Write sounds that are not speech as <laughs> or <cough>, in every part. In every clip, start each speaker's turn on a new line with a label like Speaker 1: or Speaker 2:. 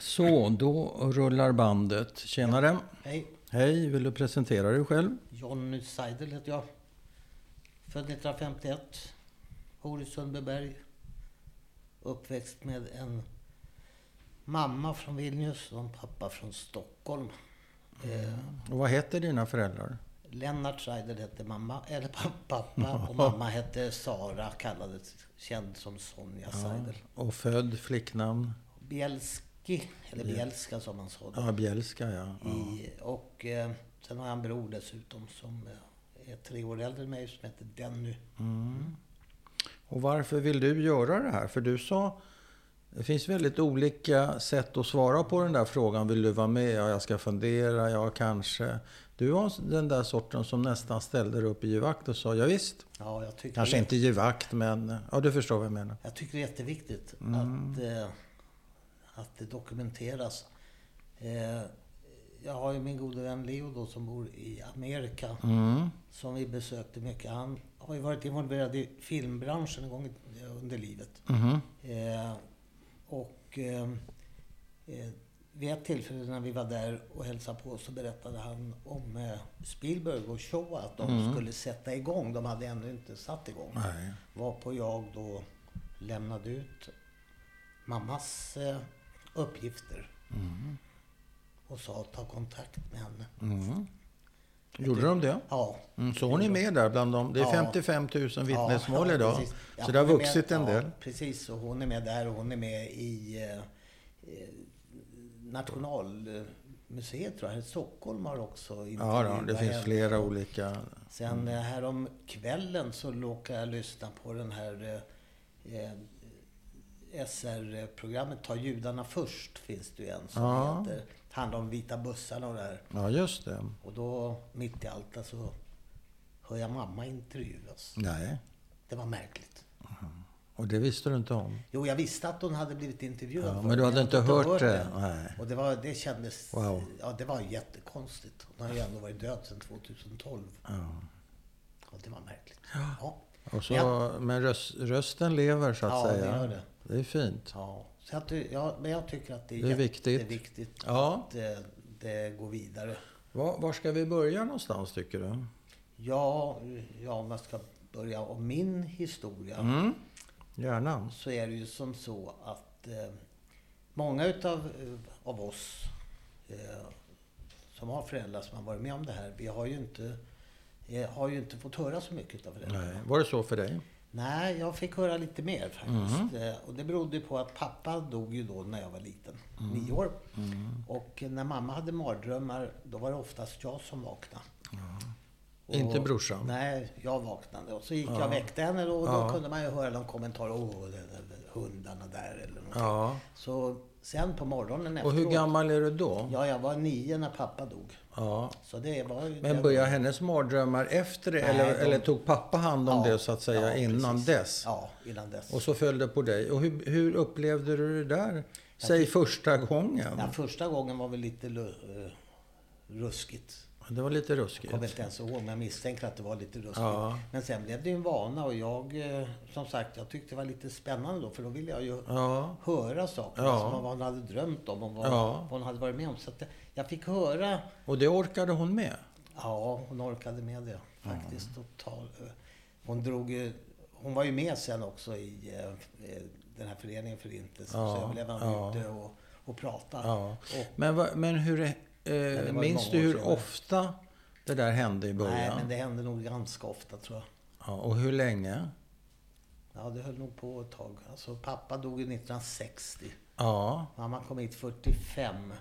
Speaker 1: Så, då rullar bandet. Tjenare!
Speaker 2: Hej,
Speaker 1: Hej, vill du presentera dig själv?
Speaker 2: Jonny Seidel heter jag. Född 1951. Bor i Sundbyberg. Uppväxt med en mamma från Vilnius och en pappa från Stockholm. Eh,
Speaker 1: Och vad heter dina föräldrar?
Speaker 2: Lennart Seidel hette mamma, eller <laughs> pa- pappa och mamma hette Sara, kallades, känd som Sonja Seidel.
Speaker 1: Och född, flicknamn?
Speaker 2: Bielski, eller Bielska som man sa då.
Speaker 1: Ja, Bjälska ja. ja.
Speaker 2: I, och eh, sen har jag en bror dessutom som eh, är tre år äldre än mig som heter Denny.
Speaker 1: Och varför vill du göra det här? För du sa... Det finns väldigt olika sätt att svara på den där frågan. Vill du vara med? Ja, jag ska fundera. Ja, kanske. Du var den där sorten som nästan ställde dig upp i givakt och sa ja, visst.
Speaker 2: Ja, jag tycker,
Speaker 1: Kanske
Speaker 2: det,
Speaker 1: inte givakt, men... Ja, du förstår vad jag menar.
Speaker 2: jag tycker det är jätteviktigt
Speaker 1: Mm.
Speaker 2: att, eh, att det dokumenteras. Eh, jag har ju min gode vän Leo då som bor i Amerika.
Speaker 1: Mm.
Speaker 2: Som vi besökte mycket. Han har ju varit involverad i filmbranschen en gång i- under livet.
Speaker 1: Mhm.
Speaker 2: Eh, och eh, eh, vid ett tillfälle när vi var där och hälsade på så berättade han om eh, Spielberg och Shoah, att de skulle sätta igång. De hade ännu inte satt igång.
Speaker 1: Mm. Nej.
Speaker 2: Varpå jag då lämnade ut mammas eh, uppgifter. Och sa ta kontakt med henne.
Speaker 1: Mm. Gjorde de det?
Speaker 2: Ja,
Speaker 1: Mm, så hon är med där bland dem. Det är
Speaker 2: Ja.
Speaker 1: 55 000 vittnesmål
Speaker 2: Ja,
Speaker 1: idag.
Speaker 2: precis. Ja,
Speaker 1: så det har
Speaker 2: hon är
Speaker 1: vuxit
Speaker 2: med,
Speaker 1: en del.
Speaker 2: Ja, precis, och hon är med där och hon är med i eh, eh, Nationalmuseet tror jag. Här i Stockholm har också
Speaker 1: Ja,
Speaker 2: intervjuat
Speaker 1: då, det finns
Speaker 2: henne.
Speaker 1: flera olika.
Speaker 2: Sen mm. härom kvällen så råkade jag lyssna på den här eh, eh, SR-programmet Ta judarna först finns det ju en som
Speaker 1: Ja.
Speaker 2: heter. Handlar om vita bussarna och det här.
Speaker 1: Ja, just det.
Speaker 2: Och då mitt i allt där så hör jag mamma intervjuas.
Speaker 1: Nej,
Speaker 2: Det var märkligt.
Speaker 1: och det visste du inte om.
Speaker 2: Jo, jag visste att hon hade blivit intervjuad.
Speaker 1: Ja,
Speaker 2: förut,
Speaker 1: men du hade
Speaker 2: jag
Speaker 1: inte hört det.
Speaker 2: den.
Speaker 1: Nej.
Speaker 2: Och det, var, det kändes...
Speaker 1: Wow.
Speaker 2: Ja, det var jättekonstigt. Hon har ju ändå varit död sedan 2012.
Speaker 1: Ja.
Speaker 2: Och det var märkligt. Ja,
Speaker 1: Och så,
Speaker 2: Ja.
Speaker 1: Men röst, rösten lever så att
Speaker 2: Ja, det
Speaker 1: säga.
Speaker 2: gör det.
Speaker 1: Det är fint.
Speaker 2: ja. Så att, det- ja men jag tycker att det är,
Speaker 1: Det är viktigt.
Speaker 2: jätteviktigt
Speaker 1: Ja.
Speaker 2: att det, det går vidare.
Speaker 1: Var, var ska vi börja någonstans tycker du?
Speaker 2: Ja, ja, om jag ska börja om min historia.
Speaker 1: Mm. Gärna.
Speaker 2: så är det ju som så att eh, många utav eh, av oss eh, som har föräldrar som har varit med om det här, vi har ju inte, eh, har ju inte fått höra så mycket utav föräldrarna.
Speaker 1: Nej. Var det så för dig?
Speaker 2: Nej, jag fick höra lite mer faktiskt.
Speaker 1: Mhm.
Speaker 2: Eh, Och det berodde ju på att pappa dog ju då när jag var liten,
Speaker 1: Mm.
Speaker 2: nio år. Och när mamma hade mardrömmar, då var det oftast jag som vaknade.
Speaker 1: Inte brorsan?
Speaker 2: Nej, jag vaknade. Och så gick jag och väckte henne då, och då
Speaker 1: Ja.
Speaker 2: kunde man ju höra någon kommentar. Åh, den där hundarna där eller någonting.
Speaker 1: Ja.
Speaker 2: Så sen på morgonen
Speaker 1: Och
Speaker 2: efteråt.
Speaker 1: hur gammal är du då?
Speaker 2: Ja, jag var nio när pappa dog.
Speaker 1: Ja.
Speaker 2: Så det var ju...
Speaker 1: Men
Speaker 2: det-
Speaker 1: började hennes mardrömmar efter det?
Speaker 2: Nej,
Speaker 1: Eller,
Speaker 2: de-
Speaker 1: eller tog pappa hand om
Speaker 2: Ja,
Speaker 1: det så att säga
Speaker 2: ja,
Speaker 1: innan
Speaker 2: precis.
Speaker 1: dess?
Speaker 2: Ja, innan dess.
Speaker 1: Och så föll det på dig. Och hur, hur upplevde du det där? Säg första gången.
Speaker 2: Ja, första gången var väl lite lu- eh, ruskigt.
Speaker 1: Det var lite
Speaker 2: Jag
Speaker 1: ruskigt.
Speaker 2: kommer inte ens ihåg, men jag misstänker att det var lite ruskigt.
Speaker 1: Ja.
Speaker 2: Men sen blev det ju en vana och jag, eh, som sagt, jag tyckte det var lite spännande då, för då ville jag ju
Speaker 1: Ja.
Speaker 2: höra saker.
Speaker 1: Ja.
Speaker 2: Alltså vad hon hade drömt om och vad,
Speaker 1: Ja.
Speaker 2: vad hon hade varit med om. Så att det- jag fick höra
Speaker 1: Och det orkade hon med?
Speaker 2: Ja, hon orkade med det faktiskt. Total. Hon, drog, ju- hon var ju med sen också i eh, eh, den här föreningen Förintelsens
Speaker 1: Ja,
Speaker 2: överlevande
Speaker 1: ja.
Speaker 2: ute och, och pratade.
Speaker 1: Ja.
Speaker 2: Och,
Speaker 1: Men, vad- men hur... Eh,
Speaker 2: det var ju
Speaker 1: minns
Speaker 2: många
Speaker 1: du
Speaker 2: år
Speaker 1: hur
Speaker 2: sedan.
Speaker 1: ofta det där hände i början?
Speaker 2: nej, men det hände nog ganska ofta tror jag.
Speaker 1: ja, och hur länge?
Speaker 2: Ja, det höll nog på ett tag. Alltså, pappa dog ju 1960.
Speaker 1: Ja.
Speaker 2: Mamma kom hit 45.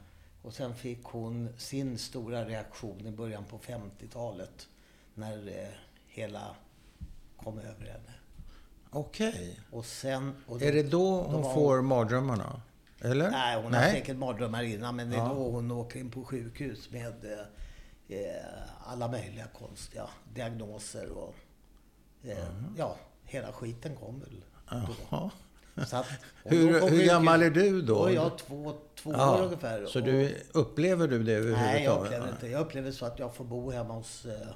Speaker 2: Och sen fick hon sin stora reaktion i början på 50-talet. När eh, hela kom över henne.
Speaker 1: Okej.
Speaker 2: Och sen... Och
Speaker 1: Är det då
Speaker 2: då
Speaker 1: hon
Speaker 2: var
Speaker 1: får mardrömmarna? Eller?
Speaker 2: Nej, hon har säkert mardrömmar innan men det är
Speaker 1: Ja.
Speaker 2: då hon åker in på sjukhus med eh, eh, alla möjliga konstiga diagnoser och... Eh,
Speaker 1: Mm.
Speaker 2: Ja, hela skiten kom väl då.
Speaker 1: Jaha.
Speaker 2: Så att, hon låg på
Speaker 1: Hur, hur
Speaker 2: sjukhus.
Speaker 1: gammal är du
Speaker 2: Då
Speaker 1: då?
Speaker 2: är jag två, två år ungefär.
Speaker 1: Så
Speaker 2: och-
Speaker 1: du, upplever du det överhuvudtaget?
Speaker 2: Nej, jag upplever inte. Jag upplever så att jag får bo hemma hos eh,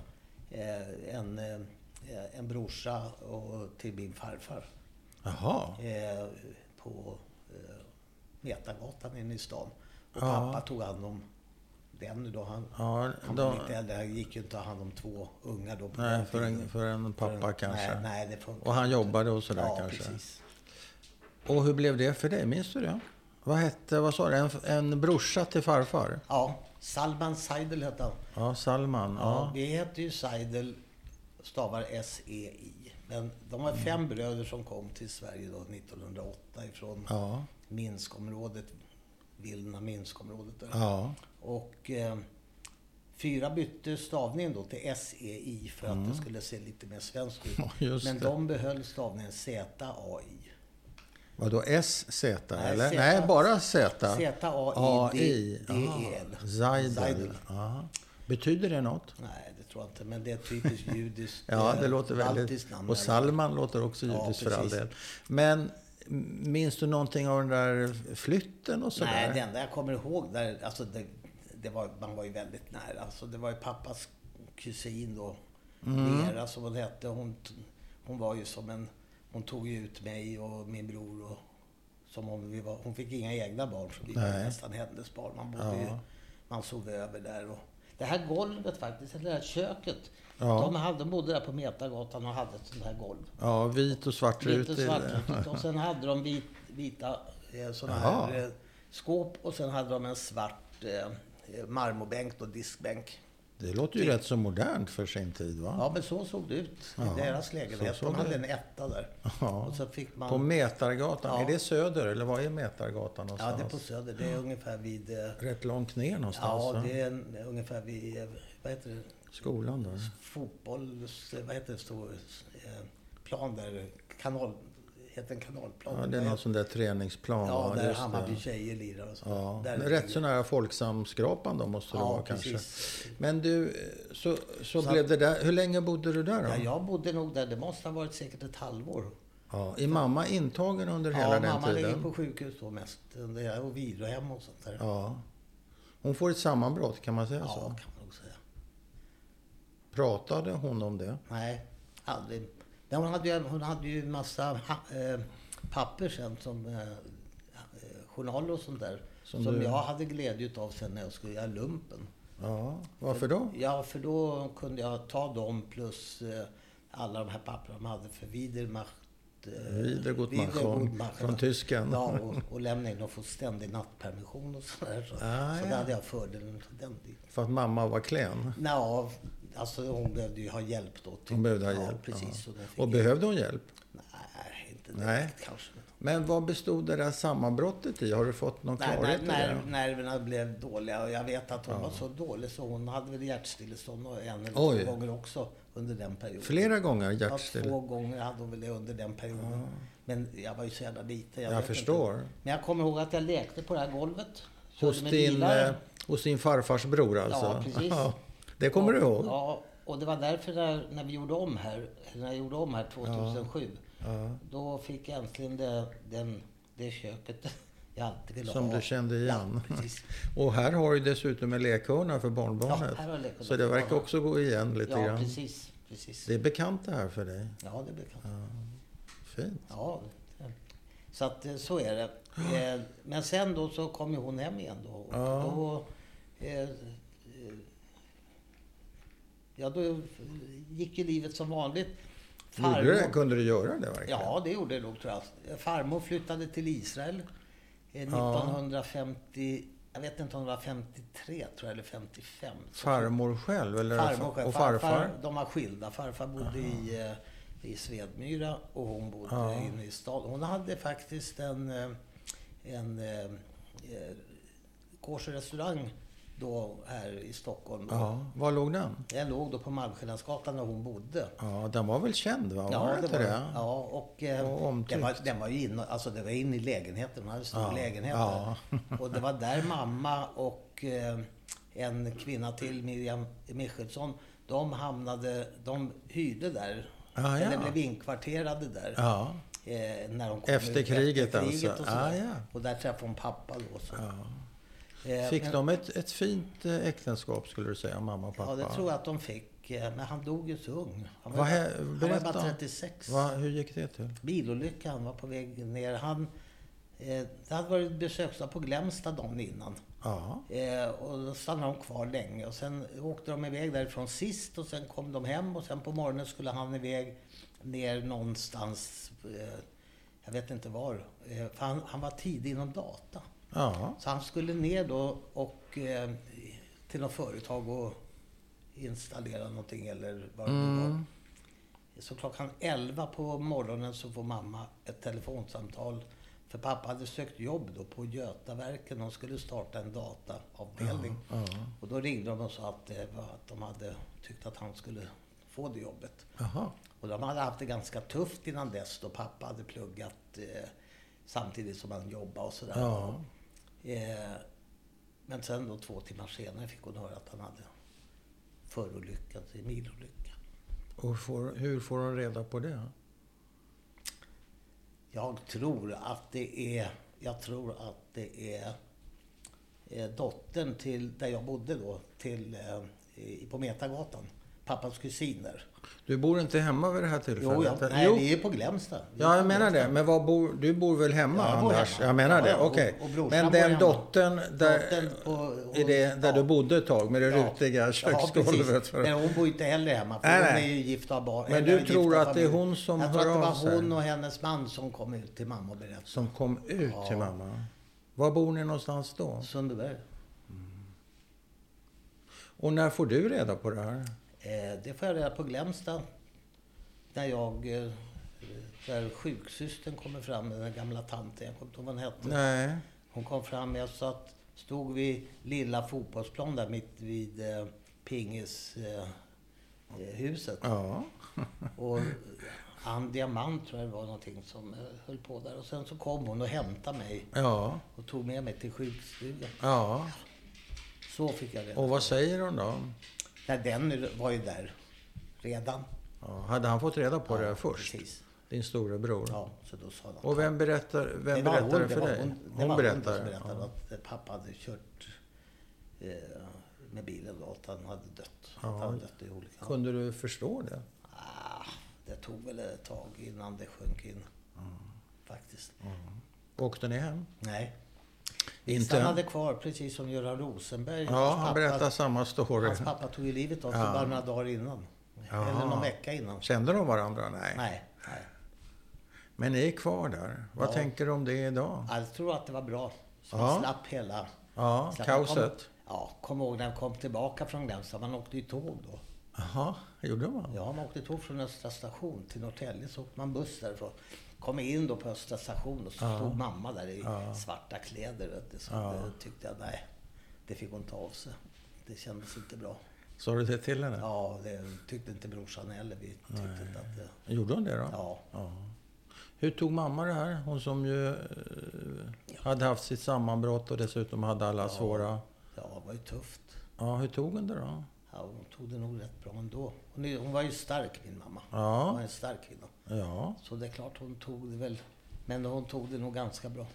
Speaker 2: eh, en, eh, en brorsa och till min farfar.
Speaker 1: Jaha.
Speaker 2: Eh, på eh, Metagatan inne i stan. Och
Speaker 1: Ja.
Speaker 2: pappa tog hand om den då. Han,
Speaker 1: Ja,
Speaker 2: han var
Speaker 1: då,
Speaker 2: lite äldre. Han gick ju inte att ha hand om två unga då på
Speaker 1: nej,
Speaker 2: den
Speaker 1: för en,
Speaker 2: tiden.
Speaker 1: för en pappa
Speaker 2: För en-
Speaker 1: kanske.
Speaker 2: Nej, nej, det funkar
Speaker 1: Och han
Speaker 2: inte.
Speaker 1: jobbade och sådär
Speaker 2: ja,
Speaker 1: kanske.
Speaker 2: Precis.
Speaker 1: Och hur blev det för dig? Minns du det? Vad hette, vad sa du? En, en brorsa till farfar?
Speaker 2: Ja, Salman Saidel hette han.
Speaker 1: Ja, Salman.
Speaker 2: Ja,
Speaker 1: Ja.
Speaker 2: vi heter ju Seidel, stavar S-E-I. Men de var
Speaker 1: Mm.
Speaker 2: fem bröder som kom till Sverige då 1908 ifrån
Speaker 1: Ja.
Speaker 2: Minskområdet, Vilna Minskområdet. Där.
Speaker 1: Ja.
Speaker 2: Och eh, fyra bytte stavningen då till S-E-I för att det skulle se lite mer svenskt ut.
Speaker 1: Mm. <laughs> Ja, just
Speaker 2: Men
Speaker 1: det.
Speaker 2: de behöll stavningen Z-A-I.
Speaker 1: Vadå SZ
Speaker 2: Nej,
Speaker 1: eller?
Speaker 2: Z.
Speaker 1: Nej, bara Z.
Speaker 2: Z-A-I-D-E-L.
Speaker 1: Aha. Zaidel.
Speaker 2: Zaidel.
Speaker 1: Aha. Betyder det något?
Speaker 2: Nej, det tror jag inte. Men det är
Speaker 1: <laughs>
Speaker 2: ett typiskt judiskt,
Speaker 1: Ja,
Speaker 2: eh,
Speaker 1: det låter väldigt...
Speaker 2: baltiskt namn.
Speaker 1: Och
Speaker 2: eller-
Speaker 1: Salman låter också
Speaker 2: Ja,
Speaker 1: judiskt för all
Speaker 2: precis.
Speaker 1: del. Men m- minns du någonting av den där flytten och sådär?
Speaker 2: Nej, det enda jag kommer ihåg där, alltså det, det var, man var ju väldigt nära. Alltså det var ju pappas kusin då,
Speaker 1: Mm.
Speaker 2: Vera som hon hette. Hon, t- hon var ju som en, hon tog ju ut mig och min bror och som om vi var, hon fick inga egna barn så vi var
Speaker 1: Nej.
Speaker 2: nästan hennes barn. Man bodde ju,
Speaker 1: Ja.
Speaker 2: man sov över där och det här golvet faktiskt, eller det här köket.
Speaker 1: Ja.
Speaker 2: De, hade, de bodde där på Metagatan och hade ett sånt här golv.
Speaker 1: Ja, vit och svart
Speaker 2: Lite
Speaker 1: rutig.
Speaker 2: svartvitt. Och sen hade de vit, vita eh, såna
Speaker 1: Jaha.
Speaker 2: här eh, skåp och sen hade de en svart eh, eh, marmorbänk och diskbänk.
Speaker 1: <laughs> Det låter ju rätt så modernt för sin tid, va?
Speaker 2: Typ. Ja, men så såg det ut
Speaker 1: Ja,
Speaker 2: i deras lägenhet.
Speaker 1: så såg
Speaker 2: de hade
Speaker 1: det.
Speaker 2: en etta där.
Speaker 1: Ja.
Speaker 2: Och så fick man...
Speaker 1: På Metargatan.
Speaker 2: Ja.
Speaker 1: Är det söder eller var är Metargatan
Speaker 2: ja,
Speaker 1: någonstans?
Speaker 2: det är på Söder. Det är ungefär vid... eh,
Speaker 1: Rätt långt ner alltså. någonstans.
Speaker 2: Ja,
Speaker 1: va?
Speaker 2: det är en, ungefär vid... eh, Vad heter det?
Speaker 1: Skolan där.
Speaker 2: Fotbolls... eh, Vad heter det? Stor, eh, plan där. Kanal... Heter en kanalplan?
Speaker 1: Ja, det är någon sån där träningsplan.
Speaker 2: Ja,
Speaker 1: va?
Speaker 2: där
Speaker 1: Just det.
Speaker 2: Hammarby tjejer lirar och så.
Speaker 1: Ja,
Speaker 2: Där
Speaker 1: men
Speaker 2: ligger-
Speaker 1: rätt så nära Folksamskrapan då måste det
Speaker 2: Ja,
Speaker 1: vara kanske.
Speaker 2: precis.
Speaker 1: Men du, eh, så, så,
Speaker 2: Så-
Speaker 1: blev det där. Hur länge bodde du där då?
Speaker 2: Ja, jag bodde nog där. Det måste ha varit säkert ett halvår.
Speaker 1: Ja, är mamma intagen under hela
Speaker 2: ja,
Speaker 1: den
Speaker 2: mamma ligger
Speaker 1: tiden?
Speaker 2: på sjukhus då mest. Det är- Och vilohem och sånt där. Ja,
Speaker 1: Ja. Hon får ett sammanbrott, kan man säga så?
Speaker 2: kan man nog säga.
Speaker 1: Pratade hon om det?
Speaker 2: Nej, aldrig. Men hon hade ju, hon hade ju massa ha, eh, papper sen som eh, eh, journaler och sånt där.
Speaker 1: Som
Speaker 2: Som,
Speaker 1: du-
Speaker 2: jag hade glädje utav sen när jag skulle göra lumpen.
Speaker 1: Ja, varför då?
Speaker 2: Ja, för då kunde jag ta dem plus eh, alla de här papperna de hade för Wiedermacht. eh,
Speaker 1: Wiedergutmachung från tysken. <laughs>
Speaker 2: Ja, och, och lämna in och få ständig nattpermission och sådär. Så,
Speaker 1: Ah,
Speaker 2: så
Speaker 1: ja.
Speaker 2: det hade jag fördelen av den biten.
Speaker 1: För att mamma var klen?
Speaker 2: Nja, alltså hon behövde ju ha hjälp då. Typ.
Speaker 1: Hon behövde ha
Speaker 2: ja,
Speaker 1: hjälp?
Speaker 2: Precis,
Speaker 1: ja.
Speaker 2: och, då fick
Speaker 1: Och
Speaker 2: jag,
Speaker 1: behövde hon hjälp?
Speaker 2: Nej, inte direkt
Speaker 1: Nej.
Speaker 2: kanske.
Speaker 1: Men vad bestod det där sammanbrottet i? Har du fått någon
Speaker 2: Nej,
Speaker 1: klarhet
Speaker 2: när,
Speaker 1: i
Speaker 2: när,
Speaker 1: det?
Speaker 2: nerverna blev dåliga och jag vet att hon var så dålig så hon hade väl hjärtstillestånd och en eller
Speaker 1: Oj.
Speaker 2: två gånger också under den perioden.
Speaker 1: Flera gånger
Speaker 2: Ja,
Speaker 1: hjärtstill?
Speaker 2: två gånger hade hon väl det under den perioden. Men jag var ju så jävla liten.
Speaker 1: Jag
Speaker 2: vet
Speaker 1: förstår.
Speaker 2: Inte. Men jag kommer ihåg att jag lekte på det här golvet. körde
Speaker 1: Hos
Speaker 2: med
Speaker 1: din,
Speaker 2: bilar.
Speaker 1: eh, hos din farfars bror alltså?
Speaker 2: Ja, precis.
Speaker 1: Det kommer du
Speaker 2: Och-
Speaker 1: ihåg?
Speaker 2: Ja, och det var därför när, när vi gjorde om här, eller när jag gjorde om här 2007, då fick jag äntligen det, den, det köket <laughs> jag alltid ville
Speaker 1: Som
Speaker 2: ha.
Speaker 1: du kände igen.
Speaker 2: Ja, precis.
Speaker 1: <laughs> Och här har du dessutom en lekhörna för
Speaker 2: Ja,
Speaker 1: barnbarnet.
Speaker 2: här har jag lekhörna
Speaker 1: så det
Speaker 2: för
Speaker 1: verkar
Speaker 2: barnbarnet.
Speaker 1: också gå igen lite
Speaker 2: Ja,
Speaker 1: grann.
Speaker 2: precis. precis.
Speaker 1: Det är bekant det här för dig.
Speaker 2: Ja, det blir kanske.
Speaker 1: Fint.
Speaker 2: Ja, så att eh, så är det. Eh, Men sen då så kom ju hon hem igen då. Och
Speaker 1: Ja.
Speaker 2: då eh, eh, ja, då gick ju livet som vanligt.
Speaker 1: Gjorde du det? Kunde du göra det verkligen?
Speaker 2: Ja, det gjorde det nog tror jag. Farmor flyttade till Israel eh,
Speaker 1: Ja.
Speaker 2: 1950, jag vet inte om det var 53 tror jag, eller 55. Så-
Speaker 1: Farmor själv? Eller
Speaker 2: Farmor
Speaker 1: och
Speaker 2: själv.
Speaker 1: farfar?
Speaker 2: De var skilda. Farfar bodde i, eh, i Svedmyra och hon bodde
Speaker 1: Ja.
Speaker 2: inne i stan. Hon hade faktiskt en, eh, en eh, eh, kosherrestaurang då här i Stockholm. då.
Speaker 1: Ja. Var låg den?
Speaker 2: Den låg då på Malmskillnadsgatan där hon bodde.
Speaker 1: Ja, den var väl känd va? var inte det?
Speaker 2: den. Ja, och eh,
Speaker 1: Och omtyckt.
Speaker 2: den, var, den var ju inne, alltså det var inne i lägenheten. Hon hade en stor
Speaker 1: Ja,
Speaker 2: lägenhet
Speaker 1: ja.
Speaker 2: där. Och det var där mamma och eh, en kvinna till, Miriam Michelsson, de hamnade, de hyrde där.
Speaker 1: Ah, ja.
Speaker 2: Eller blev inkvarterade där.
Speaker 1: Ja.
Speaker 2: Eh, när de kom
Speaker 1: Efter
Speaker 2: ut,
Speaker 1: kriget
Speaker 2: efter kriget
Speaker 1: alltså.
Speaker 2: Och, sådär.
Speaker 1: Ah, ja.
Speaker 2: och där träffade hon pappa då. Så. Eh,
Speaker 1: Fick
Speaker 2: men-
Speaker 1: de ett, ett fint eh, äktenskap skulle du säga, mamma och pappa?
Speaker 2: Ja, det tror jag att de fick. eh, Men han dog ju så ung. Han var,
Speaker 1: Vad
Speaker 2: ju
Speaker 1: hä-
Speaker 2: bara- han var ju bara
Speaker 1: berätta.
Speaker 2: 36.
Speaker 1: Va, hur gick det till?
Speaker 2: bilolycka. Han var på väg ner. Han, Eh, det hade varit besöksdag på Glämsta dagen innan.
Speaker 1: Ja.
Speaker 2: Eh, och då stannade de kvar länge. Och sen åkte de iväg därifrån sist och sen kom de hem och sen på morgonen skulle han iväg ner någonstans, eh, jag vet inte var. Eh, för han, han var tidig inom data.
Speaker 1: Ja.
Speaker 2: Så han skulle ner då och eh, till något företag och installera någonting eller vad det nu
Speaker 1: Mm.
Speaker 2: var. Så klockan 11 på morgonen så får mamma ett telefonsamtal. För pappa hade sökt jobb då på Götaverken. De skulle starta en dataavdelning.
Speaker 1: Ja.
Speaker 2: Och då ringde de och sa att, det var att de hade tyckt att han skulle få det jobbet.
Speaker 1: Jaha.
Speaker 2: Och de hade haft det ganska tufft innan dess då pappa hade pluggat eh, samtidigt som han jobbade och sådär.
Speaker 1: Ja.
Speaker 2: Eh, men sen då två timmar senare fick hon höra att han hade förolyckats i milolycka.
Speaker 1: Och hur får, hur får hon reda på det?
Speaker 2: Jag tror att det är, jag tror att det är eh, dottern till, där jag bodde då, till, eh, i- på Metagatan. Pappas kusiner.
Speaker 1: Du bor inte hemma vid det här tillfället?
Speaker 2: Jo, jag, nej, vi är på Glämsta. Vi är
Speaker 1: Ja, jag
Speaker 2: på
Speaker 1: menar
Speaker 2: Glämsta.
Speaker 1: det. Men vad bor, du bor väl hemma,
Speaker 2: Ja, jag bor
Speaker 1: Anders?
Speaker 2: hemma.
Speaker 1: Jag menar
Speaker 2: Ja,
Speaker 1: det.
Speaker 2: ja, och-
Speaker 1: Okej.
Speaker 2: och brorsan
Speaker 1: Men
Speaker 2: bor
Speaker 1: den
Speaker 2: hemma.
Speaker 1: dottern där,
Speaker 2: Dottern på-
Speaker 1: i det, där
Speaker 2: ja.
Speaker 1: du bodde ett tag med det
Speaker 2: Ja.
Speaker 1: rutiga
Speaker 2: Ja,
Speaker 1: köksgolvet.
Speaker 2: precis.
Speaker 1: för-
Speaker 2: Men hon bor ju inte heller hemma. För
Speaker 1: Nej,
Speaker 2: hon
Speaker 1: nej.
Speaker 2: är ju gift och har barn.
Speaker 1: Men
Speaker 2: eller
Speaker 1: du
Speaker 2: gift
Speaker 1: tror
Speaker 2: och har
Speaker 1: att det är
Speaker 2: familj.
Speaker 1: hon som
Speaker 2: Jag tror
Speaker 1: hör
Speaker 2: att det
Speaker 1: av sig?
Speaker 2: var hon och hennes man som kom ut till mamma och berättade.
Speaker 1: Som kom ut
Speaker 2: Ja.
Speaker 1: till mamma. Var bor ni någonstans då?
Speaker 2: Sundbyberg.
Speaker 1: Och när får du reda på det här?
Speaker 2: Eh, det får jag reda på Glämsta. När jag... Eh, där sjuksystern kommer fram, den gamla tanten, jag kommer inte ihåg vad hon hette.
Speaker 1: Nej.
Speaker 2: Hon kom fram, jag satt, stod vid lilla fotbollsplan där mitt vid eh, pingishuset. Eh, huset.
Speaker 1: Ja.
Speaker 2: Och Ann Diamant tror jag det var någonting som eh, höll på där. Och sen så kom hon och hämtade mig
Speaker 1: Ja.
Speaker 2: och tog med mig till sjukstugan.
Speaker 1: Ja.
Speaker 2: Så fick jag reda
Speaker 1: Och vad säger hon då?
Speaker 2: Nej, den var ju där redan.
Speaker 1: Ja. Hade han fått reda på det först?
Speaker 2: Precis.
Speaker 1: Din storebror?
Speaker 2: Ja, så då sa de.
Speaker 1: Och vem berättar, vem
Speaker 2: Det var
Speaker 1: berättar
Speaker 2: hon,
Speaker 1: det för
Speaker 2: var
Speaker 1: dig?
Speaker 2: Hon, det var hon som berättade
Speaker 1: Ja.
Speaker 2: att eh, pappa hade kört eh, med bilen då, att han hade dött.
Speaker 1: Ja.
Speaker 2: Att han hade dött i olika...
Speaker 1: Kunde du förstå det?
Speaker 2: Ah, det tog väl ett tag innan det sjönk in.
Speaker 1: Mm.
Speaker 2: Faktiskt.
Speaker 1: Åkte ni hem?
Speaker 2: Nej.
Speaker 1: Inte?
Speaker 2: Inte. Han hade kvar, precis som Göran Rosenberg.
Speaker 1: Ja,
Speaker 2: Hans
Speaker 1: han
Speaker 2: pappa-
Speaker 1: berättar samma story.
Speaker 2: Hans pappa tog ju livet av sig
Speaker 1: Ja.
Speaker 2: bara några dagar innan.
Speaker 1: Jaha.
Speaker 2: Eller någon vecka innan.
Speaker 1: Kände de varandra? Nej.
Speaker 2: Nej, nej.
Speaker 1: Men ni är kvar där. Vad
Speaker 2: Ja.
Speaker 1: tänker du om det idag?
Speaker 2: Jag tror att det var bra. Så
Speaker 1: Ja.
Speaker 2: vi slapp hela...
Speaker 1: Ja,
Speaker 2: slapp- Jag
Speaker 1: kaoset.
Speaker 2: Kom, ja, kom ihåg när jag kom tillbaka från Glämsta. Man åkte ju tåg då.
Speaker 1: Jaha, gjorde man?
Speaker 2: Ja, man åkte tåg från Östra station till Norrtälje. Så åkte man buss därifrån. Kom in då på Östra station och så stod mamma där i svarta kläder. Vet du, så
Speaker 1: Ja.
Speaker 2: det tyckte jag, nej, det fick hon ta av sig. Det kändes inte bra.
Speaker 1: Sa du det till henne?
Speaker 2: Ja, det tyckte inte brorsan heller. Vi tyckte inte att det...
Speaker 1: Gjorde hon det då?
Speaker 2: Ja.
Speaker 1: Hur tog mamma det här? Hon som ju eh, hade haft sitt sammanbrott och dessutom hade alla svåra...
Speaker 2: Ja, det var ju tufft.
Speaker 1: Ja, hur tog hon det då?
Speaker 2: Ja, hon tog det nog rätt bra ändå. Hon, är, hon var ju stark, min mamma.
Speaker 1: Ja.
Speaker 2: Hon var en stark kvinna.
Speaker 1: Ja,
Speaker 2: Så det är klart hon tog det väl. Men hon tog det nog ganska bra.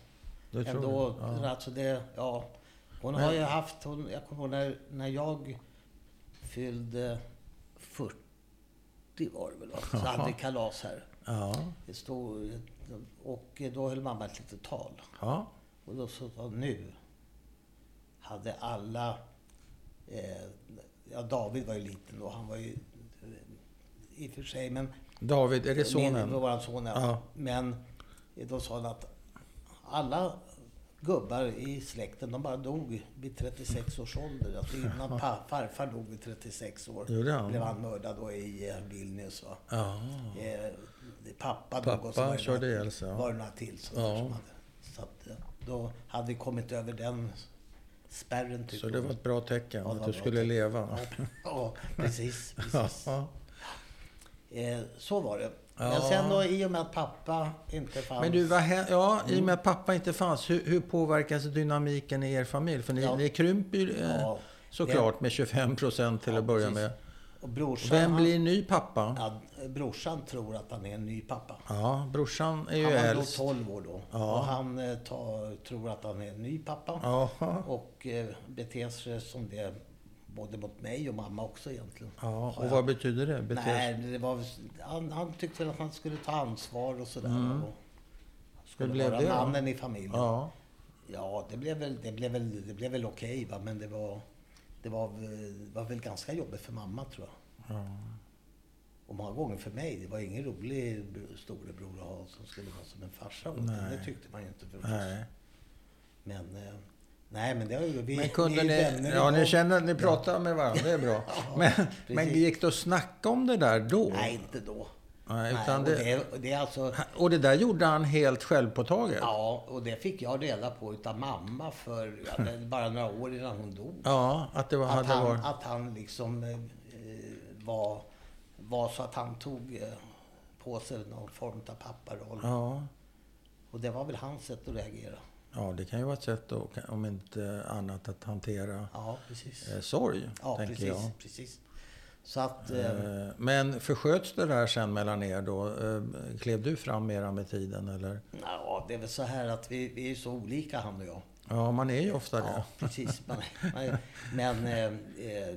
Speaker 1: det tror
Speaker 2: ändå,
Speaker 1: jag. Ja.
Speaker 2: alltså det, ja. Hon har ju haft, hon, jag kommer ihåg när, när jag fyllde 40 var det väl va? Så hade vi kalas här.
Speaker 1: Ja.
Speaker 2: Det stod, och då höll mamma ett litet tal.
Speaker 1: ja.
Speaker 2: Och då så sa nu hade alla... Eh, ja, David var ju liten då. Han var ju... eh, I och för sig, men...
Speaker 1: David, är det
Speaker 2: Min,
Speaker 1: sonen?
Speaker 2: våran son, ja.
Speaker 1: Ja.
Speaker 2: Men då sa han att alla gubbar i släkten, de bara dog vid 36 års
Speaker 1: <laughs>
Speaker 2: ålder. Alltså innan pa, farfar dog vid 36 år
Speaker 1: Gjorde han?
Speaker 2: blev han mördad då i eh, Vilnius. Va?
Speaker 1: Ja.
Speaker 2: Eh, pappa dog
Speaker 1: Pappa
Speaker 2: och så var det
Speaker 1: körde
Speaker 2: några-
Speaker 1: ihjäl sig, ja.
Speaker 2: var det några till som,
Speaker 1: Ja.
Speaker 2: som hade. Så att, eh, då hade vi kommit över den spärren. tyckte
Speaker 1: Så det
Speaker 2: hon.
Speaker 1: var ett bra tecken
Speaker 2: Ja,
Speaker 1: att
Speaker 2: det var
Speaker 1: du
Speaker 2: bra
Speaker 1: skulle <laughs>
Speaker 2: tecken.
Speaker 1: leva?
Speaker 2: <laughs> Ja, precis. precis.
Speaker 1: Ja.
Speaker 2: Eh, så var det. Men
Speaker 1: Ja.
Speaker 2: sen då i och med att pappa inte fanns.
Speaker 1: Men du, vad hä- ja, i och
Speaker 2: Mm.
Speaker 1: med att pappa inte fanns, hur, hur påverkas dynamiken i er familj? För ni,
Speaker 2: Ja.
Speaker 1: ni krymper ju eh,
Speaker 2: Ja.
Speaker 1: såklart med 25 procent till
Speaker 2: Ja,
Speaker 1: att börja
Speaker 2: precis.
Speaker 1: med.
Speaker 2: och brorsan,
Speaker 1: Vem
Speaker 2: han-
Speaker 1: blir ny pappa? Ja,
Speaker 2: Ja, brorsan tror att han är en ny pappa.
Speaker 1: brorsan är ju
Speaker 2: Han var då
Speaker 1: äldst.
Speaker 2: 12 år då.
Speaker 1: Ja.
Speaker 2: Och han eh, ta, tror att han är en ny pappa.
Speaker 1: Ja.
Speaker 2: Och eh, beter sig som det både mot mig och mamma också egentligen.
Speaker 1: ja,
Speaker 2: Har
Speaker 1: och
Speaker 2: jag-
Speaker 1: vad betyder det? Beter-
Speaker 2: Nej, det var, han, han tyckte väl att han skulle ta ansvar och sådär. Och,
Speaker 1: Mm. Hur
Speaker 2: skulle
Speaker 1: blev
Speaker 2: vara
Speaker 1: det då?
Speaker 2: mannen i familjen. Ja,
Speaker 1: Ja.
Speaker 2: det, blev väl, det, blev väl, det blev väl okej va, men det var, det var, väl- var väl ganska jobbigt för mamma tror jag.
Speaker 1: ja.
Speaker 2: Och många gånger för mig. Det var ingen rolig br- storebror att ha som skulle vara som en farsa åt en.
Speaker 1: Nej.
Speaker 2: Det tyckte man ju inte förstås.
Speaker 1: Nej.
Speaker 2: Men, eh, nej, men det har ju... Vi,
Speaker 1: Men
Speaker 2: vi
Speaker 1: kunde
Speaker 2: är ju
Speaker 1: ni...
Speaker 2: vänner
Speaker 1: Ja,
Speaker 2: idag.
Speaker 1: ni känner... Ni pratar med varandra, det är
Speaker 2: <laughs>
Speaker 1: bra. Men, men
Speaker 2: precis.
Speaker 1: gick det att snacka om det där då?
Speaker 2: Nej, inte då.
Speaker 1: Nej, utan
Speaker 2: och
Speaker 1: det-
Speaker 2: det, och det är alltså...
Speaker 1: <laughs> Och det där gjorde han helt självpåtaget?
Speaker 2: Ja, och det fick jag reda på utav mamma för ja, det är bara några år innan hon dog.
Speaker 1: Ja, att det var,
Speaker 2: Att
Speaker 1: hade
Speaker 2: han,
Speaker 1: varit...
Speaker 2: att han liksom eh, var, var så att han tog eh, på sig någon form av papparoll.
Speaker 1: Ja.
Speaker 2: Och det var väl hans sätt att reagera.
Speaker 1: ja, det kan ju vara ett sätt att, om inte annat, att hantera
Speaker 2: Ja, precis.
Speaker 1: eh, sorg,
Speaker 2: Ja,
Speaker 1: tänker
Speaker 2: precis,
Speaker 1: jag.
Speaker 2: precis. Så att... Eh,
Speaker 1: Eh, Men försköts det där sen mellan er då? Eh, Klev du fram mera med tiden eller?
Speaker 2: ja, det är väl så här att vi, vi är så olika han och jag.
Speaker 1: Ja, man är ju ofta det.
Speaker 2: Ja, precis. Man, man, men, eh, eh,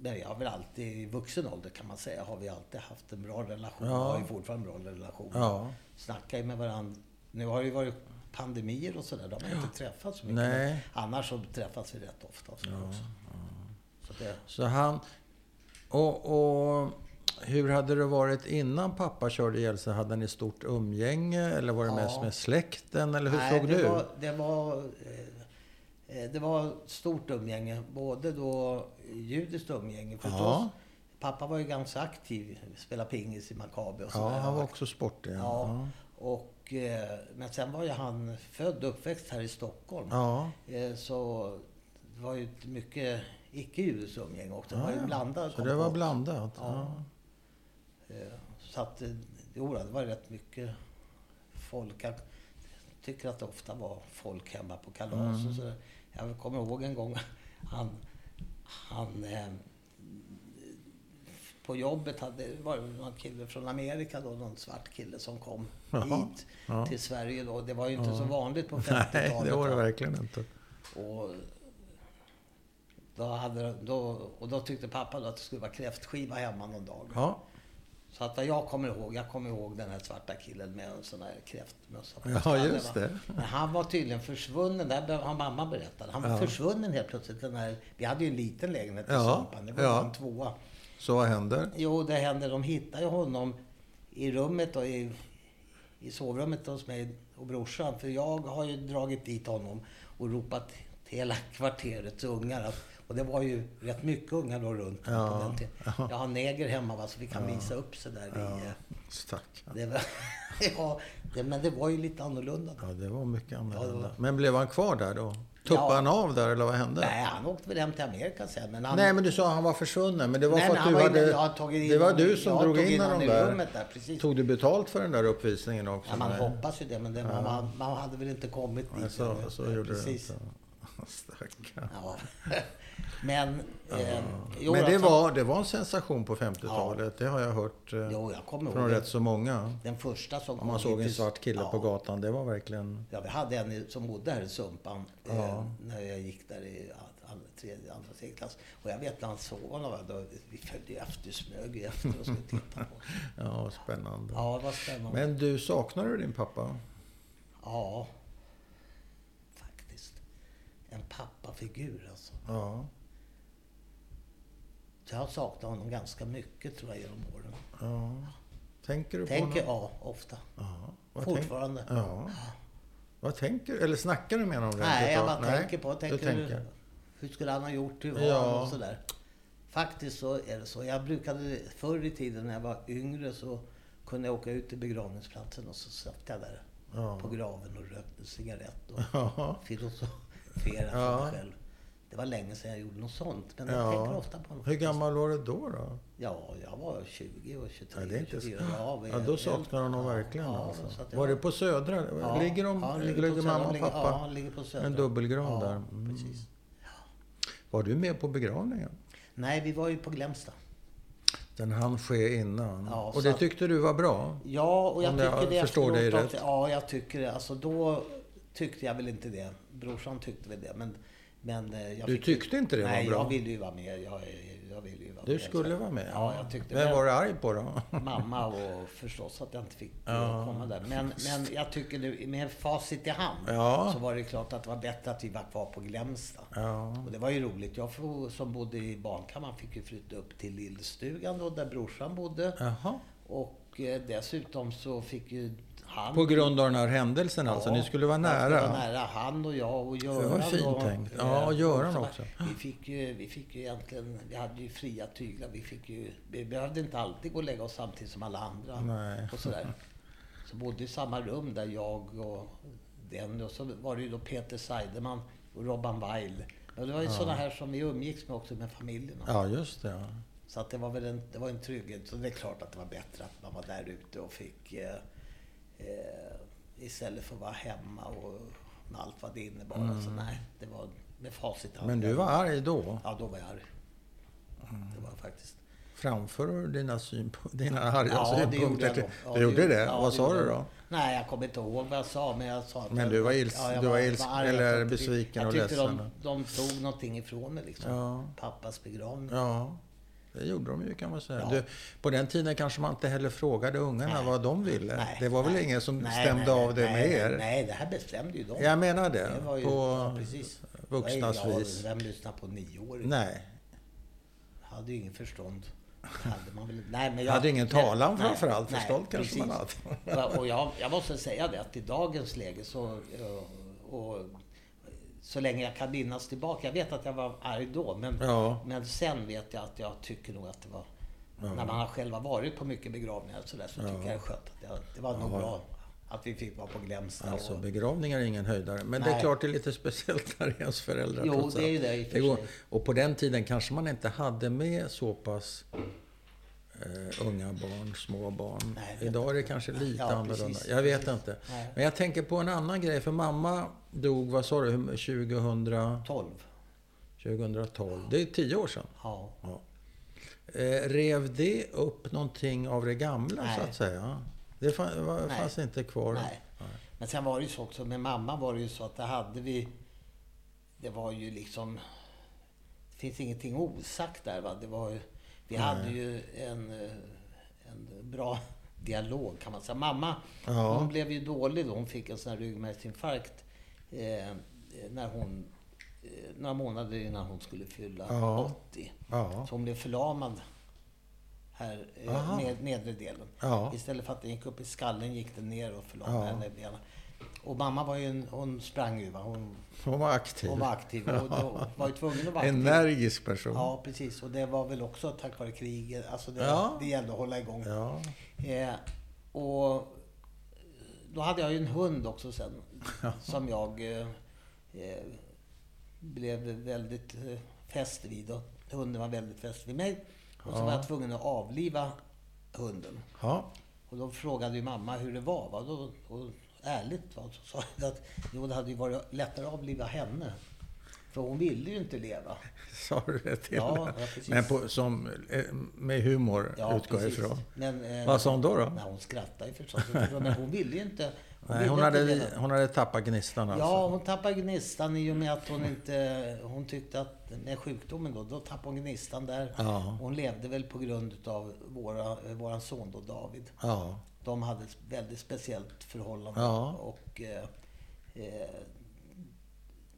Speaker 2: men jag har väl alltid, i vuxen ålder kan man säga, har vi alltid haft en bra relation.
Speaker 1: Ja.
Speaker 2: Ja. Har ju fortfarande en bra relation.
Speaker 1: Ja.
Speaker 2: Snackar ju med varandra. Nu har det ju varit pandemier och sådär. Då har man inte träffats så mycket.
Speaker 1: Nej.
Speaker 2: Men Annars så träffas vi rätt ofta. Och sådär också. Så det,
Speaker 1: Så han... Och, och hur hade det varit innan pappa körde ihjäl sig? Hade ni stort umgänge eller var det
Speaker 2: Ja.
Speaker 1: mest med släkten? Eller hur
Speaker 2: Nej,
Speaker 1: såg
Speaker 2: det
Speaker 1: du?
Speaker 2: Var, det, var, eh, eh, det var stort umgänge. Både då judiskt umgänge förstås.
Speaker 1: Ja.
Speaker 2: Pappa var ju ganska aktiv. Spelade pingis i Maccabi och
Speaker 1: Ja,
Speaker 2: sådär.
Speaker 1: han var också sportig.
Speaker 2: Ja,
Speaker 1: Ja.
Speaker 2: och, eh, men sen var ju han född och uppväxt här i Stockholm.
Speaker 1: ja.
Speaker 2: Eh, Så det var ju ett mycket icke-judiskt umgänge också. Det var ju
Speaker 1: Ja, ja.
Speaker 2: blandat.
Speaker 1: Så det var
Speaker 2: kompott.
Speaker 1: blandat? Ja.
Speaker 2: Ja. Eh, Så att, eh, jo, det var rätt mycket folk. Jag tycker att det ofta var folk hemma på kalas
Speaker 1: Mm.
Speaker 2: och sådär. Jag kommer ihåg en gång han, han eh, på jobbet hade det var någon kille från Amerika då, någon svart kille som kom
Speaker 1: Jaha.
Speaker 2: hit
Speaker 1: Ja.
Speaker 2: till Sverige då. Det var ju inte så vanligt
Speaker 1: <laughs>
Speaker 2: på
Speaker 1: Nej,
Speaker 2: 50-talet.
Speaker 1: det var det
Speaker 2: va.
Speaker 1: verkligen inte.
Speaker 2: Och då, hade, då, och då tyckte pappa då att det skulle vara kräftskiva hemma någon dag.
Speaker 1: Ja.
Speaker 2: Så att vad jag kommer ihåg, jag kommer ihåg den här svarta killen med en sån här kräftmössa på
Speaker 1: Ja,
Speaker 2: skallen,
Speaker 1: just
Speaker 2: va.
Speaker 1: det.
Speaker 2: Men han var tydligen försvunnen, det här har mamma berättat. Han var
Speaker 1: Ja.
Speaker 2: försvunnen helt plötsligt. Den här, vi hade ju en liten lägenhet i
Speaker 1: Ja,
Speaker 2: Sumpan, det var
Speaker 1: ja.
Speaker 2: ja. en tvåa.
Speaker 1: Så vad händer?
Speaker 2: Jo, det hände, de hittade ju honom i rummet och i, i sovrummet hos mig och brorsan. För jag har ju dragit dit honom och ropat till hela kvarterets ungar. Att, och det var ju rätt mycket ungar då runt
Speaker 1: Ja,
Speaker 2: på den tiden. Jag har neger hemma va, så vi kan visa upp sig där i... eh,
Speaker 1: Stackarn.
Speaker 2: det var, <laughs> ja, det, men det var ju lite annorlunda då.
Speaker 1: Ja, det var mycket annorlunda.
Speaker 2: Ja, det var-
Speaker 1: Men blev han kvar där då? Tuppade
Speaker 2: Ja.
Speaker 1: han av där eller vad hände?
Speaker 2: Nej, han åkte väl hem till Amerika sen. Men han,
Speaker 1: Nej, men du sa att han var försvunnen. Men det var
Speaker 2: Nej,
Speaker 1: för
Speaker 2: men
Speaker 1: att
Speaker 2: han
Speaker 1: du
Speaker 2: var
Speaker 1: hade...
Speaker 2: inne- jag har tagit in
Speaker 1: det var
Speaker 2: honom-
Speaker 1: du som
Speaker 2: jag
Speaker 1: drog
Speaker 2: tog
Speaker 1: in
Speaker 2: in
Speaker 1: honom
Speaker 2: honom i
Speaker 1: där.
Speaker 2: rummet där, precis.
Speaker 1: Tog du betalt för den där uppvisningen också?
Speaker 2: ja, man
Speaker 1: Nej.
Speaker 2: hoppas ju det, men det, man, man hade väl inte kommit dit.
Speaker 1: Nej, så,
Speaker 2: ännu.
Speaker 1: så gjorde
Speaker 2: precis.
Speaker 1: du inte. <laughs> Stackarn.
Speaker 2: Ja. <laughs> Men... Eh, jo,
Speaker 1: Men det
Speaker 2: alltså,
Speaker 1: var, det var en sensation på 50-talet. Det har jag hört eh,
Speaker 2: Jo, jag kommer
Speaker 1: från
Speaker 2: ihåg.
Speaker 1: rätt
Speaker 2: Rätt...
Speaker 1: så många.
Speaker 2: Den första som
Speaker 1: Om man
Speaker 2: kom
Speaker 1: såg
Speaker 2: hit
Speaker 1: en
Speaker 2: till-
Speaker 1: svart kille
Speaker 2: ja,
Speaker 1: på gatan, det var verkligen...
Speaker 2: Ja, vi hade en i- som bodde här i Sumpan eh, när jag gick där i an- an- tredje, andra, tredje klass. Och jag vet när han såg honom, va, då, vi följde ju efter, smög ju efter och skulle titta
Speaker 1: <laughs>
Speaker 2: på honom.
Speaker 1: Ja, spännande.
Speaker 2: Ja, det var spännande.
Speaker 1: Men du, saknar du din pappa?
Speaker 2: Ja, faktiskt. En pappafigur alltså.
Speaker 1: Ja.
Speaker 2: Så jag har saknat honom ganska mycket tror jag genom åren.
Speaker 1: ja. Tänker du på
Speaker 2: Tänker,
Speaker 1: honom?
Speaker 2: ja, ofta.
Speaker 1: Ja. Vad tänk-
Speaker 2: Fortfarande.
Speaker 1: Ja. Vad tänker Eller snackar du med honom? rent
Speaker 2: Nej, jag
Speaker 1: utav?
Speaker 2: bara
Speaker 1: Nej,
Speaker 2: tänker på
Speaker 1: du
Speaker 2: tänker,
Speaker 1: tänker.
Speaker 2: Hur, hur skulle han ha gjort, hur var
Speaker 1: Ja.
Speaker 2: han och sådär. Faktiskt så är det så. Jag brukade förr i tiden när jag var yngre så kunde jag åka ut till begravningsplatsen och så satt jag där
Speaker 1: Ja.
Speaker 2: på graven och rökte cigarett och
Speaker 1: Ja.
Speaker 2: filosoferade för
Speaker 1: Ja.
Speaker 2: mig själv. Det var länge sedan jag gjorde något sånt, men jag
Speaker 1: Ja.
Speaker 2: tänker ofta på honom.
Speaker 1: Hur gammal var du då? då?
Speaker 2: Ja, jag var 20 och 23,
Speaker 1: Ja, det är inte så-
Speaker 2: 24. Ja, vi-
Speaker 1: Ja, då saknar honom verkligen.
Speaker 2: Ja,
Speaker 1: alltså.
Speaker 2: så att jag-
Speaker 1: Var det på Södra?
Speaker 2: Ja,
Speaker 1: ligger de,
Speaker 2: ja, han
Speaker 1: ligger,
Speaker 2: på Söder,
Speaker 1: mamma och
Speaker 2: ligger-
Speaker 1: pappa?
Speaker 2: Ja, han ligger på Söder.
Speaker 1: en dubbelgrav
Speaker 2: ja,
Speaker 1: där. Mm.
Speaker 2: Precis.
Speaker 1: Var du med på begravningen?
Speaker 2: Nej, vi var ju på Glämsta.
Speaker 1: Den hann ske innan.
Speaker 2: Ja,
Speaker 1: och
Speaker 2: så
Speaker 1: det
Speaker 2: att-
Speaker 1: tyckte du var bra?
Speaker 2: Ja, och jag
Speaker 1: Om jag
Speaker 2: tycker det
Speaker 1: förstår dig
Speaker 2: efteråt
Speaker 1: rätt.
Speaker 2: också. Ja, jag tycker det. Alltså då tyckte jag väl inte det. Brorsan tyckte väl det. Men Men eh, jag
Speaker 1: Du
Speaker 2: fick-
Speaker 1: tyckte inte det var
Speaker 2: Nej,
Speaker 1: bra?
Speaker 2: jag ville ju vara med. Jag, jag ville ju vara
Speaker 1: Du
Speaker 2: med,
Speaker 1: skulle
Speaker 2: så-
Speaker 1: vara med?
Speaker 2: Ja, jag tyckte
Speaker 1: Vem
Speaker 2: men-
Speaker 1: var du arg på
Speaker 2: <laughs>
Speaker 1: då?
Speaker 2: mamma och förstås att jag inte fick
Speaker 1: Ja.
Speaker 2: eh, komma där. Men,
Speaker 1: <laughs>
Speaker 2: men jag tycker nu med facit i hand
Speaker 1: Ja.
Speaker 2: så var det klart att det var bättre att vi var kvar på Glämsta.
Speaker 1: Ja.
Speaker 2: Och det var ju roligt. Jag får- som bodde i barnkammaren fick ju flytta upp till lillstugan då, där brorsan bodde.
Speaker 1: Jaha.
Speaker 2: Och eh, dessutom så fick ju han...
Speaker 1: På grund av den här händelsen alltså?
Speaker 2: Ja,
Speaker 1: Ni skulle vara
Speaker 2: man skulle
Speaker 1: nära?
Speaker 2: vara nära. Han och jag och Göran.
Speaker 1: Det var fint
Speaker 2: och,
Speaker 1: tänkt.
Speaker 2: eh,
Speaker 1: Ja, och Göran
Speaker 2: så-
Speaker 1: också.
Speaker 2: Vi fick, ju, vi fick ju egentligen... Vi hade ju fria tyglar. Vi, fick ju, vi behövde inte alltid gå och lägga oss samtidigt som alla andra.
Speaker 1: Nej.
Speaker 2: Och sådär. Så bodde i samma rum där jag och den. Och så var det ju då Peter Seideman och Robban Weil. Men det var ju sådana här som vi umgicks med också med familjerna.
Speaker 1: Ja, just det. ja.
Speaker 2: Så att det var väl en, det var en trygghet. Så det är klart att det var bättre att man var där ute och fick... Eh, eh, istället för att vara hemma och med allt vad det innebar. Alltså, nej, det var med facit i hand.
Speaker 1: Mm. Men du var Mm. arg då?
Speaker 2: Ja, då var jag arg. Det var jag faktiskt.
Speaker 1: Framför du dina, synp- <laughs> dina arga
Speaker 2: det gjorde
Speaker 1: synpunkter?
Speaker 2: jag då.
Speaker 1: till-
Speaker 2: Ja,
Speaker 1: du gjorde det?
Speaker 2: ja,
Speaker 1: Vad sa
Speaker 2: gjorde
Speaker 1: du
Speaker 2: jag.
Speaker 1: då?
Speaker 2: Nej, jag kommer inte ihåg vad jag sa, men jag sa att
Speaker 1: Men
Speaker 2: jag-
Speaker 1: du var ils-
Speaker 2: jag
Speaker 1: du var
Speaker 2: jag
Speaker 1: ils-
Speaker 2: arg. Jag
Speaker 1: eller
Speaker 2: tyckte-
Speaker 1: besviken och
Speaker 2: Jag tyckte
Speaker 1: ledsen.
Speaker 2: de, de tog någonting ifrån mig liksom.
Speaker 1: Ja.
Speaker 2: Pappas begravning.
Speaker 1: Ja, det gjorde de ju kan man säga.
Speaker 2: Ja.
Speaker 1: Du, på den tiden kanske man inte heller frågade ungarna
Speaker 2: Nej.
Speaker 1: vad de ville.
Speaker 2: Nej,
Speaker 1: det var väl
Speaker 2: nej.
Speaker 1: ingen som
Speaker 2: Nej,
Speaker 1: stämde
Speaker 2: nej,
Speaker 1: av det
Speaker 2: nej,
Speaker 1: med
Speaker 2: nej,
Speaker 1: er?
Speaker 2: Nej, det här bestämde ju de.
Speaker 1: Jag menar det.
Speaker 2: Det var ju,
Speaker 1: på
Speaker 2: ja, precis.
Speaker 1: vuxnas
Speaker 2: Ja, ja,
Speaker 1: vis.
Speaker 2: Vem lyssnar på nioåringar?
Speaker 1: Nej.
Speaker 2: Hade ju ingen förstånd. Hade man väl, nej, men jag,
Speaker 1: Hade ingen talan
Speaker 2: nej,
Speaker 1: framförallt.
Speaker 2: nej,
Speaker 1: Förstånd kanske man
Speaker 2: precis. Och jag, jag måste säga det att i dagens läge så... eh, Och, så länge jag kan minnas tillbaka. Jag vet att jag var arg då, men,
Speaker 1: Ja.
Speaker 2: men sen vet jag att jag tycker nog att det var... När man har själv har varit på mycket begravningar och sådär så tycker jag det är skönt. Att jag, det var nog bra att vi fick vara på Glämsta.
Speaker 1: Alltså
Speaker 2: och,
Speaker 1: begravningar är ingen höjdare. Men det är
Speaker 2: Nej.
Speaker 1: klart det är lite speciellt <laughs> när det är ens föräldrar
Speaker 2: Jo,
Speaker 1: trots
Speaker 2: det är ju
Speaker 1: allt.
Speaker 2: det i och för
Speaker 1: går-
Speaker 2: sig.
Speaker 1: Och på den tiden kanske man inte hade med så pass eh, unga barn, små barn.
Speaker 2: Nej, jag vet
Speaker 1: Idag är det kanske lite
Speaker 2: Ja,
Speaker 1: annorlunda.
Speaker 2: precis,
Speaker 1: jag vet
Speaker 2: precis.
Speaker 1: inte.
Speaker 2: Nej.
Speaker 1: Men jag tänker på en annan grej. För mamma dog, vad sa du, hur- 2000,
Speaker 2: 12.
Speaker 1: 2012? Det är tio år sedan.
Speaker 2: Ja.
Speaker 1: Ja. Eh, rev det upp någonting av det gamla
Speaker 2: Nej.
Speaker 1: så att säga? Det fann, var,
Speaker 2: Nej.
Speaker 1: fanns inte kvar?
Speaker 2: Nej. Men sen var det ju så också med mamma var det ju så att det hade vi... Det var ju liksom... Det finns ingenting osagt där va. Det var ju, vi hade ju en, eh, en bra dialog kan man säga. Mamma,
Speaker 1: Ja.
Speaker 2: hon blev ju dålig då. Hon fick en sån här ryggmärgsinfarkt eh, när hon... Eh, några månader innan hon skulle fylla
Speaker 1: Ja.
Speaker 2: 80.
Speaker 1: Ja.
Speaker 2: Så hon blev förlamad här, eh,
Speaker 1: Aha.
Speaker 2: ned, nedre delen.
Speaker 1: Ja.
Speaker 2: Istället för att den gick upp i skallen gick den ner och
Speaker 1: Ja.
Speaker 2: förlamade henne i benen. Och mamma var ju en, hon sprang ju. Va? Hon,
Speaker 1: Hon var aktiv.
Speaker 2: hon var aktiv och då var ju tvungen
Speaker 1: <laughs>
Speaker 2: att vara aktiv.
Speaker 1: Energisk person.
Speaker 2: Ja, precis. Och det var väl också tack vare kriget. Alltså det,
Speaker 1: Ja.
Speaker 2: det gällde att hålla igång.
Speaker 1: Ja.
Speaker 2: Eh, och då hade jag ju en hund
Speaker 1: <laughs>
Speaker 2: också sen. Som jag eh, eh, blev väldigt eh, fäst vid. Och hunden var väldigt fäst vid mig. Och så var jag tvungen att avliva hunden.
Speaker 1: Ja. <laughs>
Speaker 2: Och då frågade ju mamma hur det var. Va? Då, och ärligt va? så sa jag att jo, det hade ju varit lättare att avliva henne. För hon ville ju inte leva.
Speaker 1: Sa du det till
Speaker 2: Ja,
Speaker 1: henne?
Speaker 2: ja, precis.
Speaker 1: Men på, som, eh, med humor utgår jag
Speaker 2: precis.
Speaker 1: ifrån.
Speaker 2: Men, eh,
Speaker 1: Vad sa hon då? då?
Speaker 2: Nej, hon skrattade ju förstås. Men hon ville ju inte. Hon
Speaker 1: Nej,
Speaker 2: ville
Speaker 1: hon,
Speaker 2: inte
Speaker 1: hade,
Speaker 2: leva.
Speaker 1: hon hade tappat gnistan alltså.
Speaker 2: Ja, hon tappade gnistan i och med att hon inte... Hon tyckte att med sjukdomen då, då tappade hon gnistan där.
Speaker 1: Ja.
Speaker 2: Hon levde väl på grund utav våra, eh, våran son då, David.
Speaker 1: Ja. <laughs>
Speaker 2: De hade ett väldigt speciellt förhållande
Speaker 1: Ja.
Speaker 2: och eh, eh,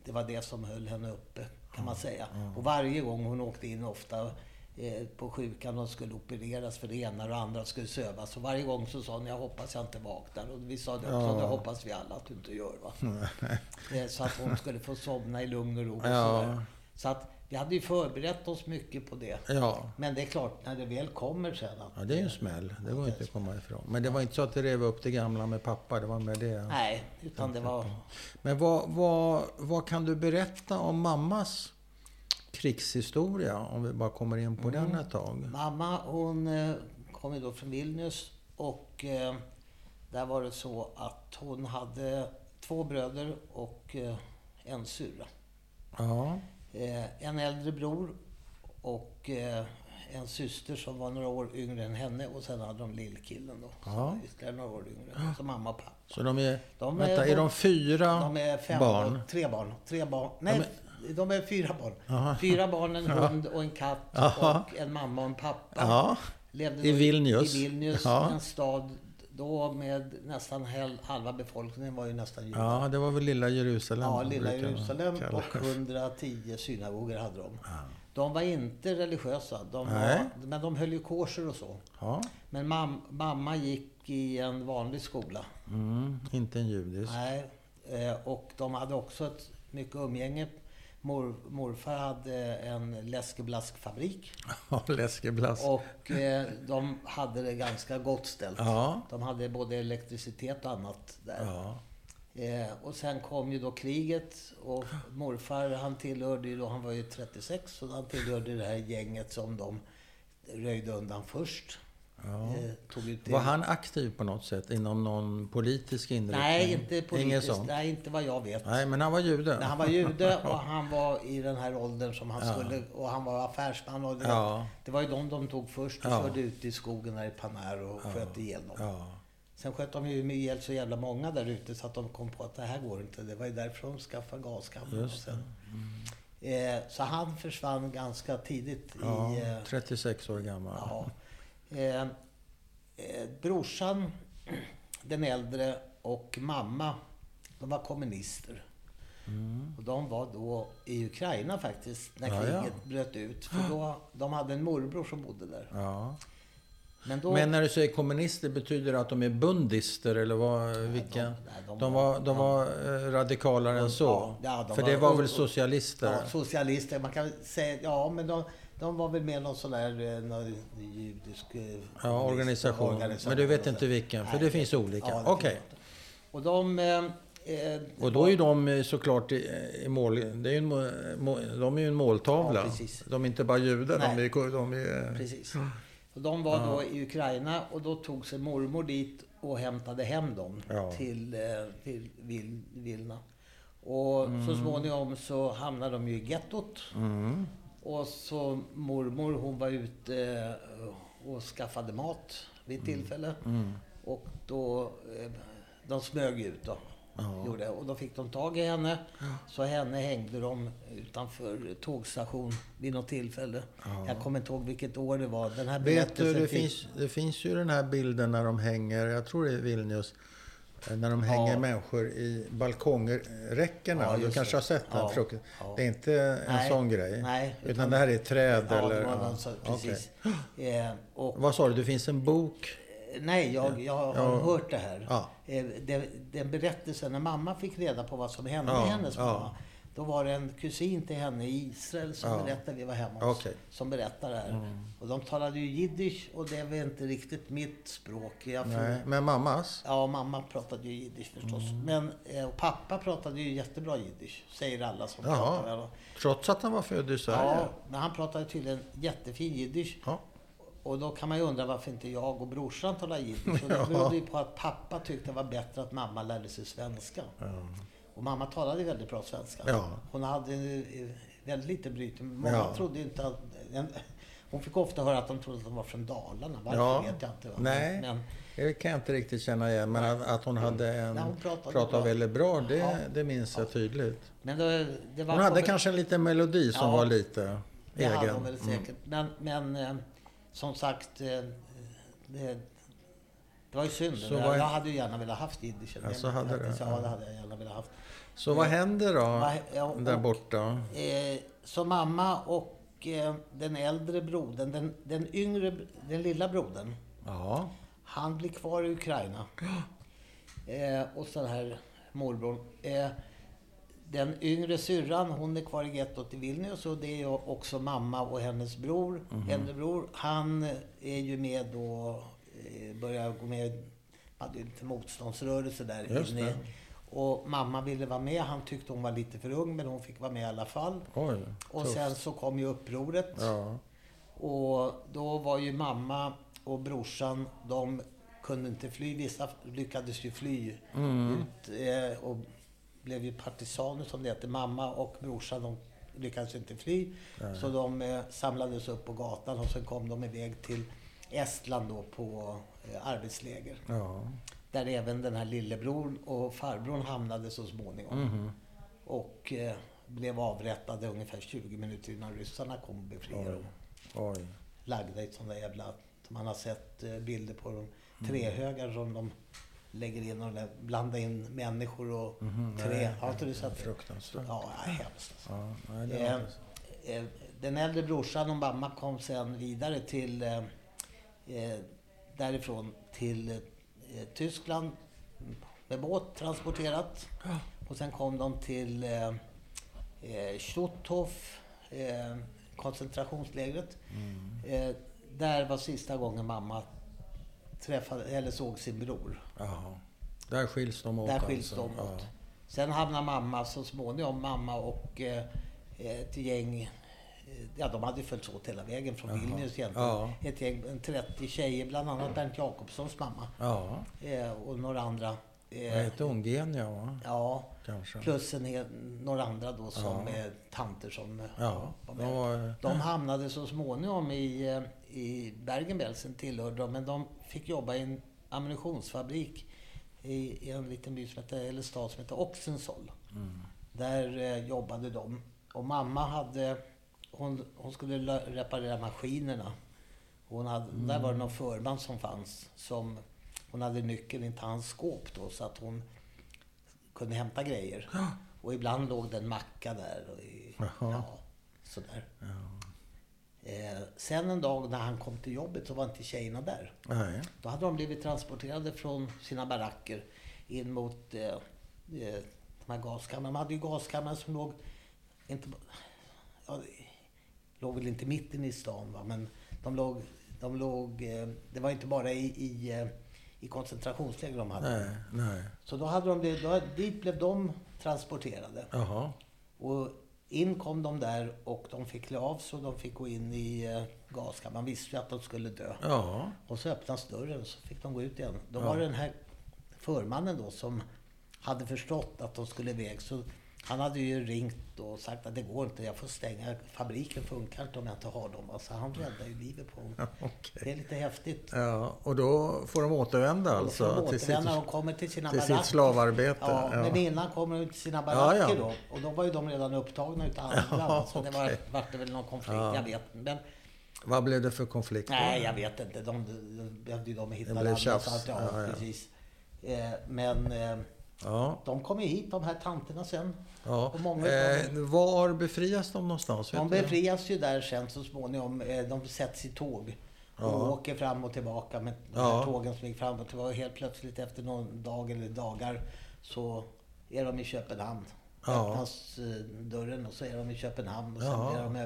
Speaker 2: det var det som höll henne uppe kan man säga. Och varje gång hon åkte in ofta eh, på sjukan och skulle opereras för det ena och det andra skulle sövas. Och varje gång så sa hon, jag hoppas jag inte vaknar. Och vi sa det också,
Speaker 1: Ja. Mm.
Speaker 2: det hoppas vi alla att du inte gör. Va? Eh, Så att hon skulle få somna i lugn och ro. Och
Speaker 1: Ja.
Speaker 2: sådär. Så att vi hade ju förberett oss mycket på det.
Speaker 1: Ja.
Speaker 2: Men det är klart, när det väl kommer sen att
Speaker 1: ja, det är ju en smäll. Det går inte att komma ifrån. Men det var inte så att det rev upp det gamla med pappa. Det var med det.
Speaker 2: Nej, utan det var...
Speaker 1: Men vad, vad, vad kan du berätta om mammas krigshistoria? Om vi bara kommer in på
Speaker 2: Mm.
Speaker 1: den ett tag.
Speaker 2: Mamma hon eh, kom ju då från Vilnius och eh, där var det så att hon hade två bröder och eh, en syrra.
Speaker 1: Ja.
Speaker 2: Eh, En äldre bror och eh, en syster som var några år yngre än henne och sen hade de lillkillen då. som
Speaker 1: Ja.
Speaker 2: var Ytterligare några år yngre. Så mamma och pappa.
Speaker 1: Så de är...
Speaker 2: De är-
Speaker 1: vänta, är de fyra
Speaker 2: De är fem
Speaker 1: barn?
Speaker 2: Tre barn. Tre barn. Nej,
Speaker 1: men-
Speaker 2: De är fyra barn.
Speaker 1: Aha.
Speaker 2: Fyra barn, en hund och en katt
Speaker 1: Jaha.
Speaker 2: och en mamma och en pappa.
Speaker 1: Ja.
Speaker 2: Levde
Speaker 1: I
Speaker 2: då
Speaker 1: Vilnius.
Speaker 2: I Vilnius,
Speaker 1: Ja.
Speaker 2: en stad då med nästan hel, halva befolkningen var ju nästan judar.
Speaker 1: ja, det var väl lilla Jerusalem.
Speaker 2: Ja,
Speaker 1: man
Speaker 2: lilla
Speaker 1: brukar
Speaker 2: Jerusalem
Speaker 1: kalla
Speaker 2: och
Speaker 1: det.
Speaker 2: 110 synagoger hade de. De var inte religiösa, de
Speaker 1: Nej.
Speaker 2: var, men de höll ju korser och så.
Speaker 1: Ja,
Speaker 2: Men mam, mamma gick i en vanlig skola.
Speaker 1: mm, inte en judisk.
Speaker 2: Nej, eh, och de hade också ett mycket umgänge. Mor, morfar hade en läskeblaskfabrik
Speaker 1: Ja, <laughs> läskeblask.
Speaker 2: och eh, de hade det ganska gott ställt.
Speaker 1: Ja.
Speaker 2: De hade både elektricitet och annat där.
Speaker 1: Ja.
Speaker 2: Eh, och sen kom ju då kriget och morfar han tillhörde ju då, han var ju 36, så han tillhörde det här gänget som de röjde undan först.
Speaker 1: Ja.
Speaker 2: Eh, tog ut det.
Speaker 1: Var han aktiv på något sätt inom någon politisk inriktning?
Speaker 2: Nej, inte
Speaker 1: liksom? Inget
Speaker 2: politiskt.
Speaker 1: sånt? Nej.
Speaker 2: Nej, inte vad jag vet.
Speaker 1: men han var jude.
Speaker 2: Men han var jude och han var i den här åldern som han
Speaker 1: Ja.
Speaker 2: skulle och han var affärsman. Och det,
Speaker 1: Ja.
Speaker 2: det var ju de de tog först och
Speaker 1: Ja.
Speaker 2: förde ut i skogen där i Panar och sköt ihjäl dem.
Speaker 1: Ja.
Speaker 2: Sen sköt de ju ihjäl så jävla många där ute så att de kom på att det här går inte. Det var ju därför de skaffade gaskammaren. och
Speaker 1: Just
Speaker 2: sen. Eh, så han försvann ganska tidigt.
Speaker 1: ja.
Speaker 2: I, eh,
Speaker 1: 36 år gammal.
Speaker 2: ja. eh, eh, brorsan, den äldre, och mamma, de var kommunister. Och de var då i Ukraina faktiskt, när
Speaker 1: Mm. Ja,
Speaker 2: kriget
Speaker 1: ja.
Speaker 2: bröt ut.
Speaker 1: <gasps>
Speaker 2: För då, de hade en morbror som bodde där.
Speaker 1: Ja.
Speaker 2: Men då...
Speaker 1: Men när du säger kommunister, betyder det att de är bundister eller vad, vilka?
Speaker 2: de-
Speaker 1: De,
Speaker 2: nej, de var-
Speaker 1: var, de var eh, radikalare än så?
Speaker 2: ja, de
Speaker 1: För
Speaker 2: var-
Speaker 1: det var
Speaker 2: och-
Speaker 1: väl
Speaker 2: och-
Speaker 1: socialister?
Speaker 2: Ja, socialister. Man kan säga, ja men de, de var väl med någon sån där eh, någon judisk eh,
Speaker 1: Ja, organisation. Men du vet inte vilken, för det finns olika.
Speaker 2: det
Speaker 1: Okej.
Speaker 2: finns olika. Och de... eh, eh,
Speaker 1: Och då är ju de eh, såklart i, i mål... Det är ju en, må- må- de är ju en måltavla.
Speaker 2: Ja, precis.
Speaker 1: de är inte bara judar, de
Speaker 2: Nej.
Speaker 1: är... ko- De är eh,
Speaker 2: Precis. Och de var då i Ukraina och då tog sig mormor dit och hämtade hem dem
Speaker 1: Ja.
Speaker 2: till, eh, till Vil- Vilna. Och
Speaker 1: Mm.
Speaker 2: så småningom så hamnade de ju i gettot. Och så mormor hon var ute eh, och skaffade mat
Speaker 1: Mm.
Speaker 2: vid tillfälle. Och då... eh, De smög ut då. Gjorde, och då fick de tag i henne. Så henne hängde de utanför tågstation vid något tillfälle. Jag kommer inte ihåg vilket år det var. Den här
Speaker 1: Vet du,
Speaker 2: berättelsen
Speaker 1: det
Speaker 2: fick-
Speaker 1: finns, det finns ju den här bilden när de hänger, jag tror det är Vilnius, eh, när de hänger
Speaker 2: Ja.
Speaker 1: människor i balkongräckena.
Speaker 2: Ja,
Speaker 1: du
Speaker 2: just
Speaker 1: kanske
Speaker 2: det.
Speaker 1: har sett den?
Speaker 2: Ja,
Speaker 1: Fruk-
Speaker 2: ja.
Speaker 1: Det är inte en
Speaker 2: Nej,
Speaker 1: sån grej?
Speaker 2: nej,
Speaker 1: utan,
Speaker 2: utan-
Speaker 1: det här är träd
Speaker 2: Ja,
Speaker 1: eller?
Speaker 2: det var
Speaker 1: ja,
Speaker 2: någon sån- precis.
Speaker 1: okej.
Speaker 2: Eh, och,
Speaker 1: Vad sa du, det finns en bok?
Speaker 2: nej, jag, jag har
Speaker 1: Ja.
Speaker 2: hört det här.
Speaker 1: Ja.
Speaker 2: Eh, det, den berättelsen, när mamma fick reda på vad som hände
Speaker 1: Ja,
Speaker 2: med hennes
Speaker 1: ja.
Speaker 2: mamma. Då var det en kusin till henne i Israel som
Speaker 1: Ja.
Speaker 2: berättade, vi var hemma hos,
Speaker 1: Okej. Mm.
Speaker 2: som berättade det här. Och de talade ju jiddisch och det är väl inte riktigt mitt språk. Jag
Speaker 1: Nej, men mammas?
Speaker 2: Ja, mamma pratade ju jiddisch förstås.
Speaker 1: Mm.
Speaker 2: Men eh, och pappa pratade ju jättebra jiddisch, säger alla som
Speaker 1: Jaha.
Speaker 2: pratar med honom.
Speaker 1: Trots att han var född i Sverige?
Speaker 2: Ja, men han pratade tydligen jättefin jiddisch.
Speaker 1: Ja.
Speaker 2: Och då kan man ju undra varför inte jag och brorsan talar jiddisch. Och det
Speaker 1: Ja.
Speaker 2: berodde ju på att pappa tyckte det var bättre att mamma lärde sig svenska. Och mamma talade väldigt bra svenska.
Speaker 1: Ja.
Speaker 2: Hon hade eh, väldigt lite bryt. Många
Speaker 1: Ja.
Speaker 2: trodde ju inte att... En, hon fick ofta höra att de trodde att de var från Dalarna. Varför
Speaker 1: Ja.
Speaker 2: vet jag inte. va?
Speaker 1: Nej,
Speaker 2: Men,
Speaker 1: det kan jag inte riktigt känna igen. Men att, att hon hade en...
Speaker 2: Nej, hon pratade bra.
Speaker 1: väldigt bra, det,
Speaker 2: Ja.
Speaker 1: det minns jag tydligt.
Speaker 2: men det, det var
Speaker 1: Hon hade kanske en liten melodi som
Speaker 2: Ja.
Speaker 1: var lite
Speaker 2: Det
Speaker 1: egen. Mm.
Speaker 2: hade hon väl säkert. Men, men eh, som sagt, eh, det, det var ju synd.
Speaker 1: Så
Speaker 2: jag,
Speaker 1: vad-
Speaker 2: jag hade ju gärna velat haft jiddisch.
Speaker 1: Ja, så hade du.
Speaker 2: Ja, det hade jag gärna velat haft.
Speaker 1: Så vad händer då
Speaker 2: Vad hä- ja,
Speaker 1: där
Speaker 2: och-
Speaker 1: borta?
Speaker 2: Eh, så mamma och eh, den äldre brodern, den, den yngre, den lilla brodern,
Speaker 1: Ja.
Speaker 2: han blir kvar i Ukraina. Eh, och så den här morbrorn. Eh, den yngre syrran, hon är kvar i gettot i Vilnius och det är ju också mamma och hennes bror,
Speaker 1: Mhm.
Speaker 2: äldre bror. Han är ju med då, eh, börjar gå med, hade ju lite motståndsrörelse där
Speaker 1: Just
Speaker 2: inne.
Speaker 1: det.
Speaker 2: Och mamma ville vara med, han tyckte hon var lite för ung men hon fick vara med i alla fall.
Speaker 1: Oj.
Speaker 2: Och
Speaker 1: tufft.
Speaker 2: sen så kom ju upproret.
Speaker 1: Ja.
Speaker 2: Och då var ju mamma och brorsan, de kunde inte fly. Vissa lyckades ju fly ut eh, och blev ju partisaner som det heter. Mamma och brorsan, de lyckades ju inte fly. Så de eh, samlades upp på gatan och sen kom de iväg till Estland då på eh, arbetsläger.
Speaker 1: ja.
Speaker 2: Där även den här lillebror och farbrorn hamnade så småningom. Och eh, blev avrättade ungefär 20 minuter innan ryssarna kom och befriade dem.
Speaker 1: Oj. Oj.
Speaker 2: Lagda i ett sånt där jävla... som Man har sett eh, bilder på
Speaker 1: Mm.
Speaker 2: dem. Trähögar som de lägger in och där- blandar in människor och
Speaker 1: Mhm,
Speaker 2: trä.
Speaker 1: nej,
Speaker 2: har inte du sett det?
Speaker 1: Fruktansvärt. Ja.
Speaker 2: Ja, ja, hemskt. alltså.
Speaker 1: nej, det
Speaker 2: Eh,
Speaker 1: låter så.
Speaker 2: eh, Den äldre brorsan och mamma kom sen vidare till eh, eh, därifrån till eh, Tyskland med båt transporterat. Och sen kom de till eh, eh, Stutthof, eh, koncentrationslägret. Eh, där var sista gången mamma träffade, eller såg sin bror.
Speaker 1: Jaha. Där skiljs de åt
Speaker 2: Där skiljs de
Speaker 1: alltså.
Speaker 2: åt. Sen hamnar mamma så småningom, mamma och eh, ett gäng, eh, ja de hade ju följts åt hela vägen från
Speaker 1: Jaha.
Speaker 2: Vilnius egentligen.
Speaker 1: Ja.
Speaker 2: Ett gäng, en 30 tjejer, bland annat Bernt Jakobssons mamma
Speaker 1: Ja.
Speaker 2: eh, och några andra.
Speaker 1: ja.
Speaker 2: eh,
Speaker 1: Vad heter hon? Genia, va?
Speaker 2: Ja,
Speaker 1: Kanske.
Speaker 2: plus en hel, några andra då som
Speaker 1: Ja.
Speaker 2: eh, tanter som eh,
Speaker 1: Ja.
Speaker 2: var
Speaker 1: De
Speaker 2: med.
Speaker 1: var...
Speaker 2: De hamnade så småningom i, eh, i Bergen-Belsen tillhörde de, men de fick jobba i en ammunitionsfabrik i, i en liten by som heter, eller stad som heter Oxensoll. Där eh, jobbade de. Och mamma hade, hon, hon skulle lö- reparera maskinerna. Hon hade, Där var det någon förman som fanns. Som, hon hade nyckeln in till hans skåp då, så att hon kunde hämta grejer. Och ibland låg det en macka där. Och i,
Speaker 1: Jaha.
Speaker 2: ja, sådär. Eh, sen en dag när han kom till jobbet så var inte tjejerna där.
Speaker 1: Nej.
Speaker 2: Då hade de blivit transporterade från sina baracker in mot eh, eh, de här gaskamrarna. De hade ju gaskammare som låg, inte, ja, det- låg väl inte mitt inne i stan va? men de låg, de låg eh, det var inte bara i, i, eh, i koncentrationsläger de hade.
Speaker 1: Nej. Nej.
Speaker 2: Så då hade de blivit, då, dit blev de transporterade.
Speaker 1: Jaha.
Speaker 2: Och in kom de där och de fick klä av sig och de fick gå in i eh, gaskammaren. Man visste ju att de skulle dö.
Speaker 1: Ja.
Speaker 2: Och så öppnas dörren så fick de gå ut igen. Då var det den här förmannen då som hade förstått att de skulle iväg. Så han hade ju ringt och sagt att det går inte, jag får stänga. Fabriken funkar inte om jag inte har dem. va. Så han räddade ju livet på dem.
Speaker 1: Okej.
Speaker 2: Det är lite häftigt.
Speaker 1: Ja, och då får de återvända alltså?
Speaker 2: och
Speaker 1: till
Speaker 2: till
Speaker 1: sitt-
Speaker 2: när de kommer till sina
Speaker 1: till sitt
Speaker 2: baracker.
Speaker 1: slavarbete,
Speaker 2: Ja,
Speaker 1: ja.
Speaker 2: Men innan kommer de till sina
Speaker 1: Ja, ja.
Speaker 2: baracker då. Och då var ju de redan upptagna utav andra.
Speaker 1: Ja,
Speaker 2: va. så det var,
Speaker 1: okej.
Speaker 2: vart det väl någon konflikt, jag vet Men
Speaker 1: Vad blev det för konflikt? då?
Speaker 2: Nej, jag vet inte. De, de behövde ju de hitta
Speaker 1: Det blev
Speaker 2: varandra.
Speaker 1: tjafs.
Speaker 2: Så att, ja,
Speaker 1: Ja, ja.
Speaker 2: Precis. Eh, men eh,
Speaker 1: Ja.
Speaker 2: de kom ju hit, de här tanterna sen.
Speaker 1: ja.
Speaker 2: Och många utav
Speaker 1: eh, var befrias de någonstans?
Speaker 2: De
Speaker 1: vet du?
Speaker 2: befrias ju där sen så småningom. Eh, de sätts i tåg och
Speaker 1: Ja.
Speaker 2: åker fram och tillbaka med de
Speaker 1: Ja.
Speaker 2: här tågen som gick fram och tillbaka. Helt plötsligt efter någon dag eller dagar så är de i Köpenhamn.
Speaker 1: Ja.
Speaker 2: Öppnas eh, dörren och så är de i Köpenhamn och sen
Speaker 1: Ja.
Speaker 2: blir de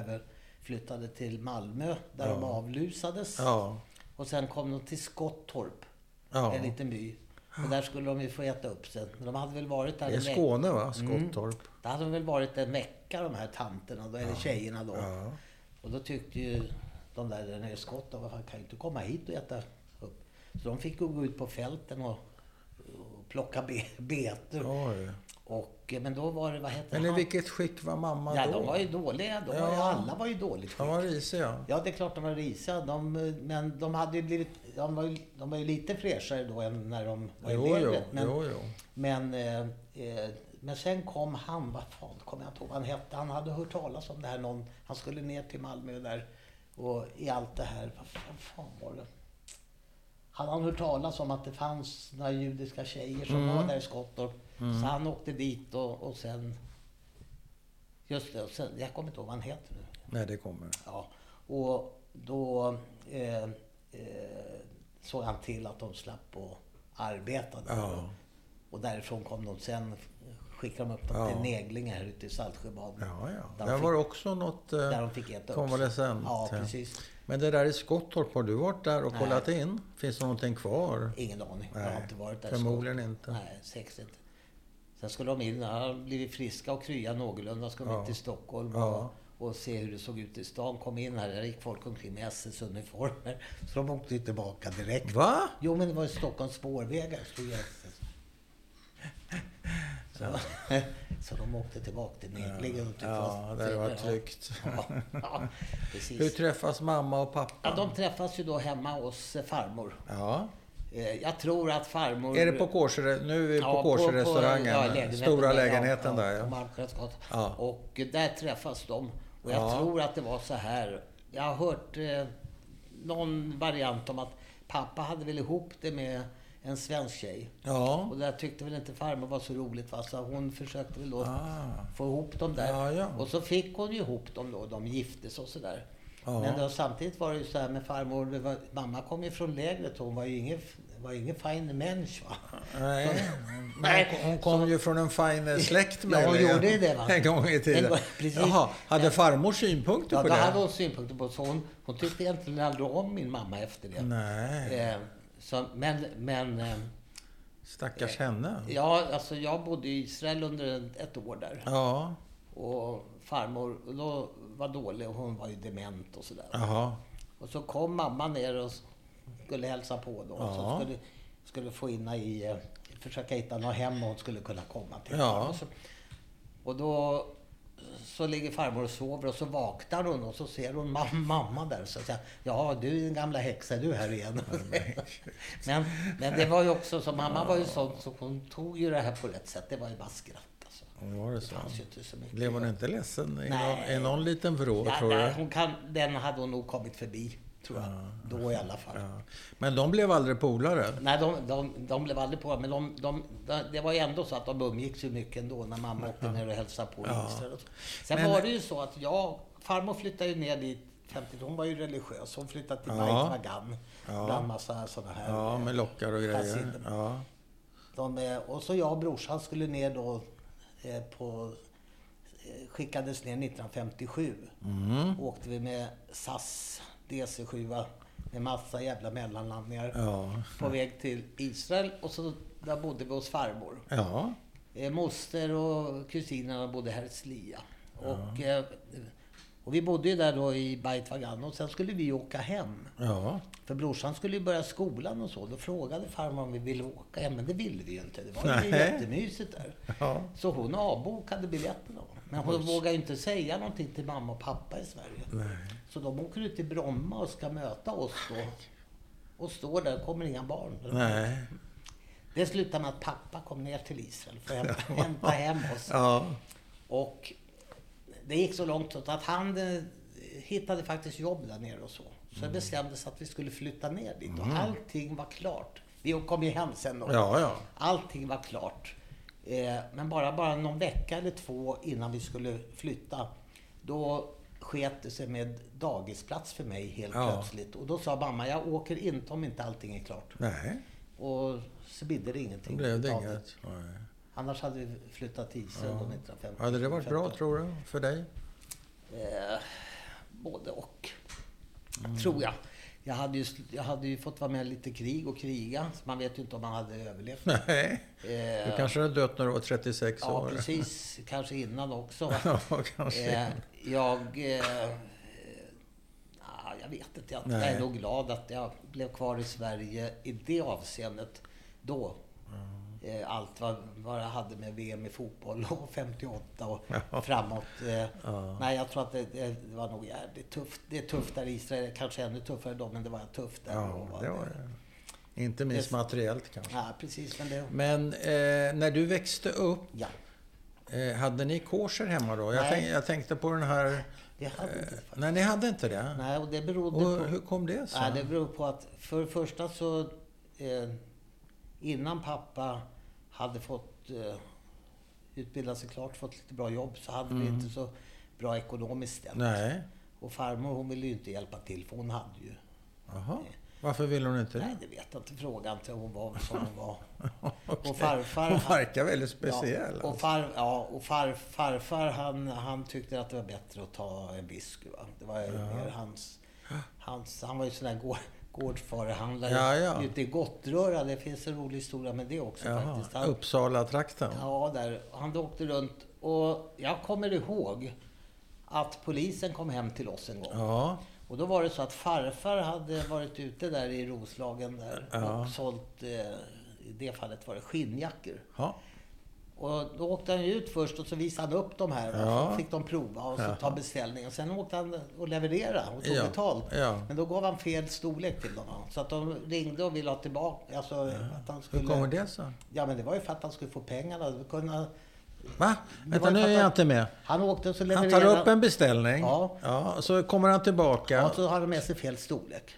Speaker 2: överflyttade till Malmö där de
Speaker 1: Ja.
Speaker 2: avlusades.
Speaker 1: Ja.
Speaker 2: Och sen kom de till Skottorp.
Speaker 1: ja.
Speaker 2: en liten by. Och där skulle de ju få äta upp sig. Men de Mm. hade väl varit där
Speaker 1: Det är
Speaker 2: en veck-
Speaker 1: Skåne, va? Skottorp.
Speaker 2: Där hade de väl varit en vecka de här tanterna, då, eller tjejerna då.
Speaker 1: Ja.
Speaker 2: Och då tyckte ju de där där nere i Skottland, vad fan kan ju inte komma hit och äta upp. Så de fick ju gå ut på fälten och, och plocka be, betor.
Speaker 1: Oj.
Speaker 2: Och, eh, men då var det, vad hette
Speaker 1: Men i
Speaker 2: han?
Speaker 1: vilket skick var mamma
Speaker 2: Ja,
Speaker 1: då?
Speaker 2: de var ju dåliga. De var ju,
Speaker 1: Ja.
Speaker 2: alla var ju dåligt
Speaker 1: De var risiga.
Speaker 2: Ja, det är klart de var risiga. De, eh, men de hade ju blivit... De var ju, de var ju lite fräschare då än när de var i
Speaker 1: Jo, jo,
Speaker 2: lägret. Men,
Speaker 1: jo, jo.
Speaker 2: men, eh, eh, men sen kom han, vad fan kommer jag inte ihåg vad han hette. Han hade hört talas om det här någon. Han skulle ner till Malmö där och i allt det här. Vad fan, fan var det? Han hade hört talas om att det fanns några judiska tjejer som var där i Skottorp. Så han åkte dit och, och sen... Just det, och sen, jag kommer inte ihåg vad han heter nu.
Speaker 1: Nej, det kommer.
Speaker 2: Ja, och då eh, eh, såg han till att de slapp att arbeta där.
Speaker 1: Ja.
Speaker 2: Och därifrån kom de sen, skickade de upp dem
Speaker 1: Ja.
Speaker 2: till Neglinge här ute i Saltsjöbaden.
Speaker 1: Ja, ja.
Speaker 2: Där,
Speaker 1: Där
Speaker 2: de
Speaker 1: var också något... eh,
Speaker 2: fick, där de fick äta upp
Speaker 1: konvalescent,
Speaker 2: Ja,
Speaker 1: ja.
Speaker 2: precis.
Speaker 1: Men det där i Skottorp, har du varit där och
Speaker 2: Nej.
Speaker 1: kollat in? Finns det någonting kvar?
Speaker 2: Ingen aning. jag
Speaker 1: Nej,
Speaker 2: har inte varit där.
Speaker 1: förmodligen
Speaker 2: så.
Speaker 1: inte.
Speaker 2: Nej, säkert inte. Sen skulle de in, när de blivit friska och krya någorlunda, skulle de
Speaker 1: Ja.
Speaker 2: in till Stockholm
Speaker 1: Ja.
Speaker 2: och, och se hur det såg ut i stan. Kom in här, där gick folk omkring med SS-uniformer. Så de åkte ju tillbaka direkt.
Speaker 1: Va?
Speaker 2: Jo, men det var ju Stockholms spårvägar, stod jag
Speaker 1: <laughs>
Speaker 2: så, så de åkte tillbaka till Neglinge och tyckte
Speaker 1: Ja,
Speaker 2: att-
Speaker 1: där det var
Speaker 2: ja,
Speaker 1: tryggt.
Speaker 2: <laughs> Ja, ja, precis.
Speaker 1: Hur träffas mamma och pappa?
Speaker 2: Ja, de träffas ju då hemma hos eh, farmor.
Speaker 1: Ja.
Speaker 2: Eh, Eh, Jag tror att farmor...
Speaker 1: Är det på Kårsö, nu är vi på Kårsörestaurangen,
Speaker 2: på- ja, lägenheten
Speaker 1: stora
Speaker 2: där,
Speaker 1: lägenheten
Speaker 2: ja,
Speaker 1: där.
Speaker 2: ja. på
Speaker 1: Ja.
Speaker 2: Malmskillnadsgatan.
Speaker 1: Ja.
Speaker 2: Och eh, där träffas de. Och jag
Speaker 1: Ja.
Speaker 2: tror att det var så här. Jag har hört eh, någon variant om att pappa hade väl ihop det med en svensk tjej.
Speaker 1: Ja.
Speaker 2: Och där tyckte väl inte farmor var så roligt va? så hon försökte väl då
Speaker 1: Ah.
Speaker 2: få ihop dem där.
Speaker 1: Ja, ja.
Speaker 2: Och så fick hon ju ihop dem då, de giftes och sådär.
Speaker 1: Ja.
Speaker 2: Men då, samtidigt var det ju så här med farmor, det var, mamma kom ju från lägret hon var ju ingen, var ingen
Speaker 1: <laughs>
Speaker 2: fin människa.
Speaker 1: Nej.
Speaker 2: Nej,
Speaker 1: Hon, hon kom
Speaker 2: så-
Speaker 1: ju från en fin släkt
Speaker 2: Ja, hon
Speaker 1: möjligen.
Speaker 2: gjorde ju det, va?
Speaker 1: En gång i
Speaker 2: En
Speaker 1: tiden.
Speaker 2: gång- precis.
Speaker 1: Jaha, hade farmor synpunkter
Speaker 2: Ja,
Speaker 1: på
Speaker 2: det hade
Speaker 1: det?
Speaker 2: hon synpunkter på. Så hon, hon tyckte egentligen aldrig om min mamma efter det.
Speaker 1: Nej,
Speaker 2: Eh, så, men, men eh,
Speaker 1: stackars henne.
Speaker 2: ja, alltså jag bodde i Israel under en- ett år där.
Speaker 1: Ja,
Speaker 2: Och farmor och då var dålig och hon var ju dement och sådär.
Speaker 1: jaha.
Speaker 2: Och så kom mamma ner och skulle hälsa på då. Och
Speaker 1: Ja.
Speaker 2: så skulle, skulle få in henne i, eh, försöka hitta något hem hon skulle kunna komma till.
Speaker 1: Ja.
Speaker 2: Och, så, och då så ligger farmor och sover och så vaknar hon och så ser hon mam- mamma där. Så säger ja du är den gamla häxa, är du här igen. <laughs> men, men det var ju också så, mamma var ju sån så hon tog ju det här på rätt sätt. Det var ju bara skratt alltså.
Speaker 1: Var det
Speaker 2: Det
Speaker 1: så?
Speaker 2: fanns ju inte så mycket.
Speaker 1: Blev hon inte ledsen i någon,
Speaker 2: Nej.
Speaker 1: i någon liten vrå,
Speaker 2: Ja,
Speaker 1: tror
Speaker 2: nej,
Speaker 1: du?
Speaker 2: hon kan, den hade hon nog kommit förbi, tror jag. Då i alla fall.
Speaker 1: Ja. Men de blev aldrig polare?
Speaker 2: Nej, de, de, de blev aldrig på men de, de, de, det var ju ändå så att de umgicks ju mycket ändå när mamma åkte ner och hälsade på i Israel och så. Sen
Speaker 1: Men-
Speaker 2: var det ju så att jag, farmor flyttade ju ner dit 50, hon var ju religiös. Hon flyttade till
Speaker 1: Ja.
Speaker 2: Beit Vagan.
Speaker 1: Ja.
Speaker 2: Bland massa sådana här.
Speaker 1: Ja, med lockar och grejer.
Speaker 2: Chassider.
Speaker 1: Ja.
Speaker 2: De, eh, och så jag och brorsan skulle ner då eh, på... Eh, skickades ner 1957.
Speaker 1: Mm.
Speaker 2: Åkte vi med SAS DC7 med massa jävla mellanlandningar.
Speaker 1: Ja.
Speaker 2: På väg till Israel och så där bodde vi hos farmor.
Speaker 1: ja.
Speaker 2: Eh, moster och kusinerna bodde här i Slia. Och, eh, och vi bodde ju där då i Beit Vagan och sen skulle vi åka hem.
Speaker 1: Ja.
Speaker 2: För brorsan skulle ju börja skolan och så. Då frågade farmor om vi ville åka hem, men det ville vi ju inte. Det var ju
Speaker 1: Nej.
Speaker 2: jättemysigt där.
Speaker 1: Ja.
Speaker 2: Så hon avbokade biljetterna. Men hon vågade ju inte säga någonting till mamma och pappa i Sverige. Så de åker ut till Bromma och ska möta oss då. Och står där, kommer inga barn.
Speaker 1: Nej.
Speaker 2: Det slutade med att pappa kom ner till Israel för att hämta, hämta hem oss.
Speaker 1: Ja.
Speaker 2: Och det gick så långt så att han eh, hittade faktiskt jobb där nere och så. Så
Speaker 1: Mm.
Speaker 2: det bestämdes att vi skulle flytta ner dit och allting var klart. Vi kom ju hem sen då.
Speaker 1: Ja, ja.
Speaker 2: Allting var klart. Eh, Men bara, bara någon vecka eller två innan vi skulle flytta, då sket det sig med dagisplats för mig helt
Speaker 1: Ja.
Speaker 2: plötsligt. Och då sa mamma, jag åker inte om inte allting är klart.
Speaker 1: Nej,
Speaker 2: Och så bidde det
Speaker 1: det
Speaker 2: ingenting.
Speaker 1: blev det
Speaker 2: av
Speaker 1: inget. Nej.
Speaker 2: Annars hade vi flyttat till Israel ja. 1950.
Speaker 1: Hade det varit bra, tror du, för dig? <laughs>
Speaker 2: Eh, både och,
Speaker 1: Mm.
Speaker 2: tror jag. Jag hade, ju, sl- jag hade ju fått vara med i lite krig och kriga, så man vet ju inte om man hade överlevt.
Speaker 1: Nej.
Speaker 2: Eh,
Speaker 1: Du kanske hade dött när du var 36
Speaker 2: ja,
Speaker 1: år.
Speaker 2: precis. Kanske innan också. va?
Speaker 1: <laughs> Ja, <laughs> kanske.
Speaker 2: eh, jag... Eh, ah, jag vet inte. Jag, jag
Speaker 1: Nej.
Speaker 2: är nog glad att jag blev kvar i Sverige i det avseendet då. Eh, allt vad, vad jag hade med VM i fotboll och <laughs> 58 och framåt. Eh, Nej, jag tror att det, det, det var nog jävligt tufft. Det är tufft där i Israel. Kanske ännu tuffare då, men det var tufft där. då,
Speaker 1: Ja,
Speaker 2: va?
Speaker 1: det var det. Inte minst
Speaker 2: Det-
Speaker 1: materiellt kanske.
Speaker 2: Ja, precis. Men det...
Speaker 1: Men eh, när du växte upp,
Speaker 2: Ja,
Speaker 1: eh, hade ni korser hemma då? Jag,
Speaker 2: Nej.
Speaker 1: tänk, jag tänkte på den här... eh,
Speaker 2: det hade inte faktiskt.
Speaker 1: Nej, ni hade inte det?
Speaker 2: Nej, och det berodde på...
Speaker 1: Och hur kom det sig?
Speaker 2: Nej, det beror på att för det första så eh, innan pappa hade fått eh, utbilda sig klart, fått lite bra jobb, så hade vi inte så bra ekonomiskt ställt.
Speaker 1: Mm. Nej.
Speaker 2: Och farmor hon ville ju inte hjälpa till, för hon hade ju...
Speaker 1: Jaha. Varför ville hon inte
Speaker 2: Nej,
Speaker 1: det?
Speaker 2: det vet jag inte. Fråga inte. Hon var som hon var.
Speaker 1: Okej.
Speaker 2: Och farfar...
Speaker 1: Hon
Speaker 2: han-
Speaker 1: verkar väldigt speciell. alltså.
Speaker 2: Ja, och far, ja, och far, farfar han, han tyckte att det var bättre att ta en whisky. Va? Det var ju mer hans, hans... Han var ju sån där gård, gårdsfarihandlare
Speaker 1: Ja, ja.
Speaker 2: ute i Gottröra. Det finns en rolig historia med det också
Speaker 1: Jaha,
Speaker 2: faktiskt. Han,
Speaker 1: Uppsala-trakten?
Speaker 2: Ja, där. Han åkte runt och jag kommer ihåg att polisen kom hem till oss en gång.
Speaker 1: Ja.
Speaker 2: Och då var det så att farfar hade varit ute där i Roslagen där
Speaker 1: Ja.
Speaker 2: och sålt, eh, i det fallet var det skinnjackor.
Speaker 1: Ja.
Speaker 2: Och då åkte han ju ut först och så visade han upp de här. va.
Speaker 1: Ja.
Speaker 2: Så fick de prova och så
Speaker 1: Ja.
Speaker 2: ta beställning. Och sen åkte han och leverera och tog
Speaker 1: Ja.
Speaker 2: betalt.
Speaker 1: Ja.
Speaker 2: Men då gav han fel storlek till dem. va. Så att de ringde och ville ha tillbaka. Alltså, att han skulle...
Speaker 1: Hur kommer det sig?
Speaker 2: Ja, men det var ju för att han skulle få pengarna. Då kunde han-
Speaker 1: Va? Vänta,
Speaker 2: var
Speaker 1: nu
Speaker 2: ju för
Speaker 1: är
Speaker 2: att-
Speaker 1: jag inte med.
Speaker 2: Han åkte och så
Speaker 1: Han
Speaker 2: levererade...
Speaker 1: tar upp en beställning.
Speaker 2: Ja.
Speaker 1: Ja, så kommer han tillbaka.
Speaker 2: Ja, så hade de med sig fel storlek.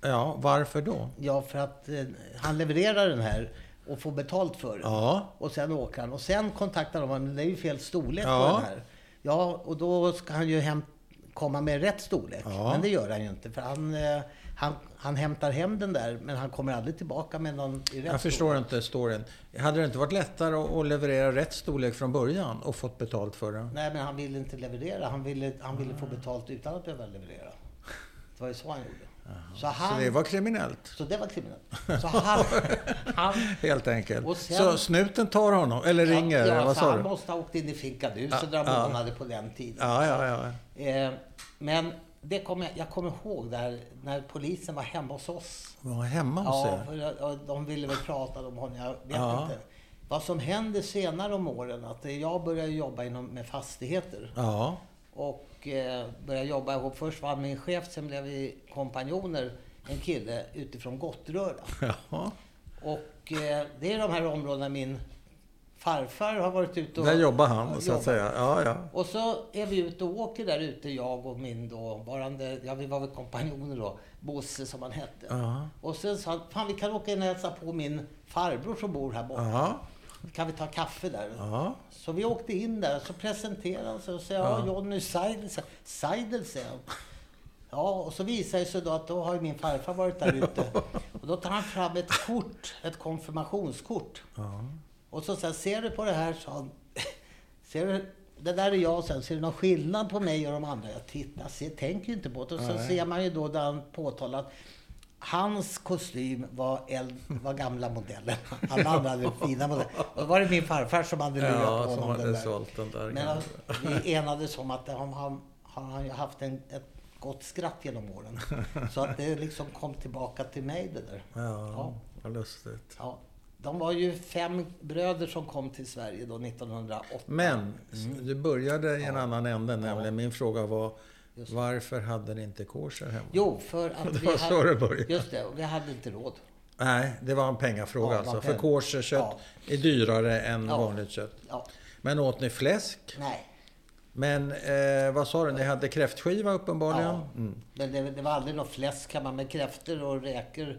Speaker 1: Ja, varför då?
Speaker 2: Ja, för att eh, han levererar den här och får betalt för den.
Speaker 1: Ja.
Speaker 2: Och sen åker han. Och sen kontaktar de honom. Det är ju fel storlek
Speaker 1: Ja.
Speaker 2: på den här. Ja, och då ska han ju hem, komma med rätt storlek.
Speaker 1: Ja.
Speaker 2: Men det gör han ju inte. För han, eh, han, han hämtar hem den där, men han kommer aldrig tillbaka med någon i rätt
Speaker 1: Jag
Speaker 2: storlek.
Speaker 1: förstår inte storyn. Hade det inte varit lättare att- att leverera rätt storlek från början och fått betalt för det?
Speaker 2: Nej, men han ville inte leverera. Han ville, han ville få betalt utan att behöva leverera. Det var ju så han gjorde. Så, han,
Speaker 1: Så det var kriminellt,
Speaker 2: så det var kriminellt.
Speaker 1: <laughs>
Speaker 2: Så han, han
Speaker 1: helt enkelt.
Speaker 2: Och sen-
Speaker 1: Så snuten tar honom, eller ringer,
Speaker 2: Ja,
Speaker 1: eller
Speaker 2: ja,
Speaker 1: vad
Speaker 2: så
Speaker 1: sa
Speaker 2: han
Speaker 1: du?
Speaker 2: måste ha åkt in i finkaduset
Speaker 1: Ja,
Speaker 2: där
Speaker 1: ja.
Speaker 2: han hade på den tiden.
Speaker 1: Ja, ja, ja.
Speaker 2: Eh, men det kom jag, jag kommer ihåg där när polisen var hemma hos oss.
Speaker 1: Var hemma hos
Speaker 2: Ja,
Speaker 1: er?
Speaker 2: för, jag- jag- de ville väl prata om honom, jag vet
Speaker 1: Ja.
Speaker 2: inte. Vad som hände senare om åren, att eh, jag började jobba inom, med fastigheter.
Speaker 1: Ja. <laughs>
Speaker 2: Och eh, började jobba ihop. Först var han min chef, sen blev vi kompanjoner. En kille utifrån Gottröra.
Speaker 1: Jaha.
Speaker 2: Och eh, det är de här områdena min farfar har varit ute och...
Speaker 1: Där jobbar han,
Speaker 2: och
Speaker 1: så att
Speaker 2: jobbat.
Speaker 1: säga. Ja, ja.
Speaker 2: Och så är vi ute och åker där ute, jag och min dåvarande, ja vi var väl kompanjoner då, Bosse som han hette.
Speaker 1: Ja.
Speaker 2: Och sen sa han, fan vi kan åka in och hälsa på min farbror som bor här borta.
Speaker 1: Ja.
Speaker 2: Kan vi ta kaffe där?
Speaker 1: Ja.
Speaker 2: Så vi åkte in där, så presenterade han sig och sa, ja Johnny Seidel, sa- Seidel säger han. Ja, och så visar det sig då att då har ju min farfar varit där ute.
Speaker 1: <laughs>
Speaker 2: Och då tar han fram ett kort, ett konfirmationskort.
Speaker 1: ja.
Speaker 2: Och så sa han, ser du på det här? sa han. <laughs> Ser du? Det där är jag sen. Ser du någon skillnad på mig och de andra? Jag tittar, ser, tänker ju inte på det. Och så
Speaker 1: Nej.
Speaker 2: ser man ju då där han påtalar att hans kostym var, äld, var gamla modellen. <laughs> Alla andra hade fina modeller. Och då var det min farfar som hade lurat på
Speaker 1: Ja,
Speaker 2: honom
Speaker 1: som
Speaker 2: den
Speaker 1: hade
Speaker 2: där.
Speaker 1: sålt den där.
Speaker 2: Men
Speaker 1: gamla.
Speaker 2: alltså, vi enades om att han, han, han har ju haft en, ett gott skratt genom
Speaker 1: <laughs>
Speaker 2: åren. Så att det liksom kom tillbaka till mig det där.
Speaker 1: Ja, vad lustigt.
Speaker 2: Ja, de var ju fem bröder som kom till Sverige då 1908.
Speaker 1: Men du började i en annan ände, nämligen min fråga var varför hade ni inte kosher hemma?
Speaker 2: Jo, för att
Speaker 1: <laughs> Det
Speaker 2: vi
Speaker 1: var så
Speaker 2: hade...
Speaker 1: det började.
Speaker 2: Just det, och vi hade inte råd.
Speaker 1: Nej, det var en pengafråga
Speaker 2: Ja, det var
Speaker 1: alltså.
Speaker 2: en
Speaker 1: För
Speaker 2: peng-
Speaker 1: kosherkött är dyrare än
Speaker 2: Ja.
Speaker 1: vanligt kött.
Speaker 2: Ja,
Speaker 1: Men åt ni fläsk?
Speaker 2: nej.
Speaker 1: Men eh, vad sa du, ni hade kräftskiva uppenbarligen? Mm.
Speaker 2: Ja. Men det, det var aldrig något fläsk hemma med kräftor och räkor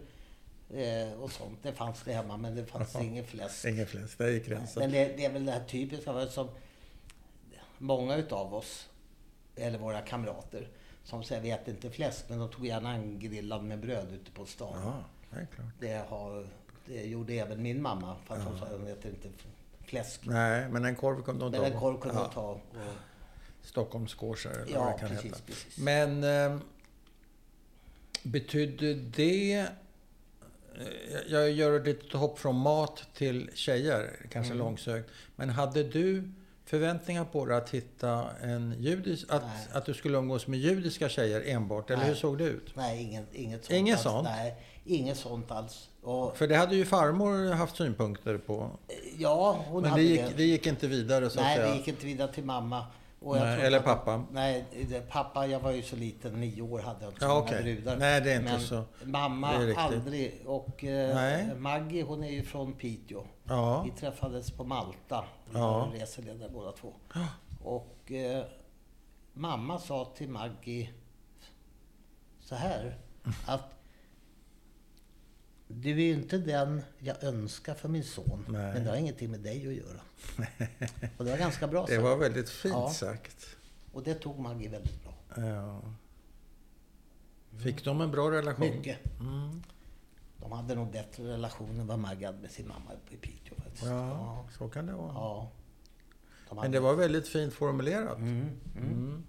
Speaker 2: eh, och sånt. Det fanns det hemma, men det fanns inget fläsk.
Speaker 1: Ingen fläsk, där gick gränsen.
Speaker 2: Men det, det är väl det här typiska va, som många utav oss, eller våra kamrater, som säger vi äter inte fläsk, men de tog gärna en grillad med bröd ute på stan.
Speaker 1: Ja, det är klart.
Speaker 2: Det, har, det gjorde även min mamma, fast hon sa att hon äter inte fläsk.
Speaker 1: Nej, men en korv kunde de
Speaker 2: Men en
Speaker 1: ta.
Speaker 2: korv kunde hon
Speaker 1: Ja,
Speaker 2: ta. Och,
Speaker 1: Stockholmskosher eller
Speaker 2: Ja,
Speaker 1: vad det kan
Speaker 2: precis,
Speaker 1: heta.
Speaker 2: precis.
Speaker 1: Men eh, betydde det... eh, Jag gör ett litet hopp från mat till tjejer, kanske
Speaker 2: Mm.
Speaker 1: långsökt. Men hade du förväntningar på dig att hitta en judisk...
Speaker 2: Nej.
Speaker 1: Att, att du skulle umgås med judiska tjejer enbart, eller
Speaker 2: Nej.
Speaker 1: hur såg det ut?
Speaker 2: nej, inget, inget sånt.
Speaker 1: Inget
Speaker 2: alls.
Speaker 1: sånt?
Speaker 2: Nej, inget sånt alls. Och,
Speaker 1: För det hade ju farmor haft synpunkter på.
Speaker 2: ja, hon
Speaker 1: Men det
Speaker 2: hade
Speaker 1: gick, det gick inte vidare så att
Speaker 2: Nej,
Speaker 1: säga.
Speaker 2: det gick inte vidare till mamma. Och
Speaker 1: Nej,
Speaker 2: tror
Speaker 1: eller
Speaker 2: att-
Speaker 1: pappa.
Speaker 2: Nej, det, pappa, jag var ju så liten, nio år hade jag inte
Speaker 1: Ja,
Speaker 2: så många
Speaker 1: okej.
Speaker 2: brudar.
Speaker 1: Nej, det är inte
Speaker 2: Men
Speaker 1: så.
Speaker 2: mamma
Speaker 1: Det är riktigt.
Speaker 2: aldrig. Och
Speaker 1: Nej.
Speaker 2: eh, Maggie, hon är ju från Piteå.
Speaker 1: Ja.
Speaker 2: Vi träffades på Malta. Vi
Speaker 1: Ja.
Speaker 2: var reseledare båda två. Och eh, mamma sa till Maggie så här att du är ju inte den jag önskar för min son,
Speaker 1: Nej.
Speaker 2: men det har ingenting med dig att göra. Och det var ganska bra
Speaker 1: <laughs> Det
Speaker 2: sagt.
Speaker 1: var väldigt fint
Speaker 2: Ja.
Speaker 1: sagt.
Speaker 2: Och det tog Maggie väldigt bra.
Speaker 1: Ja. Fick de en bra relation?
Speaker 2: Mycket.
Speaker 1: Mm.
Speaker 2: De hade nog bättre relation än vad Maggie hade med sin mamma uppe i Piteå faktiskt.
Speaker 1: Ja, så kan det
Speaker 2: Ja.
Speaker 1: vara.
Speaker 2: Ja. De
Speaker 1: Men
Speaker 2: hade...
Speaker 1: det var väldigt fint formulerat.
Speaker 2: Mm, mm.
Speaker 1: Mm.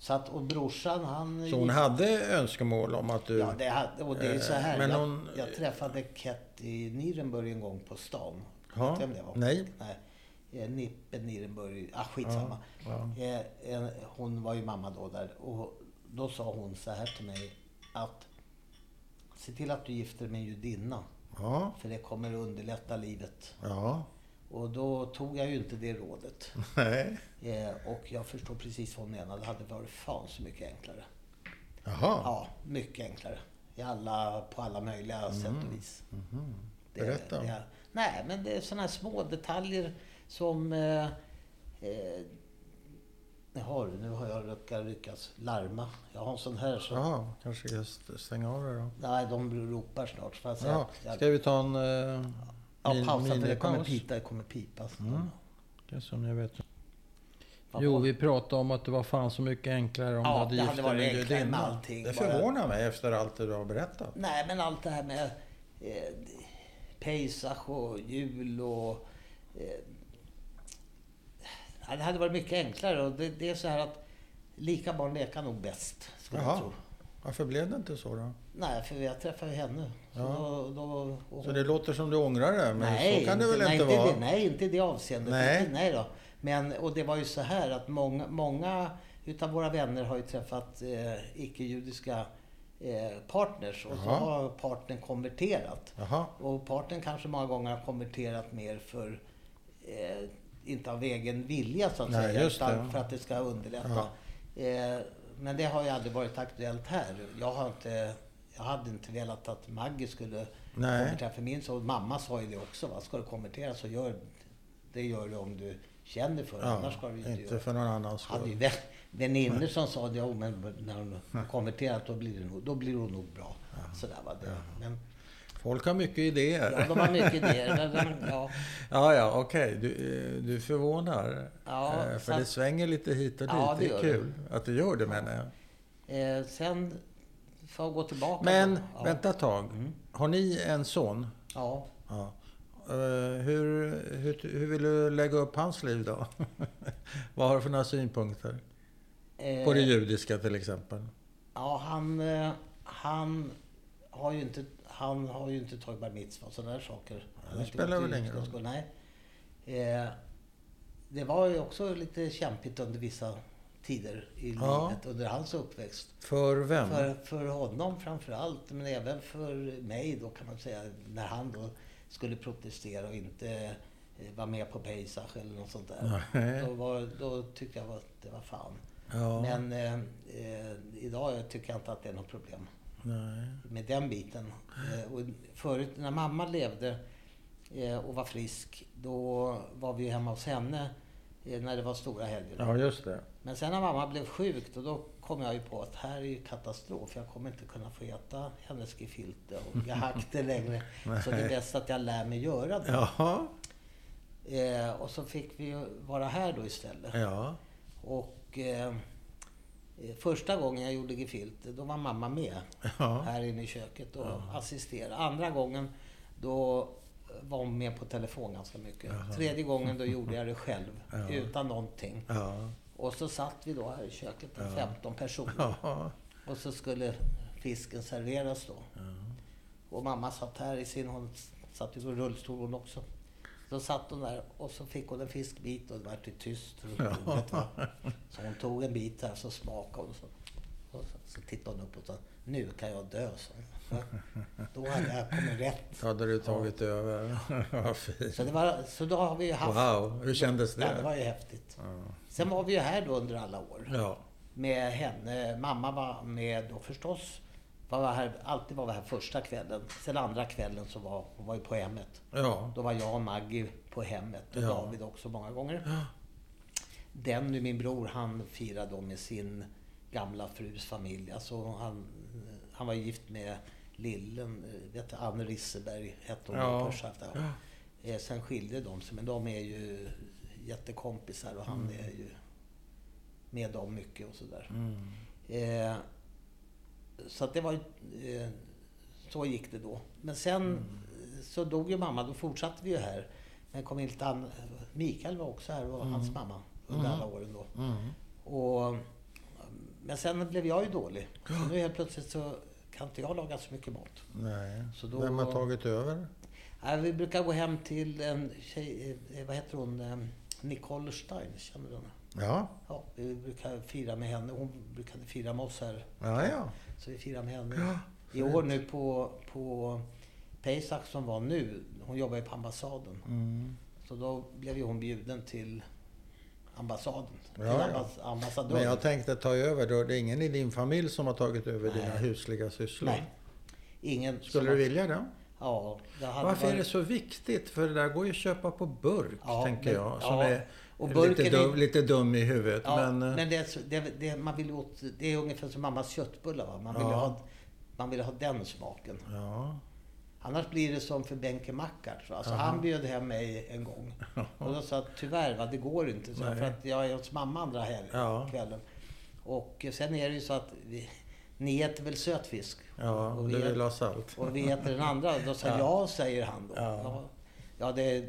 Speaker 2: Så att, och brorsan han...
Speaker 1: Så hon hade önskemål om att du...
Speaker 2: Ja, det hade, och det är så här.
Speaker 1: Eh, men
Speaker 2: jag,
Speaker 1: hon-
Speaker 2: jag träffade Ket i Nirenburg en gång på stan.
Speaker 1: Ja,
Speaker 2: Vet du vem det var?
Speaker 1: nej.
Speaker 2: Nej. Eh, Nippe Nirenburg, ah skitsamma. Eh, en- Hon var ju mamma då där och då sa hon så här till mig att se till att du gifter dig med en judinna.
Speaker 1: Ja,
Speaker 2: För det kommer underlätta livet.
Speaker 1: ja, <laughs>
Speaker 2: Och då tog jag ju inte det rådet.
Speaker 1: Nej.
Speaker 2: Eh, och jag förstår precis vad hon menar. Det hade varit fan så mycket enklare.
Speaker 1: Jaha.
Speaker 2: Ja, mycket enklare. I alla, på alla möjliga sätt och vis. Det-
Speaker 1: Mm. Mhm. Berätta.
Speaker 2: det- nej, men det är sådana här små detaljer som... Eh, eh, har, nu har jag råkat lyckats larma. Jag har en sån här som...
Speaker 1: Jaha, kanske jag st- stänga av det då.
Speaker 2: Nej, de ropar snart. Så jag,
Speaker 1: Jaha.
Speaker 2: jag,
Speaker 1: Ska vi ta en eh,
Speaker 2: ja,
Speaker 1: min-
Speaker 2: pausa för det kommer
Speaker 1: minipaus?
Speaker 2: pipa. Det kommer pipa. så-
Speaker 1: Mm. Det är som jag vet.
Speaker 2: Vad
Speaker 1: Jo,
Speaker 2: var-
Speaker 1: vi pratade om att det var fan så mycket enklare om
Speaker 2: Ja,
Speaker 1: du hade
Speaker 2: det
Speaker 1: gift
Speaker 2: hade varit
Speaker 1: dig
Speaker 2: enklare med
Speaker 1: gudinna.
Speaker 2: allting,
Speaker 1: Det
Speaker 2: bara.
Speaker 1: förvånar mig efter allt det du har berättat.
Speaker 2: Nej, men allt det här med eh, Pesach och jul och... Eh, ja, det hade varit mycket enklare. Och det, det är så här att lika barn lekar nog bäst, skulle jag
Speaker 1: Jaha.
Speaker 2: tro.
Speaker 1: Varför blev det inte så då?
Speaker 2: Nej, för jag träffade ju henne. Så
Speaker 1: Ja.
Speaker 2: då, då, och
Speaker 1: Så det låter som du ångrar det, men
Speaker 2: nej,
Speaker 1: så kan det väl
Speaker 2: nej,
Speaker 1: inte
Speaker 2: inte
Speaker 1: vara?
Speaker 2: Det, nej, inte i det avseendet.
Speaker 1: Nej.
Speaker 2: Inte, nej då. Men, och det var ju så här att många, många utav våra vänner har ju träffat eh, icke-judiska eh, partners och så
Speaker 1: Jaha.
Speaker 2: har partnern konverterat.
Speaker 1: Jaha.
Speaker 2: Och partnern kanske många gånger har konverterat mer för, eh, inte av egen vilja så att
Speaker 1: Nej,
Speaker 2: säga,
Speaker 1: just det.
Speaker 2: utan för att det ska underlätta. Eh, men det har ju aldrig varit aktuellt här. Jag, har inte, jag hade inte velat att Maggie skulle
Speaker 1: Nej.
Speaker 2: konvertera för min son. Mamma sa ju det också, va? ska du konvertera så gör det gör du om du känner för det, annars ska du inte,
Speaker 1: inte
Speaker 2: göra det.
Speaker 1: för någon annans
Speaker 2: Jag hade ju
Speaker 1: skull.
Speaker 2: vä- väninnor som sa det, "Jo, men när hon konverterat då blir det nog, då blir hon nog bra. Sådär, va? Det, men,
Speaker 1: Folk har mycket idéer.
Speaker 2: Ja, de har mycket idéer. Men, men, ja.
Speaker 1: <laughs> Ja, ja, okej. Du, eh, du förvånar.
Speaker 2: Ja,
Speaker 1: Eh,
Speaker 2: så
Speaker 1: för det
Speaker 2: att-
Speaker 1: svänger lite hit och dit.
Speaker 2: Ja, det
Speaker 1: det,
Speaker 2: gör
Speaker 1: är kul att du gör det, menar jag.
Speaker 2: eh, sen får jag gå tillbaka.
Speaker 1: Men,
Speaker 2: då. ja. Mm.
Speaker 1: vänta ett tag. Har ni en son?
Speaker 2: Ja.
Speaker 1: Ja. Eh, hur, hur, hur vill du lägga upp hans liv då? Vad har du för några synpunkter?
Speaker 2: Eh,
Speaker 1: På det judiska till exempel.
Speaker 2: ja, han, eh, han, har ju inte, han har ju inte tagit bar mitzva och sådana där saker. Han har inte
Speaker 1: spelar
Speaker 2: gått i
Speaker 1: väl ingen
Speaker 2: judiska skolor, Nej. Eh, det var ju också lite kämpigt under vissa tider i
Speaker 1: Ja.
Speaker 2: livet, under hans uppväxt.
Speaker 1: För vem?
Speaker 2: För, för honom framför allt, men även för mig då kan man säga, när han då skulle protestera och inte eh, vara med på Pesach eller något sånt där.
Speaker 1: Nej.
Speaker 2: Då, var, då tyckte jag att det var fan.
Speaker 1: Ja.
Speaker 2: Men eh, eh, idag tycker jag inte att det är något problem
Speaker 1: Nej.
Speaker 2: med den biten. Eh, och förut när mamma levde eh, och var frisk, då var vi hemma hos henne eh, när det var stora helger.
Speaker 1: Ja, just det.
Speaker 2: Men sen när mamma blev sjuk då, då kom jag ju på att här är ju katastrof. Jag kommer inte kunna få äta hennes gefilte
Speaker 1: <laughs>
Speaker 2: och gehackte längre. Så det är bäst att jag lär mig göra det.
Speaker 1: Jaha.
Speaker 2: Eh, och så fick vi ju vara här då istället.
Speaker 1: Ja.
Speaker 2: Och eh, eh, första gången jag gjorde gefilte då var mamma med
Speaker 1: Ja.
Speaker 2: här inne i köket och assisterade. Andra gången då var hon med på telefon ganska mycket. Tredje gången då gjorde jag det själv
Speaker 1: <laughs> Ja.
Speaker 2: utan någonting.
Speaker 1: Ja.
Speaker 2: Och så satt vi då här i köket, med 15 personer.
Speaker 1: Ja.
Speaker 2: Och så skulle fisken serveras då. Och mamma satt här i sin, hon satt i rullstol hon också. Så satt hon där och så fick hon en fiskbit och det vart ju tyst runt
Speaker 1: Ja.
Speaker 2: bordet. va. Så hon tog en bit här så smakade hon. Så, och så, så tittade hon upp och sa, nu kan jag dö, så. Då hade jag kommit rätt.
Speaker 1: Då hade du tagit över. Vad fint.
Speaker 2: Så, det var, så då har vi ju haft...
Speaker 1: Wow, hur kändes
Speaker 2: Ja, det
Speaker 1: det?
Speaker 2: var ju häftigt. Sen var vi ju här då under alla år.
Speaker 1: Ja.
Speaker 2: med henne. Mamma var med då förstås. Var här, alltid var vi här första kvällen. Sen andra kvällen så var hon var ju på hemmet.
Speaker 1: Ja.
Speaker 2: Då var jag och Maggie på hemmet och
Speaker 1: Ja.
Speaker 2: David också många gånger. Denny, min bror, han firade då med sin gamla frus familj. Alltså han, han var gift med lillen, eh, vet du, Anne Risseberg hette hon
Speaker 1: Ja.
Speaker 2: på Skärsta. Eh, Sen skilde de sig, men de är ju jättekompisar och han
Speaker 1: Mm.
Speaker 2: är ju med dem mycket och sådär. Eh, så att det var ju- eh, Så gick det då. Men sen eh, så dog ju mamma, då fortsatte vi ju här. Men kom inte an, Mikael var också här och hans mamma under alla åren då. Och, men sen blev jag ju dålig. Så nu helt plötsligt så kan inte jag laga så mycket mat.
Speaker 1: Nej.
Speaker 2: Så då-
Speaker 1: Vem har tagit över?
Speaker 2: Nej, vi brukar gå hem till en tjej, eh, vad heter hon, Eh, Nicole Stein, känner du henne?
Speaker 1: Ja.
Speaker 2: Ja, vi brukar fira med henne. Hon brukade fira med oss här.
Speaker 1: Ja, ja.
Speaker 2: Så vi firar med henne.
Speaker 1: Ja,
Speaker 2: I år nu på, på Pesach som var nu, hon jobbar ju på ambassaden. Så då blev ju hon bjuden till ambassaden.
Speaker 1: Ja,
Speaker 2: Till
Speaker 1: ja.
Speaker 2: ambass- ambassadören.
Speaker 1: Men jag tänkte ta över. Då. Det är ingen i din familj som har tagit över dina husliga sysslor?
Speaker 2: Nej. Ingen som-
Speaker 1: Skulle du vilja det?
Speaker 2: Ja. Det hade
Speaker 1: Varför är
Speaker 2: varit-
Speaker 1: det så viktigt? För det där går ju att köpa på burk,
Speaker 2: Ja,
Speaker 1: tänker
Speaker 2: men-
Speaker 1: jag. Som
Speaker 2: ja.
Speaker 1: är
Speaker 2: Och
Speaker 1: lite,
Speaker 2: burken är-
Speaker 1: dum, lite dum i huvudet.
Speaker 2: Ja, men,
Speaker 1: men, eh,
Speaker 2: det, är så- det, det, man vill åt, det är ungefär som mammas köttbullar. Va? Man, vill
Speaker 1: Ja.
Speaker 2: ha, man vill ha den smaken.
Speaker 1: ja.
Speaker 2: Annars blir det som för Benke Mackart. va? Alltså, han bjöd hem mig en gång. Och då sa jag tyvärr, va, det går inte. Så,
Speaker 1: Nej.
Speaker 2: för att jag är hos mamma andra helg,
Speaker 1: Ja.
Speaker 2: kvällen. Och eh, sen är det ju så att vi, ni äter väl sötfisk?
Speaker 1: ja
Speaker 2: och, vi
Speaker 1: du vill
Speaker 2: äter,
Speaker 1: ha salt.
Speaker 2: och vi äter den andra. Då sa jag, ja, säger han då.
Speaker 1: Ja.
Speaker 2: Ja. Ja, det,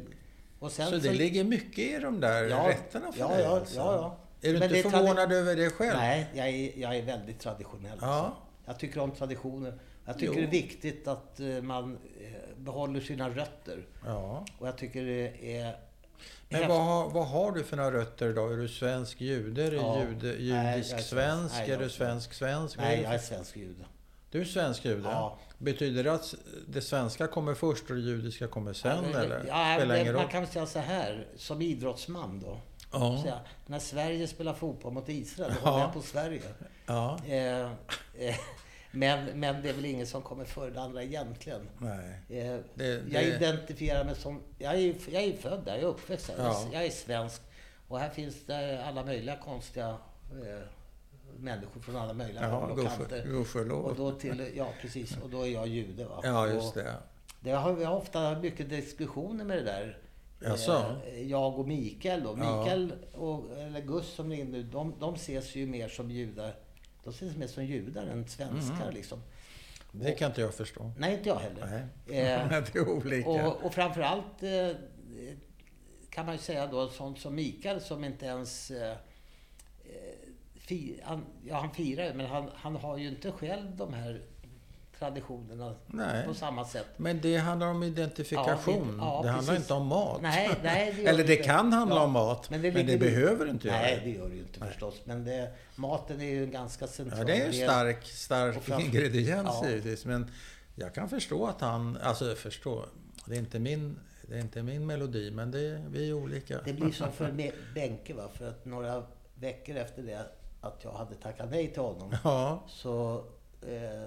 Speaker 2: och sen
Speaker 1: Så det ligger mycket i de där
Speaker 2: Ja,
Speaker 1: rätterna för
Speaker 2: ja,
Speaker 1: dig?
Speaker 2: ja,
Speaker 1: alltså.
Speaker 2: ja, ja.
Speaker 1: Är du
Speaker 2: Men det
Speaker 1: inte
Speaker 2: är tradi-
Speaker 1: förvånad över det själv?
Speaker 2: Nej, jag är, jag är väldigt traditionell.
Speaker 1: Ja.
Speaker 2: alltså. Jag tycker om traditioner. Jag tycker
Speaker 1: Jo.
Speaker 2: det är viktigt att eh, man eh, behåller sina rötter.
Speaker 1: Ja.
Speaker 2: Och jag tycker det är...
Speaker 1: Men vad, har- vad har du för några rötter idag? Är du svensk jude? Är du
Speaker 2: Ja.
Speaker 1: jude,
Speaker 2: Nej, jag är
Speaker 1: judisk-svensk?
Speaker 2: svensk. Nej,
Speaker 1: är
Speaker 2: jag
Speaker 1: du
Speaker 2: är svensk.
Speaker 1: svensk-svensk? Vad är
Speaker 2: Nej,
Speaker 1: du
Speaker 2: jag är svensk jude.
Speaker 1: Du är svensk jude?
Speaker 2: Ja.
Speaker 1: Betyder det att det svenska kommer först och det judiska kommer sen? eller?
Speaker 2: Ja,
Speaker 1: Spelar
Speaker 2: men
Speaker 1: ingen
Speaker 2: man
Speaker 1: roll?
Speaker 2: kan väl säga så här, som idrottsman då.
Speaker 1: Ja.
Speaker 2: Säga, när Sverige spelar fotboll mot Israel, då
Speaker 1: Ja.
Speaker 2: håller jag på Sverige.
Speaker 1: ja.
Speaker 2: Eh, eh, men, men det är väl ingen som kommer före det andra egentligen.
Speaker 1: Nej.
Speaker 2: Eh,
Speaker 1: Det-
Speaker 2: Jag
Speaker 1: det-
Speaker 2: identifierar mig som... Jag är, jag är född där, jag är uppväxt här.
Speaker 1: Ja.
Speaker 2: Jag är svensk. Och här finns det alla möjliga konstiga eh, människor från alla möjliga
Speaker 1: Ja,
Speaker 2: håll och
Speaker 1: gudskelov.
Speaker 2: kanter. Och
Speaker 1: Gudskelov.
Speaker 2: då till, ja precis, och då är jag jude va.
Speaker 1: Ja, just
Speaker 2: Och
Speaker 1: det.
Speaker 2: det har vi har ofta mycket diskussioner med det där.
Speaker 1: Jaså?
Speaker 2: Eh, Jag och Mikael då.
Speaker 1: Ja.
Speaker 2: Mikael och, eller Gus som är nu, de, de ses ju mer som judar. De ses mer som judar än svenskar
Speaker 1: Mm.
Speaker 2: liksom.
Speaker 1: Det kan inte jag förstå.
Speaker 2: Nej, inte jag heller.
Speaker 1: <laughs>
Speaker 2: Eh,
Speaker 1: det är olika.
Speaker 2: och, och framförallt eh, kan man ju säga då sånt som Mikael som inte ens... Eh, eh, fi, han, ja, han firar ju, men han, han har ju inte själv de här traditionerna
Speaker 1: Nej.
Speaker 2: på samma sätt.
Speaker 1: Men det handlar om identifikation.
Speaker 2: Ja, ja,
Speaker 1: det handlar
Speaker 2: precis.
Speaker 1: inte om mat.
Speaker 2: Nej, nej, det gör
Speaker 1: Eller det
Speaker 2: inte.
Speaker 1: kan handla
Speaker 2: Ja,
Speaker 1: om mat, men det,
Speaker 2: ligger ju-
Speaker 1: behöver inte göra
Speaker 2: Nej,
Speaker 1: det.
Speaker 2: det gör det ju inte förstås. Men det, maten är ju Liksom, en ganska
Speaker 1: Ja,
Speaker 2: central
Speaker 1: det är en
Speaker 2: del.
Speaker 1: stark, stark
Speaker 2: Och framför-
Speaker 1: ingrediens
Speaker 2: Ja.
Speaker 1: givetvis. Men jag kan förstå att han... Alltså förstå. Det är inte min, det är inte min melodi, men det, vi är olika.
Speaker 2: Det blir som för Me- Benke va, för att några veckor efter det att jag hade tackat nej till honom
Speaker 1: <laughs> Ja.
Speaker 2: så eh,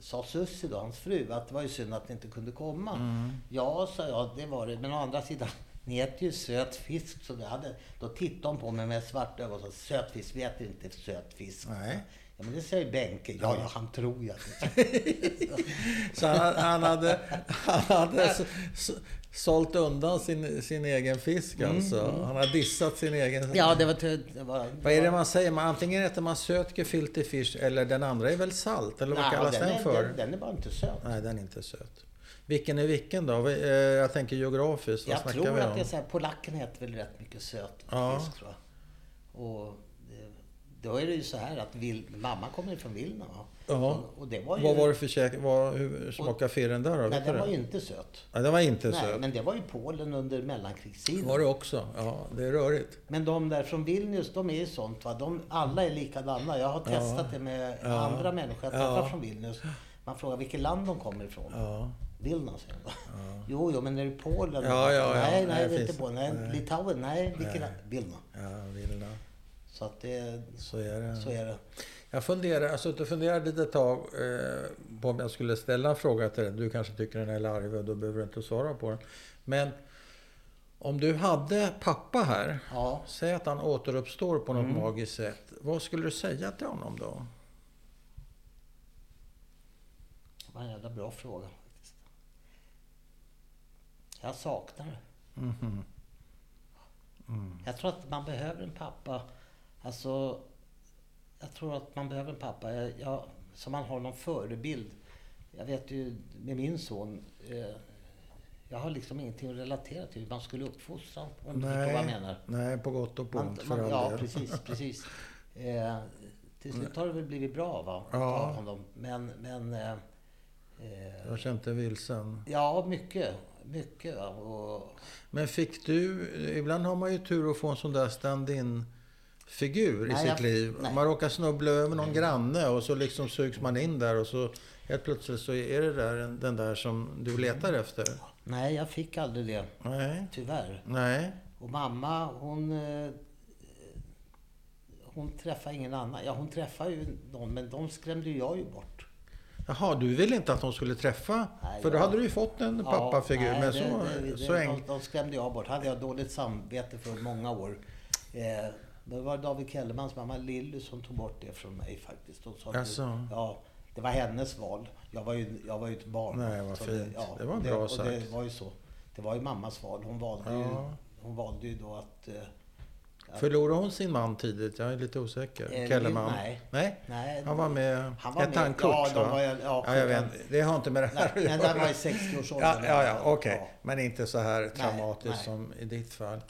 Speaker 2: sa Sussi då, hans fru, att det var ju synd att ni inte kunde komma.
Speaker 1: Mm.
Speaker 2: Ja, sa jag, det var det. Men å andra sidan, <laughs> ni äter ju söt fisk. Så det hade, då tittade hon på mig med svarta ögon och sa, söt fisk, vi äter inte söt fisk.
Speaker 1: Nej.
Speaker 2: Ja, men det säger Benke. Ja, ja, han tror ju
Speaker 1: <laughs>
Speaker 2: att ni-
Speaker 1: Så han, han hade, han hade s- s- sålt undan sin, sin egen fisk alltså. Han har dissat sin egen...
Speaker 2: Mm, Ja, det var... ty- Det var
Speaker 1: Vad är det man säger? Man, antingen äter man söt gefilte fish eller den andra är väl salt? Eller vad
Speaker 2: Nej,
Speaker 1: kallas den,
Speaker 2: den, är-
Speaker 1: för?
Speaker 2: Den, den är bara inte söt.
Speaker 1: Nej, den är inte söt. Vilken är vilken då? Vi- eh, Jag tänker geografiskt. Vad
Speaker 2: Jag
Speaker 1: snackar
Speaker 2: tror
Speaker 1: vi
Speaker 2: att
Speaker 1: om?
Speaker 2: det är så här, polacken äter väl rätt mycket söt
Speaker 1: Ja.
Speaker 2: fisk tror jag. Och eh, då är det ju så här att Vil- mamma kommer ju från Vilna va?
Speaker 1: Ja.
Speaker 2: Och, och det var ju...
Speaker 1: Vad var det för käk? Vad, hur smakade firren där då?
Speaker 2: Nej,
Speaker 1: Vet du
Speaker 2: den var
Speaker 1: det?
Speaker 2: ju inte söt.
Speaker 1: Nej, den var inte
Speaker 2: Nej,
Speaker 1: söt.
Speaker 2: men det var ju Polen under mellankrigstiden.
Speaker 1: Var det också? Ja, det är rörigt.
Speaker 2: Men de där från Vilnius, de är ju sånt va. De, alla är likadana. Jag har testat det med andra människor jag träffar från Vilnius. Man frågar vilket land de kommer ifrån.
Speaker 1: Ja.
Speaker 2: Vilna säger de. Jo, jo, men är det Polen?
Speaker 1: Ja, ja, ja.
Speaker 2: Nej,
Speaker 1: Nej,
Speaker 2: nej, det är inte
Speaker 1: finns-
Speaker 2: Polen. Nej, Litauen? Nej, vilket land? Vilna.
Speaker 1: Ja, Vilna.
Speaker 2: Så att det,
Speaker 1: Så är det.
Speaker 2: så är det.
Speaker 1: Jag funderar, alltså, jag funderade ett litet tag eh, på om jag skulle ställa en fråga till dig. Du kanske tycker den är larvig och då behöver du inte svara på den. Men om du hade pappa här,
Speaker 2: Ja.
Speaker 1: säg att han återuppstår på något
Speaker 2: Mm.
Speaker 1: magiskt sätt. Vad skulle du säga till honom då?
Speaker 2: Det var en jävla bra fråga faktiskt. Jag saknar det.
Speaker 1: Mhm. Mm.
Speaker 2: Jag tror att man behöver en pappa. Alltså, jag tror att man behöver en pappa jag, jag, som man har någon förebild. Jag vet ju med min son. Eh, jag har liksom ingenting att relatera till hur man skulle uppfostra honom, om du förstår vad jag menar.
Speaker 1: nej, på gott och på
Speaker 2: Man,
Speaker 1: ont för
Speaker 2: man,
Speaker 1: all
Speaker 2: ja,
Speaker 1: del.
Speaker 2: precis. precis.
Speaker 1: <laughs>
Speaker 2: Eh, till slut har det väl blivit bra va?
Speaker 1: Ja.
Speaker 2: Av honom. Men, men eh, eh,
Speaker 1: Jag kände inte vilsen.
Speaker 2: Ja, mycket. Mycket. va. Och,
Speaker 1: Men fick du... Ibland har man ju tur att få en sån där stand-in figur i
Speaker 2: Nej,
Speaker 1: sitt
Speaker 2: jag-
Speaker 1: liv.
Speaker 2: nej.
Speaker 1: Man råkar snubbla över någon granne och så liksom sugs man in där och så helt plötsligt så är det där, den där som du letar efter.
Speaker 2: Nej, jag fick aldrig det.
Speaker 1: Nej.
Speaker 2: Tyvärr.
Speaker 1: Nej.
Speaker 2: Och mamma, hon... eh, Hon träffade ingen annan. Ja, hon träffade ju någon, men de skrämde ju jag ju bort.
Speaker 1: Jaha, du ville inte att de skulle träffa?
Speaker 2: Nej,
Speaker 1: för då
Speaker 2: ja.
Speaker 1: hade du ju fått en pappafigur.
Speaker 2: nej,
Speaker 1: men
Speaker 2: det-
Speaker 1: så,
Speaker 2: det- det-
Speaker 1: så
Speaker 2: de,
Speaker 1: enkelt.
Speaker 2: de skrämde jag bort. hade jag dåligt samvete för många år. Eh, det var David Kellermans mamma Lilly som tog bort det från mig faktiskt. Hon sa att-
Speaker 1: Jaså?
Speaker 2: ja, det var hennes val. Jag var ju, jag var ju ett barn.
Speaker 1: Nej, vad
Speaker 2: Så
Speaker 1: fint. Det var bra
Speaker 2: och det
Speaker 1: sagt.
Speaker 2: var ju så. Det var ju mammas val. Hon valde, ju,
Speaker 1: Ja.
Speaker 2: hon valde ju då att... Eh,
Speaker 1: Förlorade hon sin man tidigt? Jag är lite osäker.
Speaker 2: Eh,
Speaker 1: Kellerman?
Speaker 2: nej.
Speaker 1: Nej?
Speaker 2: nej,
Speaker 1: Han var med.
Speaker 2: Han var
Speaker 1: Hette han
Speaker 2: med.
Speaker 1: Kurt?
Speaker 2: Ja, de
Speaker 1: va?
Speaker 2: var ju- ja,
Speaker 1: ja, jag
Speaker 2: Kurt,
Speaker 1: vet. Det har inte med det här
Speaker 2: Nej,
Speaker 1: att
Speaker 2: men
Speaker 1: göra.
Speaker 2: den var i
Speaker 1: <laughs>
Speaker 2: 60-årsåldern.
Speaker 1: Ja, ja, ja okej.
Speaker 2: Ja.
Speaker 1: Men inte så här traumatiskt
Speaker 2: nej.
Speaker 1: som i ditt fall.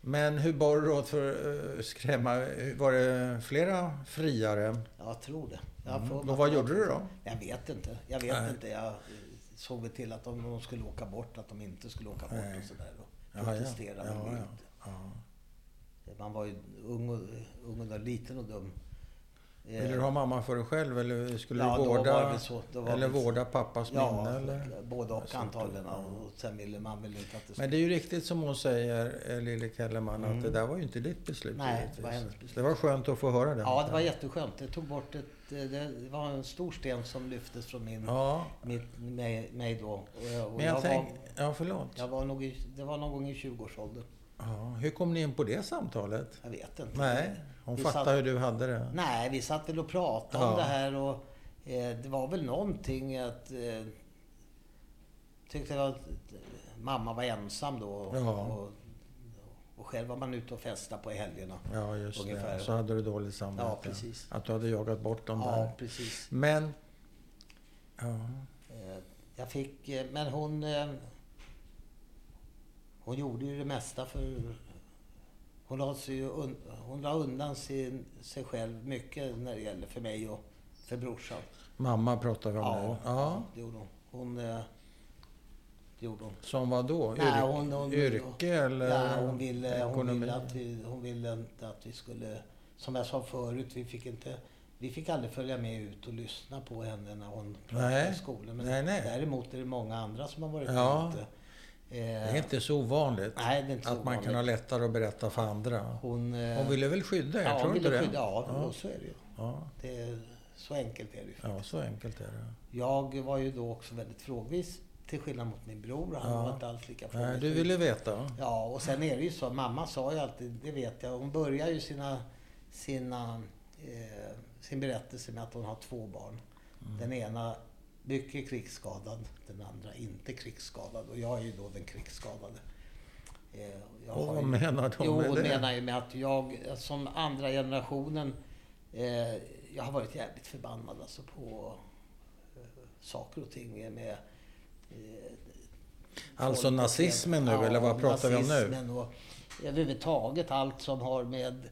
Speaker 1: Men hur bar du åt för att skrämma? Var det flera friare?
Speaker 2: Jag tror det. Jag får-
Speaker 1: Och Mm, vad gjorde du då?
Speaker 2: Jag vet inte. Jag vet
Speaker 1: Nej.
Speaker 2: inte. Jag eh, såg väl till att de, de skulle åka bort, att de inte skulle åka bort och sådär. Och
Speaker 1: Ja, ja.
Speaker 2: protesterade.
Speaker 1: Ja,
Speaker 2: men
Speaker 1: ja.
Speaker 2: inte. Man var ju ung och, ung och liten och dum. Eh,
Speaker 1: Ville du ha mamma för dig själv eller skulle
Speaker 2: Ja,
Speaker 1: du
Speaker 2: då var det
Speaker 1: vårda,
Speaker 2: väl så. Då var
Speaker 1: eller
Speaker 2: det så.
Speaker 1: vårda pappas
Speaker 2: ja,
Speaker 1: minne? Eller?
Speaker 2: både och
Speaker 1: Sånt,
Speaker 2: antagligen.
Speaker 1: ja.
Speaker 2: Och sen ville man väl inte att det skulle...
Speaker 1: Men det är ju riktigt som hon säger, eh, Lille Kellerman, att det där var ju inte ditt beslut.
Speaker 2: Mm. Nej, det
Speaker 1: givetvis.
Speaker 2: var hennes beslut.
Speaker 1: Det var skönt att få höra det.
Speaker 2: Ja, det var jätteskönt. Det tog bort ett... eh, Det var en stor sten som lyftes från min...
Speaker 1: Ja,
Speaker 2: Mitt, mig, mig då. Och jag, och
Speaker 1: men jag,
Speaker 2: jag
Speaker 1: tänk...
Speaker 2: var,
Speaker 1: Ja, förlåt.
Speaker 2: jag var nog i, det var någon gång i 20-årsåldern.
Speaker 1: Ja, hur kom ni in på det samtalet?
Speaker 2: Jag vet inte.
Speaker 1: Nej, hon
Speaker 2: Vi
Speaker 1: fattade
Speaker 2: satt-
Speaker 1: hur du hade det.
Speaker 2: Nej, vi satt väl och pratade
Speaker 1: Ja.
Speaker 2: om det här och eh, det var väl någonting att... Eh, tyckte jag att eh, mamma var ensam då och,
Speaker 1: Ja.
Speaker 2: och, och själv var man ute och festade på helgerna.
Speaker 1: Ja, just
Speaker 2: Ungefär.
Speaker 1: det. Så hade du dåligt samvete.
Speaker 2: Ja, precis.
Speaker 1: Att du hade jagat bort dem
Speaker 2: Ja,
Speaker 1: där.
Speaker 2: precis.
Speaker 1: Men... Ja.
Speaker 2: Eh, jag fick... Eh, men hon... Eh, hon gjorde ju det mesta för... Hon la, sig ju un, hon la undan sin, sig själv mycket när det gäller för mig och för brorsan.
Speaker 1: Mamma pratar vi om nu. Ja.
Speaker 2: det gjorde hon. Hon... eh, Det gjorde hon.
Speaker 1: Som vad då?
Speaker 2: Nej,
Speaker 1: Yrke,
Speaker 2: hon- hon-
Speaker 1: yrke eller
Speaker 2: Nej, hon, ville, hon,
Speaker 1: ekonomi?
Speaker 2: ville att vi, hon ville inte att vi skulle... Som jag sa förut, vi fick, inte, vi fick aldrig följa med ut och lyssna på henne när hon pratade
Speaker 1: Nej.
Speaker 2: i skolan. Men
Speaker 1: Nej, nej.
Speaker 2: däremot är det många andra som har varit
Speaker 1: Ja.
Speaker 2: ute. Eh,
Speaker 1: Det är inte så ovanligt
Speaker 2: Nej, det är inte så
Speaker 1: att man kan ha
Speaker 2: ovanligt.
Speaker 1: lättare att berätta för andra.
Speaker 2: Hon, eh,
Speaker 1: Hon ville väl skydda er?
Speaker 2: ja,
Speaker 1: tror
Speaker 2: hon
Speaker 1: du inte
Speaker 2: ville
Speaker 1: det?
Speaker 2: skydda. Ja,
Speaker 1: Ja.
Speaker 2: ja. så är det ju.
Speaker 1: Ja.
Speaker 2: Det är, så enkelt är det ju.
Speaker 1: ja, så enkelt är det.
Speaker 2: Jag var ju då också väldigt frågvis, till skillnad mot min bror. Han
Speaker 1: Ja.
Speaker 2: var inte alls lika frågvis.
Speaker 1: Nej, du ville veta?
Speaker 2: Ja, och sen är det ju så. Mamma sa ju alltid, det vet jag, hon börjar ju sina, sina, eh, sin berättelse med att hon har två barn.
Speaker 1: Mm.
Speaker 2: Den ena mycket krigsskadad, den andra inte krigsskadad. Och jag är ju då den krigsskadade. Eh, jag
Speaker 1: Och
Speaker 2: har
Speaker 1: vad
Speaker 2: ju-
Speaker 1: menar de
Speaker 2: Jo,
Speaker 1: med
Speaker 2: hon
Speaker 1: det?
Speaker 2: menar ju med att jag eh, som andra generationen, eh, jag har varit jävligt förbannad alltså på eh, saker och ting med eh,
Speaker 1: Alltså
Speaker 2: folk och-
Speaker 1: nazismen nu, eller vad pratar vi om nu?
Speaker 2: nazismen Och överhuvudtaget allt som har med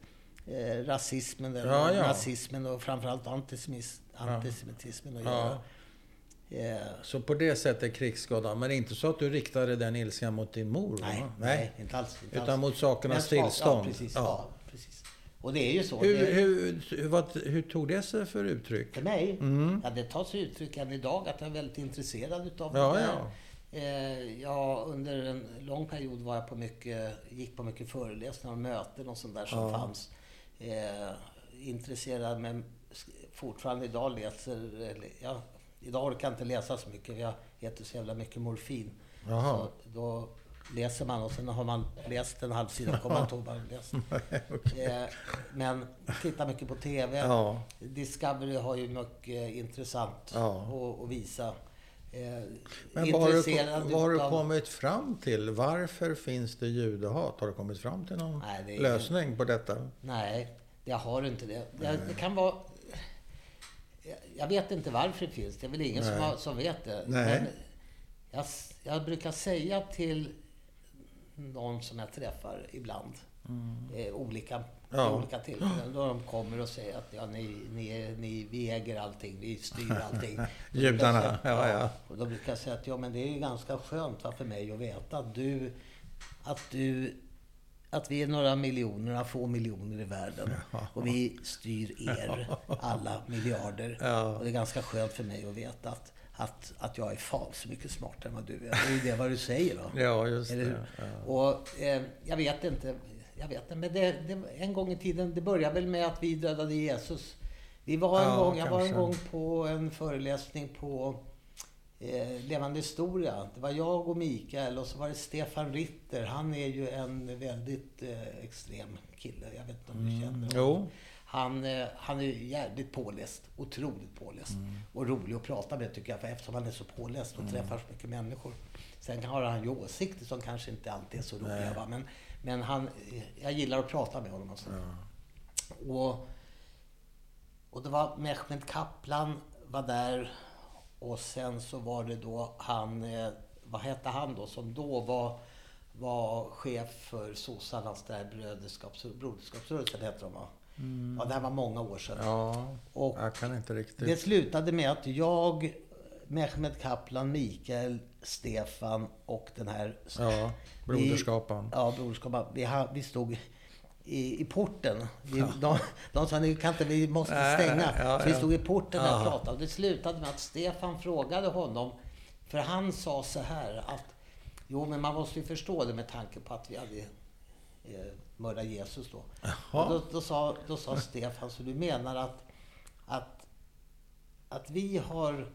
Speaker 2: eh, rasismen, eller
Speaker 1: Ja, ja.
Speaker 2: nazismen och framförallt antisemitis- antisemitismen att
Speaker 1: Ja.
Speaker 2: göra. Eh,
Speaker 1: Så på det sättet krigsskada. Men det är inte så att du riktade den ilskan mot din mor?
Speaker 2: nej,
Speaker 1: va?
Speaker 2: nej, inte alls. Inte
Speaker 1: Mm, Utan
Speaker 2: alls.
Speaker 1: mot sakernas
Speaker 2: Men smak-
Speaker 1: tillstånd.
Speaker 2: Ja, precis.
Speaker 1: Ja.
Speaker 2: Ja. precis. Och det är ju så.
Speaker 1: Hur,
Speaker 2: det,
Speaker 1: hur, hur, vad, hur tog det sig för uttryck? Mm.
Speaker 2: För mig? Ja, det tar sig uttryck än idag att jag är väldigt intresserad utav
Speaker 1: Ja,
Speaker 2: det där.
Speaker 1: ja.
Speaker 2: Eh, jag, under en lång period var jag på mycket, gick på mycket föreläsningar och möten och sånt där som fanns. Eh, intresserad men sk- fortfarande idag läser... eller, Ja, idag orkar jag inte läsa så mycket. Jag äter så jävla mycket morfin.
Speaker 1: Jaha.
Speaker 2: Så då läser man och sen har man läst en halv sida
Speaker 1: <laughs>
Speaker 2: kommer man inte ihåg vad man läst. Eh, Men tittar mycket på
Speaker 1: <laughs>
Speaker 2: TV.
Speaker 1: Ja.
Speaker 2: Discovery har ju mycket intressant
Speaker 1: Ja.
Speaker 2: att, att visa. Eh,
Speaker 1: Men vad har,
Speaker 2: intresserad
Speaker 1: du, vad har du
Speaker 2: utav-
Speaker 1: kommit fram till? Varför finns det judehat? Har du kommit fram till någon
Speaker 2: Nej, det är-
Speaker 1: lösning på detta?
Speaker 2: Nej, jag har inte det. Det, det kan vara... Jag- Jag vet inte varför det finns. Det är väl ingen som,
Speaker 1: Nej.
Speaker 2: har, som vet det.
Speaker 1: Nej.
Speaker 2: Men jag, s- jag brukar säga till någon som jag träffar ibland, eh, olika, vid
Speaker 1: Mm. Ja.
Speaker 2: olika tillfällen, då de kommer och säger att ja, ni, ni, ni, vi äger allting, vi styr allting. Då brukar jag
Speaker 1: <laughs> Judarna,
Speaker 2: säga-
Speaker 1: ja, ja.
Speaker 2: Och då brukar jag säga att ja, men det är ju ganska skönt va, för mig att veta att du, att du att vi är några miljoner, några få miljoner i världen.
Speaker 1: Ja.
Speaker 2: Och vi styr er alla miljarder.
Speaker 1: Ja.
Speaker 2: Och det är ganska skönt för mig att veta att, att, att jag är fan så mycket smartare än vad du är. Det är ju det vad du säger
Speaker 1: <laughs>
Speaker 2: då.
Speaker 1: Ja, just
Speaker 2: Eller hur?
Speaker 1: det. Ja.
Speaker 2: Och eh, jag vet inte. Jag vet inte. Men det, det, en gång i tiden, det började väl med att vi dödade Jesus. Vi var en
Speaker 1: Ja,
Speaker 2: gång, jag var en
Speaker 1: kanske.
Speaker 2: gång på en föreläsning på eh, Levande historia. Det var jag och Mikael och så var det Stefan Ritter. Han är ju en väldigt eh, extrem kille. Jag vet inte om du känner honom.
Speaker 1: Jo.
Speaker 2: Han, eh, han är ju jävligt påläst. Otroligt påläst. Och rolig att prata med tycker jag, för eftersom han är så påläst och träffar så mycket människor. Sen har han ju åsikter som kanske inte alltid är så roliga. Va? Men, men han, eh, jag gillar att prata med honom. Och, så. och, och det var Mehmet Kaplan var där. Och sen så var det då han, eh, vad hette han då, som då var var chef för sossarnas där bröderskaps, broderskapsrörelsen, heter de va? Ja, det här var många år sedan.
Speaker 1: Ja,
Speaker 2: Och
Speaker 1: jag kan inte riktigt.
Speaker 2: Det slutade med att jag, Mehmet Kaplan, Mikael, Stefan och den här...
Speaker 1: Ja, broderskapan.
Speaker 2: Vi, ja, broderskapan. Vi, ha- vi stod i, i porten. Vi, de, de sa, "Ni kan inte, vi måste
Speaker 1: Äh,
Speaker 2: stänga.
Speaker 1: ja,
Speaker 2: så vi
Speaker 1: ja.
Speaker 2: stod i porten där och
Speaker 1: Ja.
Speaker 2: pratade. Och det slutade med att Stefan frågade honom, för han sa så här att Jo, men man måste ju förstå det med tanke på att vi hade eh, mördat Jesus då.
Speaker 1: Jaha.
Speaker 2: Och då, då, sa, då sa Stefan, så du menar att, att, att vi har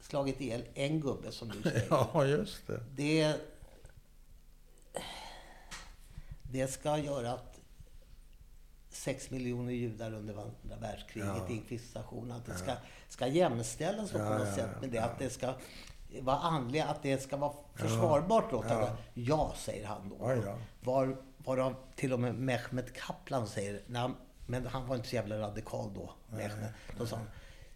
Speaker 2: slagit ihjäl en gubbe, som du
Speaker 1: <laughs>
Speaker 2: <laughs> säger.
Speaker 1: Ja, just det.
Speaker 2: Det, det ska göra att sex miljoner judar under andra världskriget,
Speaker 1: Ja.
Speaker 2: inkvisitionen, att det ska, ska jämställas då på
Speaker 1: Ja,
Speaker 2: något
Speaker 1: ja,
Speaker 2: sätt
Speaker 1: ja,
Speaker 2: med det, att det ska vara andliga, att det ska vara försvarbart då. Ja. ja, säger han då.
Speaker 1: Oj då.
Speaker 2: Var, varav till och med Mehmet Kaplan säger, när han, men han var inte så jävla radikal då, Mehmet. Då sa han,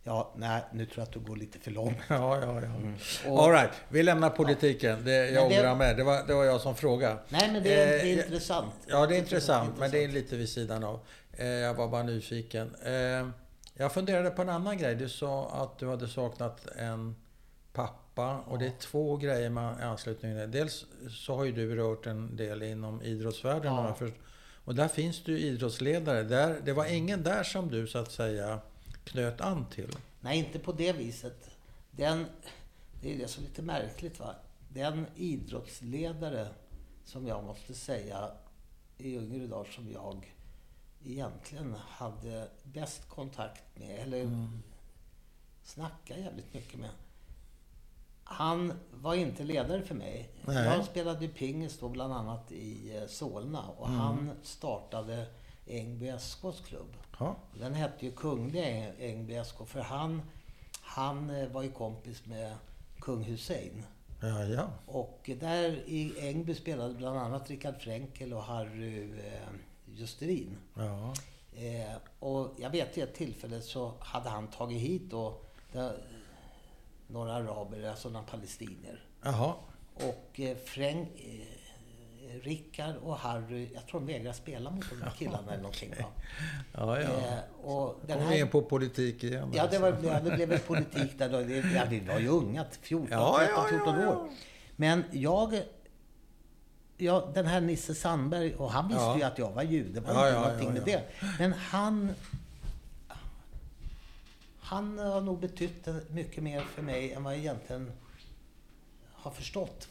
Speaker 2: ja, nej, nu tror jag att du går lite för långt.
Speaker 1: Ja, ja, ja.
Speaker 2: Och-
Speaker 1: Mm. All right, vi lämnar politiken. Det, jag
Speaker 2: Men det-
Speaker 1: ångrar mig. Det var, det var jag som frågade.
Speaker 2: Nej, men det är,
Speaker 1: Eh,
Speaker 2: det är
Speaker 1: jag-
Speaker 2: intressant.
Speaker 1: Ja, det är
Speaker 2: Jag tycker
Speaker 1: intressant, men det är lite vid sidan av. Eh, Jag var bara nyfiken. Eh, Jag funderade på en annan grej. Du sa att du hade saknat en pappa. Och det är två grejer man i anslutning till det. Dels så har ju du rört en del inom idrottsvärlden.
Speaker 2: Ja.
Speaker 1: har jag först- Och där finns det ju idrottsledare. Där, det var ingen där som du så att säga knöt an till.
Speaker 2: Nej, inte på det viset. Den, det är ju det som är lite märkligt. Va? Den idrottsledare som jag måste säga i yngre dagar som jag egentligen hade bäst kontakt med, eller snackade jävligt mycket med. Han var inte ledare för mig.
Speaker 1: Nej.
Speaker 2: Jag spelade ju pingis då bland annat i eh, Solna och han startade Ängby SKs klubb.
Speaker 1: Ja.
Speaker 2: Den hette ju Kungliga Äng- Ängby SK för han, han eh, var ju kompis med kung Hussein.
Speaker 1: Ja, ja.
Speaker 2: Och där i Ängby spelade bland annat Rickard Fränkel och Harry eh, Justerin.
Speaker 1: ja.
Speaker 2: Eh, och jag vet i ett tillfälle så hade han tagit hit då, där, några araber, alltså några palestinier.
Speaker 1: Jaha.
Speaker 2: Och eh, Fränk, eh, Rickard och Harry, jag tror de vägrade spela mot de här killarna eller någonting. Va?
Speaker 1: Ja, ja.
Speaker 2: Eh, och den
Speaker 1: Kom
Speaker 2: här
Speaker 1: vi in på politik igen.
Speaker 2: Ja, det,
Speaker 1: alltså.
Speaker 2: var, ja, det blev väl politik där då. Det, ja, vi var ju unga, 14,
Speaker 1: Ja,
Speaker 2: 13,
Speaker 1: ja,
Speaker 2: 14
Speaker 1: ja, ja.
Speaker 2: år. Men jag... Ja, den här Nisse Sandberg, och han visste
Speaker 1: Ja.
Speaker 2: ju att jag var jude. Det var
Speaker 1: Ja,
Speaker 2: inte
Speaker 1: ja,
Speaker 2: någonting
Speaker 1: ja,
Speaker 2: med
Speaker 1: ja.
Speaker 2: det. Men han... Han har nog betytt mycket mer för mig än vad jag egentligen har förstått.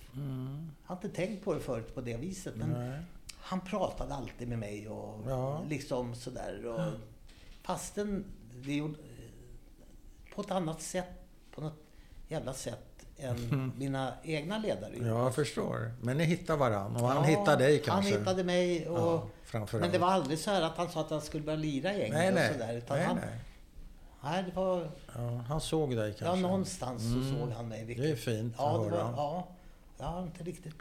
Speaker 2: Jag har inte tänkt på det förut på det viset. Mm. Men
Speaker 1: Nej.
Speaker 2: han pratade alltid med mig och
Speaker 1: Ja.
Speaker 2: liksom sådär. Och, fastän det gjorde på ett annat sätt, på något jävla sätt än mina egna ledare. gjorde.
Speaker 1: Mhm. Ja, jag förstår. Men ni hittar varann och han
Speaker 2: Ja,
Speaker 1: hittar dig kanske?
Speaker 2: Han hittade mig och...
Speaker 1: Ja, framförallt.
Speaker 2: men det var aldrig så här att han sa att han skulle börja lira i
Speaker 1: Nej,
Speaker 2: England
Speaker 1: nej.
Speaker 2: och sådär. Utan
Speaker 1: nej,
Speaker 2: han,
Speaker 1: nej.
Speaker 2: nej, det var...
Speaker 1: Ja, han såg dig
Speaker 2: Ja,
Speaker 1: kanske? Mm.
Speaker 2: någonstans så såg han mig. vilket-
Speaker 1: Det är fint
Speaker 2: ja,
Speaker 1: att
Speaker 2: det var,
Speaker 1: höra.
Speaker 2: ja, jag har inte riktigt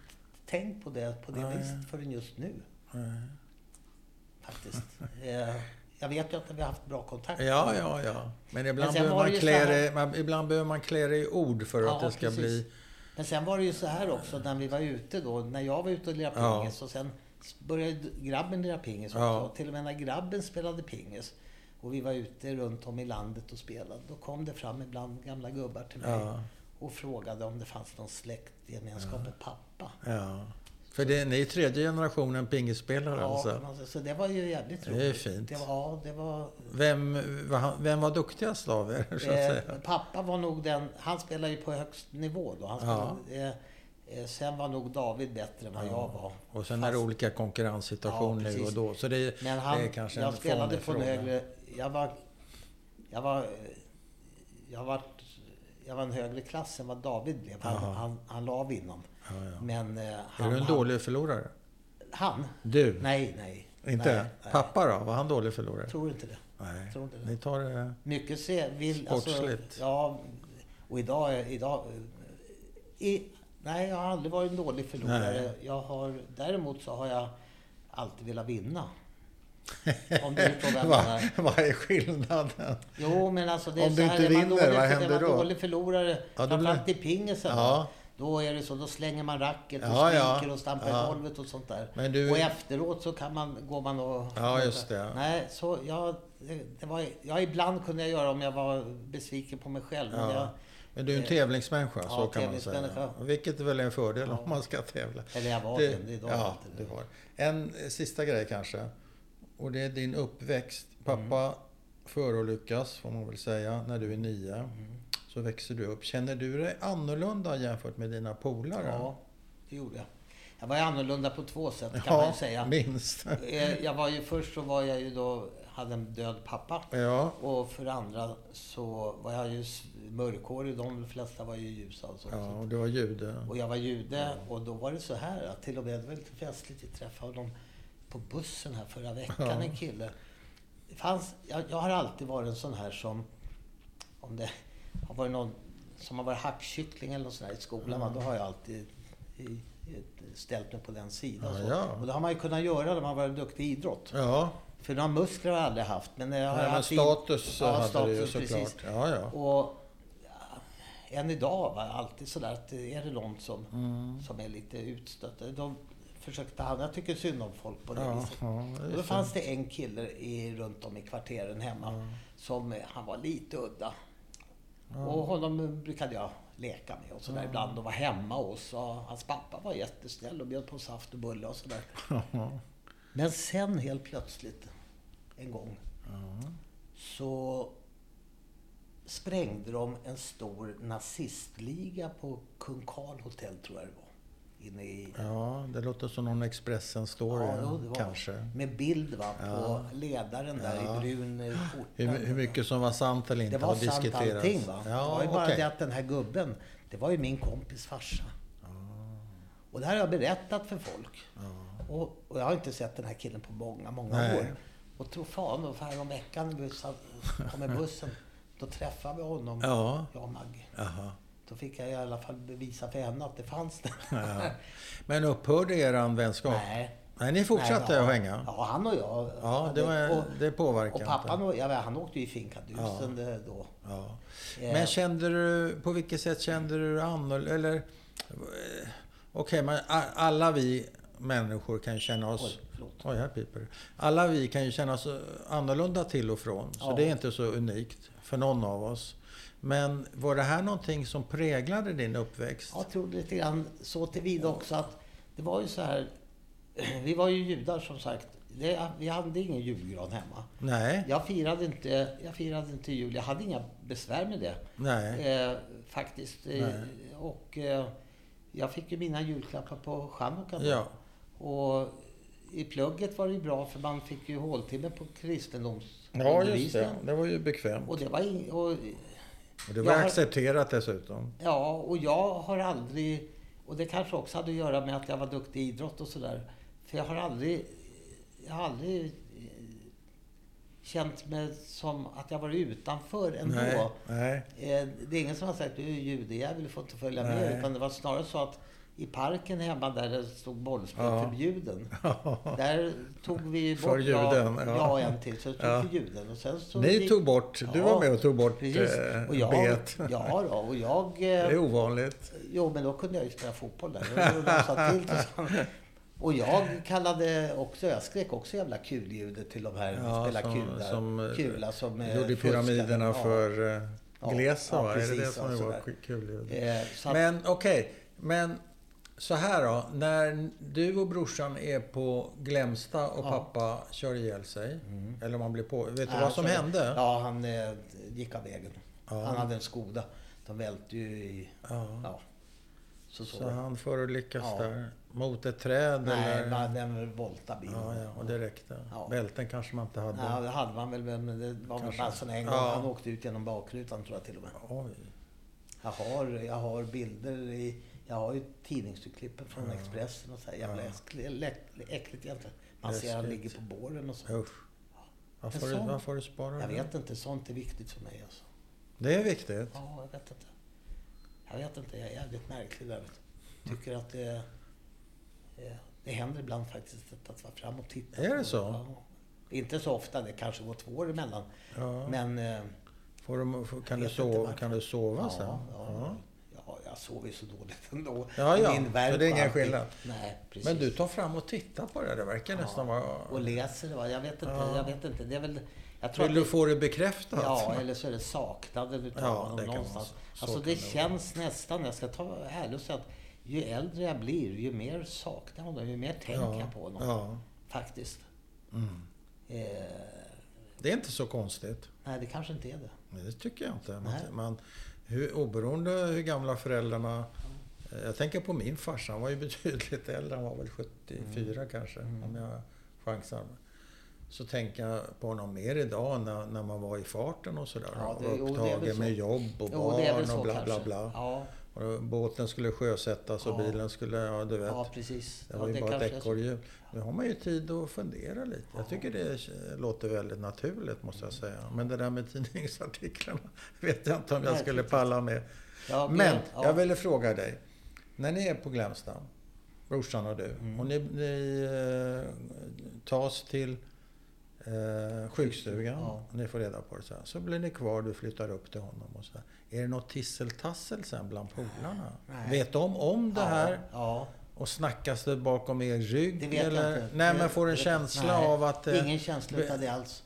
Speaker 2: tänkt på det på det
Speaker 1: Nej.
Speaker 2: viset förrän just nu.
Speaker 1: Nej.
Speaker 2: Faktiskt. Eh, jag vet ju att vi har haft bra kontakt.
Speaker 1: ja, ja, ja. Men ibland,
Speaker 2: sen
Speaker 1: behöver
Speaker 2: var det
Speaker 1: man,
Speaker 2: ju så
Speaker 1: klä
Speaker 2: här-
Speaker 1: det, man, ibland behöver man klä det i ord för
Speaker 2: Ja,
Speaker 1: att det ska
Speaker 2: precis.
Speaker 1: bli...
Speaker 2: Men sen var det ju så här också när vi var ute då, när jag var ute och lirade
Speaker 1: Ja.
Speaker 2: pingis och sen började grabben lira pingis också.
Speaker 1: Ja.
Speaker 2: Och till och med när grabben spelade pingis och vi var ute runt om i landet och spelade, då kom det fram ibland gamla gubbar till mig
Speaker 1: Ja.
Speaker 2: och frågade om det fanns någon släktgemenskap med pappa.
Speaker 1: Ja. För det, ni är tredje generationen pingisspelare alltså?
Speaker 2: man säga. så det var ju jävligt
Speaker 1: Det är
Speaker 2: roligt.
Speaker 1: fint.
Speaker 2: Det var, ja, det var...
Speaker 1: Vem, va- vem var duktigast av er, så att
Speaker 2: Eh,
Speaker 1: säga?
Speaker 2: pappa var nog den... Han spelade ju på högst nivå då. Han
Speaker 1: Ja.
Speaker 2: spelade, eh, eh, sen var nog David bättre än vad jag var.
Speaker 1: Och sen är det
Speaker 2: Fast-
Speaker 1: olika konkurrenssituationer
Speaker 2: Ja,
Speaker 1: nu
Speaker 2: precis.
Speaker 1: och då. Så det,
Speaker 2: Men han,
Speaker 1: det är kanske
Speaker 2: jag
Speaker 1: en
Speaker 2: spelade
Speaker 1: fånig
Speaker 2: på
Speaker 1: fråga.
Speaker 2: en högre... Jag var... Jag var... Jag var, jag var en högre klass än vad David blev. Han,
Speaker 1: Jaha.
Speaker 2: han, han la av inom.
Speaker 1: Ja, ja.
Speaker 2: Men eh, han...
Speaker 1: är du en
Speaker 2: han-
Speaker 1: dålig förlorare?
Speaker 2: Han?
Speaker 1: Du?
Speaker 2: Nej, nej.
Speaker 1: Inte?
Speaker 2: Nej, nej.
Speaker 1: Pappa då? Var han dålig förlorare?
Speaker 2: Jag tror inte det.
Speaker 1: Nej.
Speaker 2: Tror inte det.
Speaker 1: Ni tar eh, det...
Speaker 2: Mycket se, vill... alltså,
Speaker 1: Sportsligt.
Speaker 2: ja, och idag... är- idag i, nej, jag har aldrig varit en dålig förlorare.
Speaker 1: Nej.
Speaker 2: Jag har, däremot så har jag alltid velat vinna. Om du
Speaker 1: <laughs>
Speaker 2: frågar vad jag menar.
Speaker 1: Vad är skillnaden?
Speaker 2: Jo, men alltså det är
Speaker 1: Om du
Speaker 2: så här,
Speaker 1: inte
Speaker 2: är man
Speaker 1: vinner,
Speaker 2: dålig,
Speaker 1: vad
Speaker 2: är
Speaker 1: händer
Speaker 2: man
Speaker 1: då?
Speaker 2: dålig förlorare,
Speaker 1: då blir-
Speaker 2: framförallt i pingisen,
Speaker 1: Ja.
Speaker 2: då är det så, då slänger man racket och
Speaker 1: Ja, ja.
Speaker 2: skriker och stampar
Speaker 1: Ja.
Speaker 2: i golvet och sånt där.
Speaker 1: Men du-
Speaker 2: Och efteråt så kan man, går man och...
Speaker 1: Ja, just det.
Speaker 2: Nej, så jag, det var, ja, ibland kunde jag göra om jag var besviken på mig själv. Men jag,
Speaker 1: Ja. Men du är en tävlingsmänniska, så
Speaker 2: Eh, ja,
Speaker 1: kan man säga.
Speaker 2: tävlingsmänniska.
Speaker 1: Vilket väl är en fördel om man ska tävla.
Speaker 2: eller jag var
Speaker 1: Du-
Speaker 2: det, det idag.
Speaker 1: ja,
Speaker 2: inte
Speaker 1: du
Speaker 2: det.
Speaker 1: har. En eh, sista grej kanske. Och det är din uppväxt. Pappa
Speaker 2: Mm.
Speaker 1: förolyckas, får man väl säga, när du är nio. Så växer du upp. Känner du dig annorlunda jämfört med dina polare?
Speaker 2: Ja, det gjorde jag. Jag var ju annorlunda på två sätt kan
Speaker 1: Ja,
Speaker 2: man ju <laughs> säga.
Speaker 1: minst.
Speaker 2: Eh, Jag var ju först så var jag ju då, hade en död pappa.
Speaker 1: ja,
Speaker 2: Och för det andra så var jag ju s- mörkhårig, de flesta var ju ljusa och så.
Speaker 1: ja, och du var jude.
Speaker 2: Och jag var jude och då var det så här att till och med, det var lite festligt, jag träffade honom på bussen här förra veckan,
Speaker 1: Ja.
Speaker 2: en kille. Det fanns, jag, jag har alltid varit en sån här som, om det har varit någon som har varit hackkyckling eller något sånt här i skolan,
Speaker 1: Mm.
Speaker 2: va, då har jag alltid i, i, ställt mig på den sidan.
Speaker 1: Ja,
Speaker 2: så.
Speaker 1: ja.
Speaker 2: Och det har man ju kunnat göra när man varit duktig i idrott.
Speaker 1: Ja,
Speaker 2: För några muskler har jag aldrig haft. Men, jag har
Speaker 1: Nej, men
Speaker 2: haft i-
Speaker 1: status
Speaker 2: Ja,
Speaker 1: hade du ju
Speaker 2: status,
Speaker 1: såklart.
Speaker 2: precis.
Speaker 1: Ja, ja.
Speaker 2: Och ja, än idag var jag alltid sådär att är det någon som,
Speaker 1: Mm.
Speaker 2: som är lite utstött, då försökte han, jag tycker synd om folk på det
Speaker 1: Ja,
Speaker 2: viset.
Speaker 1: ja, det är
Speaker 2: och då
Speaker 1: synd.
Speaker 2: fanns det en kille i, runt om i kvarteren hemma som, eh, han var lite udda. Och honom brukade jag leka med och sådär ibland och var hemma hos. Och hans pappa var jättesnäll och bjöd på saft och bulle och sådär. Men sen helt plötsligt, en gång, så sprängde de en stor nazistliga på Kung Karl hotell, tror jag det var. Inne i...
Speaker 1: ja, det låter som någon Expressen-story,
Speaker 2: jo, det var-
Speaker 1: kanske.
Speaker 2: Med bild va, på ledaren där
Speaker 1: Ja.
Speaker 2: i brun eh, skjorta.
Speaker 1: Hur, hur mycket som var sant eller inte
Speaker 2: Det var
Speaker 1: har
Speaker 2: sant
Speaker 1: diskuterats.
Speaker 2: allting va. det
Speaker 1: Ja,
Speaker 2: var ju bara
Speaker 1: okej.
Speaker 2: det att den här gubben, det var ju min kompis farsa. Och det här har jag berättat för folk. Och, och jag har inte sett den här killen på många, många
Speaker 1: Nej.
Speaker 2: år. Och tro fan, ungefär om veckan när vi satt- kom i bussen, då träffade vi honom,
Speaker 1: Ja.
Speaker 2: jag och Maggie.
Speaker 1: Jaha.
Speaker 2: Då fick jag i alla fall bevisa för henne att det fanns det.
Speaker 1: Ja. Men upphörde er vänskap?
Speaker 2: Nej.
Speaker 1: Nej, ni fortsatte
Speaker 2: Nej, ja.
Speaker 1: att hänga?
Speaker 2: Ja, han och jag.
Speaker 1: Ja, det, var,
Speaker 2: och,
Speaker 1: det
Speaker 2: och
Speaker 1: påverkade
Speaker 2: pappan,
Speaker 1: inte.
Speaker 2: och, ja, han åkte ju i finkadusen eh, då.
Speaker 1: Ja.
Speaker 2: Eh,
Speaker 1: Men kände du, på vilket sätt kände du dig annorlunda? Eller, eh, okej, men a- alla vi människor kan ju känna oss...
Speaker 2: Oj, förlåt.
Speaker 1: Oj, här piper det. Alla vi kan ju känna oss annorlunda till och från. Så
Speaker 2: Ja.
Speaker 1: det är inte så unikt för någon av oss. Men var det här någonting som präglade din uppväxt?
Speaker 2: Jag tror lite grann så tillvida också att det var ju så här. <clears throat> Vi var ju judar som sagt. Det, vi hade ingen julgran hemma.
Speaker 1: Nej.
Speaker 2: Jag firade, inte, jag firade inte jul. Jag hade inga besvär med det.
Speaker 1: Nej.
Speaker 2: Eh, faktiskt. Eh,
Speaker 1: Nej.
Speaker 2: Och eh, jag fick ju mina julklappar på chanukka. då.
Speaker 1: Ja.
Speaker 2: Och i plugget var det ju bra för man fick ju håltimme
Speaker 1: Ja,
Speaker 2: på
Speaker 1: just
Speaker 2: kristendomsundervisningen.
Speaker 1: det. Det var ju bekvämt.
Speaker 2: Och det var ing- och
Speaker 1: Och det var
Speaker 2: Jag har-
Speaker 1: accepterat dessutom.
Speaker 2: Ja, och jag har aldrig... Och det kanske också hade att göra med att jag var duktig i idrott och sådär. För jag har aldrig... Jag har aldrig eh, känt mig som att jag var utanför ändå.
Speaker 1: Nej, nej. <laughs>
Speaker 2: Eh, Det är ingen som har sagt du är judejävel, du får inte följa
Speaker 1: Nej.
Speaker 2: med. Utan det var snarare så att i parken hemma där det stod bollspel
Speaker 1: Ja.
Speaker 2: förbjuden. Där tog vi bort...
Speaker 1: För juden, ja.
Speaker 2: Jag, jag och en till, så tog
Speaker 1: Ja.
Speaker 2: vi juden. Och sen så
Speaker 1: Ni
Speaker 2: gick-
Speaker 1: tog bort, du var med och tog bort
Speaker 2: Precis.
Speaker 1: eh,
Speaker 2: Och jag,
Speaker 1: bet.
Speaker 2: Ja, då, och jag...
Speaker 1: <laughs> Det
Speaker 2: eh,
Speaker 1: är ovanligt.
Speaker 2: Jo, men då kunde jag ju spela fotboll där. Då var det satt till tillsammans. och jag kallade också, jag skrek också jävla kulljudet till de här
Speaker 1: Ja,
Speaker 2: spela
Speaker 1: som-
Speaker 2: kula,
Speaker 1: som, eh,
Speaker 2: kula som eh,
Speaker 1: Gjorde
Speaker 2: fuskade.
Speaker 1: pyramiderna
Speaker 2: Ja.
Speaker 1: för eh,
Speaker 2: Ja,
Speaker 1: glesa
Speaker 2: ja, Eh,
Speaker 1: va? Är det
Speaker 2: precis,
Speaker 1: det som
Speaker 2: ja,
Speaker 1: det var
Speaker 2: sådär.
Speaker 1: kul?
Speaker 2: Eh, så att,
Speaker 1: Men okej, men Så här då, när du och brorsan är på Glämsta och
Speaker 2: Ja.
Speaker 1: pappa kör ihjäl sig. Eller om han blir på... Vet du
Speaker 2: Nej,
Speaker 1: vad som
Speaker 2: alltså,
Speaker 1: hände?
Speaker 2: Ja, han eh, gick av vägen.
Speaker 1: Ja.
Speaker 2: Han hade en Skoda. De välte ju i...
Speaker 1: Ja.
Speaker 2: Ja. Så så.
Speaker 1: Så han förolyckas
Speaker 2: Ja.
Speaker 1: där. Mot ett träd
Speaker 2: Nej,
Speaker 1: eller...
Speaker 2: man, den voltade bilen.
Speaker 1: Ja, ja, och det räckte.
Speaker 2: Ja.
Speaker 1: Bälten kanske man inte hade.
Speaker 2: Ja, det hade man väl, men det var väl
Speaker 1: Kanske.
Speaker 2: bara sån en gång.
Speaker 1: Ja.
Speaker 2: Han åkte ut genom bakrutan tror jag till och med.
Speaker 1: Oj.
Speaker 2: Jag har, jag har bilder i... Jag har ju tidningsurklippen från Expressen och så här. Jävla
Speaker 1: Ja.
Speaker 2: äckligt, läck- äckligt egentligen. Man ser han
Speaker 1: Läskigt.
Speaker 2: ligger på båren och så.
Speaker 1: Usch. Varför,
Speaker 2: En
Speaker 1: du,
Speaker 2: sån.
Speaker 1: varför har du sparat
Speaker 2: Jag
Speaker 1: det?
Speaker 2: vet inte, sånt är viktigt för mig alltså.
Speaker 1: Det är viktigt.
Speaker 2: Ja, jag vet inte. Jag vet inte, jag är jävligt märklig där. vet du. Tycker att det... eh, Det händer ibland faktiskt att- att vara fram och titta.
Speaker 1: Är det
Speaker 2: på-
Speaker 1: så?
Speaker 2: Ja. Inte så ofta, det kanske går två år emellan.
Speaker 1: Ja.
Speaker 2: Men... eh,
Speaker 1: Får du, får, kan, du
Speaker 2: vet inte
Speaker 1: sova,
Speaker 2: varför.
Speaker 1: kan du sova sen?
Speaker 2: Ja, ja. ja, jag sover ju så dåligt <laughs> ändå.
Speaker 1: Ja,
Speaker 2: I
Speaker 1: ja,
Speaker 2: min värld
Speaker 1: så det är
Speaker 2: och
Speaker 1: ingen
Speaker 2: allting.
Speaker 1: skillnad.
Speaker 2: Nej, precis.
Speaker 1: Men du tar fram och tittar på det. Det verkar nästan vara...
Speaker 2: Och läser, va? jag vet inte.
Speaker 1: Ja.
Speaker 2: Jag vet inte. Det är väl... Jag tror
Speaker 1: Vill
Speaker 2: att
Speaker 1: du
Speaker 2: det-
Speaker 1: få det bekräftat?
Speaker 2: Ja, eller så är det saknaden utav
Speaker 1: Ja, det
Speaker 2: honom
Speaker 1: kan
Speaker 2: någonstans.
Speaker 1: vara så. Så
Speaker 2: Alltså
Speaker 1: kan
Speaker 2: det
Speaker 1: det vara.
Speaker 2: känns nästan, jag ska ta vara ärlig och säga att ju äldre jag blir, ju mer saknar jag honom, ju mer tänker
Speaker 1: Ja,
Speaker 2: jag på honom.
Speaker 1: ja. Mm.
Speaker 2: Faktiskt. Eh,
Speaker 1: Det är inte så konstigt.
Speaker 2: nej, det kanske inte är det.
Speaker 1: Nej, Det tycker jag inte. Man,
Speaker 2: Nej.
Speaker 1: man, hur, oberoende hur gamla föräldrarna... eh, Jag tänker på min farsa. Han var ju <laughs> betydligt äldre. Han var väl 74
Speaker 2: Mm.
Speaker 1: kanske, om jag chansar. Så tänker jag på honom mer idag när, när man var i farten och sådär.
Speaker 2: Ja, det-
Speaker 1: och
Speaker 2: jo, det är väl
Speaker 1: upptagen
Speaker 2: så.
Speaker 1: med jobb och
Speaker 2: Jo, det är väl
Speaker 1: barn
Speaker 2: så
Speaker 1: och bla bla
Speaker 2: kanske.
Speaker 1: bla.
Speaker 2: Ja,
Speaker 1: Och då, båten skulle sjösättas och
Speaker 2: Ja.
Speaker 1: bilen skulle... Ja, du vet.
Speaker 2: ja precis.
Speaker 1: Det var ju
Speaker 2: ja,
Speaker 1: bara ett
Speaker 2: kanske är så.
Speaker 1: ekorrhjul. Nu har man ju tid att fundera lite. Jag tycker det låter väldigt naturligt måste
Speaker 2: Mm.
Speaker 1: jag säga. Men det där med tidningsartiklarna <laughs> vet jag inte om jag
Speaker 2: Nej,
Speaker 1: skulle
Speaker 2: precis.
Speaker 1: palla med.
Speaker 2: Ja,
Speaker 1: Men
Speaker 2: ja.
Speaker 1: jag ville fråga dig. När ni är på Glämsta, brorsan och du,
Speaker 2: Mm.
Speaker 1: och ni, ni eh, tas till eh, sjukstugan,
Speaker 2: Ja.
Speaker 1: och ni får reda på det så här. Så blir ni kvar, du flyttar upp till honom och så här. Är det något tisseltassel sen bland polarna?
Speaker 2: Nej.
Speaker 1: Vet de om det här?
Speaker 2: Ja,
Speaker 1: Och snackas det bakom er rygg?
Speaker 2: det vet
Speaker 1: eller?
Speaker 2: jag inte.
Speaker 1: Nej,
Speaker 2: Det-
Speaker 1: men får en
Speaker 2: det-
Speaker 1: känsla
Speaker 2: nej,
Speaker 1: av att... eh,
Speaker 2: Ingen känsla
Speaker 1: be-
Speaker 2: utav det alls.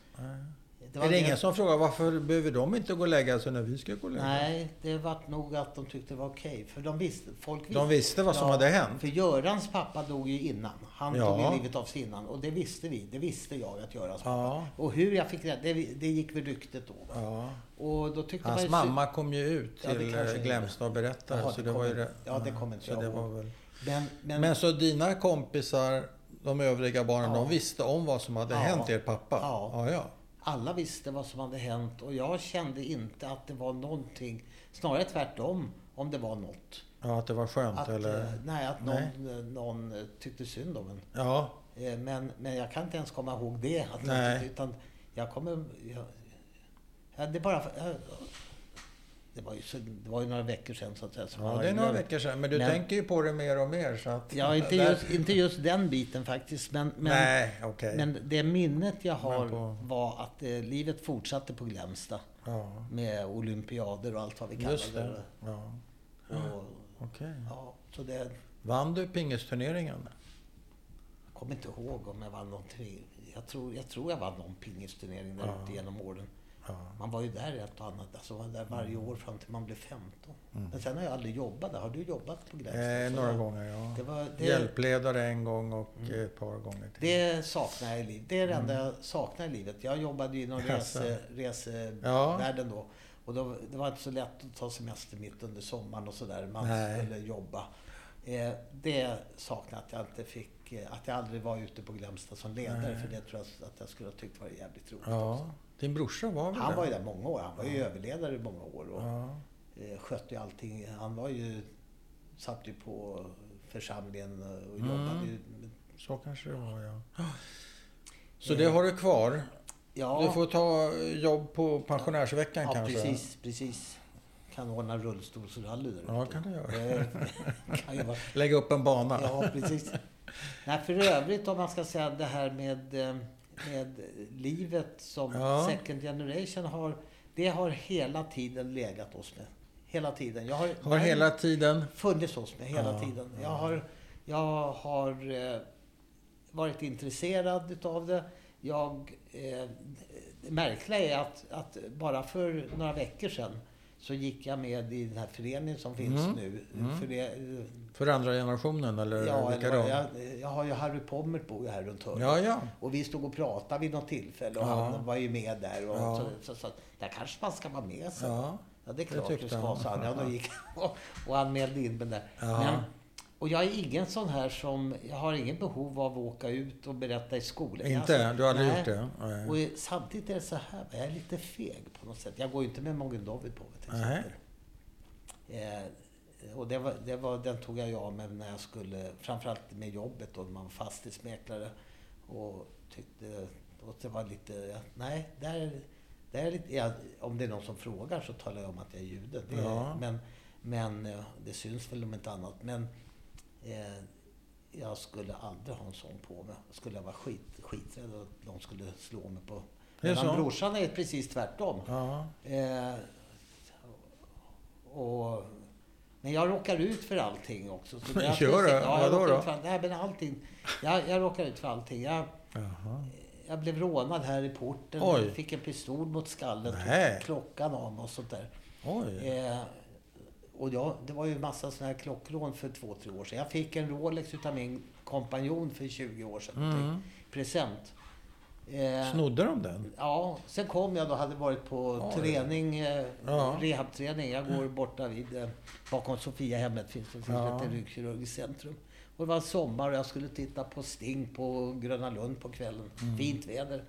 Speaker 2: Det var
Speaker 1: Är det
Speaker 2: det-
Speaker 1: ingen som frågar varför behöver de inte gå och lägga sig när vi ska gå och lägga oss?
Speaker 2: Nej, det vart nog att de tyckte det var okej. För de visste, folk visste.
Speaker 1: De visste vad som hade hänt.
Speaker 2: För Görans pappa dog ju innan. Han
Speaker 1: Ja.
Speaker 2: tog ju livet av sig innan. Och det visste vi. Det visste jag att Görans
Speaker 1: Ja.
Speaker 2: pappa. Och hur jag fick reda det, det gick vid ryktet då.
Speaker 1: Ja.
Speaker 2: Och då tyckte man
Speaker 1: Hans
Speaker 2: ju
Speaker 1: mamma kom ju ut
Speaker 2: Ja, det
Speaker 1: till
Speaker 2: kanske
Speaker 1: eh,
Speaker 2: är
Speaker 1: Glämsta och berättade.
Speaker 2: Jaha,
Speaker 1: så
Speaker 2: det
Speaker 1: det var
Speaker 2: kommer-
Speaker 1: ju det.
Speaker 2: ja, det kommer inte
Speaker 1: så
Speaker 2: jag
Speaker 1: det
Speaker 2: ihåg.
Speaker 1: var väl.
Speaker 2: Men, men,
Speaker 1: Men så dina kompisar, de övriga barnen,
Speaker 2: Ja.
Speaker 1: de visste om vad som hade
Speaker 2: Ja.
Speaker 1: hänt er pappa?
Speaker 2: Ja.
Speaker 1: ja, ja.
Speaker 2: alla visste vad som hade hänt och jag kände inte att det var någonting. Snarare tvärtom, om det var något.
Speaker 1: Ja, att det var skönt
Speaker 2: Att, eh,
Speaker 1: eller?
Speaker 2: nej, att någon, eh, någon eh, tyckte synd om en.
Speaker 1: Ja.
Speaker 2: Eh, Men, men jag kan inte ens komma ihåg det. Att jag
Speaker 1: Nej.
Speaker 2: tyckte, utan jag kommer... Jag, ja, det bara... Jag, det, var ju så, det var ju några veckor sedan så att säga. så jag
Speaker 1: ja,
Speaker 2: har
Speaker 1: det är
Speaker 2: ju
Speaker 1: några
Speaker 2: glömt.
Speaker 1: veckor sedan. Men du
Speaker 2: Men-
Speaker 1: tänker ju på det mer och mer. Så att,
Speaker 2: Ja, inte
Speaker 1: Där-
Speaker 2: just, inte just den biten faktiskt. Men, men,
Speaker 1: Nej, okej.
Speaker 2: men det minnet jag har
Speaker 1: Men på-
Speaker 2: var att eh, livet fortsatte på Glämsta.
Speaker 1: Ja,
Speaker 2: Med olympiader och allt vad vi kallar
Speaker 1: just det.
Speaker 2: det.
Speaker 1: Ja,
Speaker 2: Och,
Speaker 1: okej.
Speaker 2: ja, så det...
Speaker 1: Vann du pingisturneringen?
Speaker 2: Jag kommer inte ihåg om jag vann någon tre. Jag tror jag, tror jag vann någon pingisturnering där ute genom åren. Man var ju där ett och annat. Alltså man var där varje
Speaker 1: Mm.
Speaker 2: år fram till man blev 15. Men sen har jag aldrig jobbat där. Har du jobbat på Glämsta?
Speaker 1: Eh,
Speaker 2: Så
Speaker 1: några
Speaker 2: jag-
Speaker 1: gånger, ja.
Speaker 2: det var- det- Mm.
Speaker 1: Hjälpledare en gång och ett par gånger till.
Speaker 2: Det saknar jag i livet. Det är det enda jag saknar i livet. Jag jobbade ju inom
Speaker 1: Mm. Jaså.
Speaker 2: rese, resevärlden då. Och då, det var inte så lätt att ta semester mitt under sommaren och sådär. Man
Speaker 1: Nej.
Speaker 2: skulle jobba. Eh, det saknar jag att jag inte fick, eh, att jag aldrig var ute på Glämsta som ledare. För det tror jag att jag skulle ha tyckt var jävligt roligt också.
Speaker 1: Ja. Din brorsa var väl
Speaker 2: Han
Speaker 1: där?
Speaker 2: var ju där många år. Han var ju överledare i många år och
Speaker 1: Ja.
Speaker 2: eh, skötte ju allting. Han var ju, satt ju på församlingen och
Speaker 1: Mm.
Speaker 2: jobbade ju. med-
Speaker 1: Så kanske det var, ja. Så det har du kvar?
Speaker 2: Eh, Ja.
Speaker 1: Du får ta eh, jobb på pensionärsveckan
Speaker 2: Ja,
Speaker 1: kanske?
Speaker 2: precis, precis. Kan ordna rullstolsrally där
Speaker 1: Ja,
Speaker 2: ute.
Speaker 1: kan du göra.
Speaker 2: Det <laughs> kan ju vara.
Speaker 1: Lägga upp en bana?
Speaker 2: Ja, precis. Nej, för övrigt om man ska säga det här med, eh, med livet som
Speaker 1: Ja.
Speaker 2: second generation har. Det har hela tiden legat oss med. Hela tiden. Jag har,
Speaker 1: Har hela tiden...
Speaker 2: funnits hos mig hela
Speaker 1: Ja,
Speaker 2: tiden. Jag har, jag har eh, varit intresserad utav det. Jag, eh, det märkliga är att, att bara för några veckor sedan så gick jag med i den här föreningen som finns
Speaker 1: Mm.
Speaker 2: nu.
Speaker 1: Mm.
Speaker 2: Före-
Speaker 1: För andra generationen eller
Speaker 2: ja, eller
Speaker 1: likadan?
Speaker 2: vad- jag, jag har ju Harry Pommert bor ju här runt hörnet.
Speaker 1: ja, ja.
Speaker 2: Och vi stod och pratade vid något tillfälle och
Speaker 1: Ja.
Speaker 2: han var ju med där. Och
Speaker 1: Ja.
Speaker 2: så, så, så, där kanske man ska vara med, så.
Speaker 1: ja.
Speaker 2: Ja, det är
Speaker 1: Det
Speaker 2: klart
Speaker 1: tyckte
Speaker 2: du ska,
Speaker 1: han.
Speaker 2: sa han. Ja, då gick han och- och anmälde in mig där.
Speaker 1: Ja.
Speaker 2: Men, och jag är ingen sån här som, jag har ingen behov av att åka ut och berätta i skolan.
Speaker 1: Inte?
Speaker 2: Alltså,
Speaker 1: Du har aldrig
Speaker 2: nej.
Speaker 1: gjort det? Nej.
Speaker 2: Och i- samtidigt är det så här, jag är lite feg på något sätt. Jag går ju inte med Mogen David på mig till
Speaker 1: Nej.
Speaker 2: exempel. Eh, och det var, det var, den tog jag ju av mig när jag skulle, framförallt med jobbet då, när man var fastighetsmäklare. Och tyckte, och det var lite, ja, nej, där, där är lite, ja, om det är någon som frågar så talar jag om att jag är jude. Det,
Speaker 1: Ja.
Speaker 2: Men, men eh, det syns väl om inte annat. Men eh, jag skulle aldrig ha en sån på mig. Skulle jag vara skit, skiträdd att de skulle slå mig på...
Speaker 1: Det är
Speaker 2: Medan
Speaker 1: så.
Speaker 2: brorsan är precis tvärtom.
Speaker 1: Ja.
Speaker 2: Eh, och, men jag råkar ut för allting också. Så det är-
Speaker 1: Gör du?
Speaker 2: Ja, jag
Speaker 1: Vadå
Speaker 2: råkar
Speaker 1: då?
Speaker 2: ut för all- Nej, men allting. Jag, jag råkar ut för allting. Jag,
Speaker 1: Jaha.
Speaker 2: jag blev rånad här i porten.
Speaker 1: Oj.
Speaker 2: Fick en pistol mot skallen.
Speaker 1: Nej.
Speaker 2: Tog klockan av mig och sånt där.
Speaker 1: Oj.
Speaker 2: Eh, och jag, det var ju en massa såna här klockrån för två, tre år sedan. Jag fick en Rolex utav min kompanjon för 20 år sedan.
Speaker 1: Mm.
Speaker 2: Present. Eh,
Speaker 1: Snodde de den?
Speaker 2: Ja, sen kom jag då, hade varit på
Speaker 1: Oj.
Speaker 2: träning, eh,
Speaker 1: Ja.
Speaker 2: rehabträning. Jag går borta vid, eh, bakom Sofiahemmet finns det
Speaker 1: Ja.
Speaker 2: ja. ett ryggkirurgiskt centrum. Och det var sommar och jag skulle titta på Sting på Gröna Lund på kvällen.
Speaker 1: Mm.
Speaker 2: Fint väder.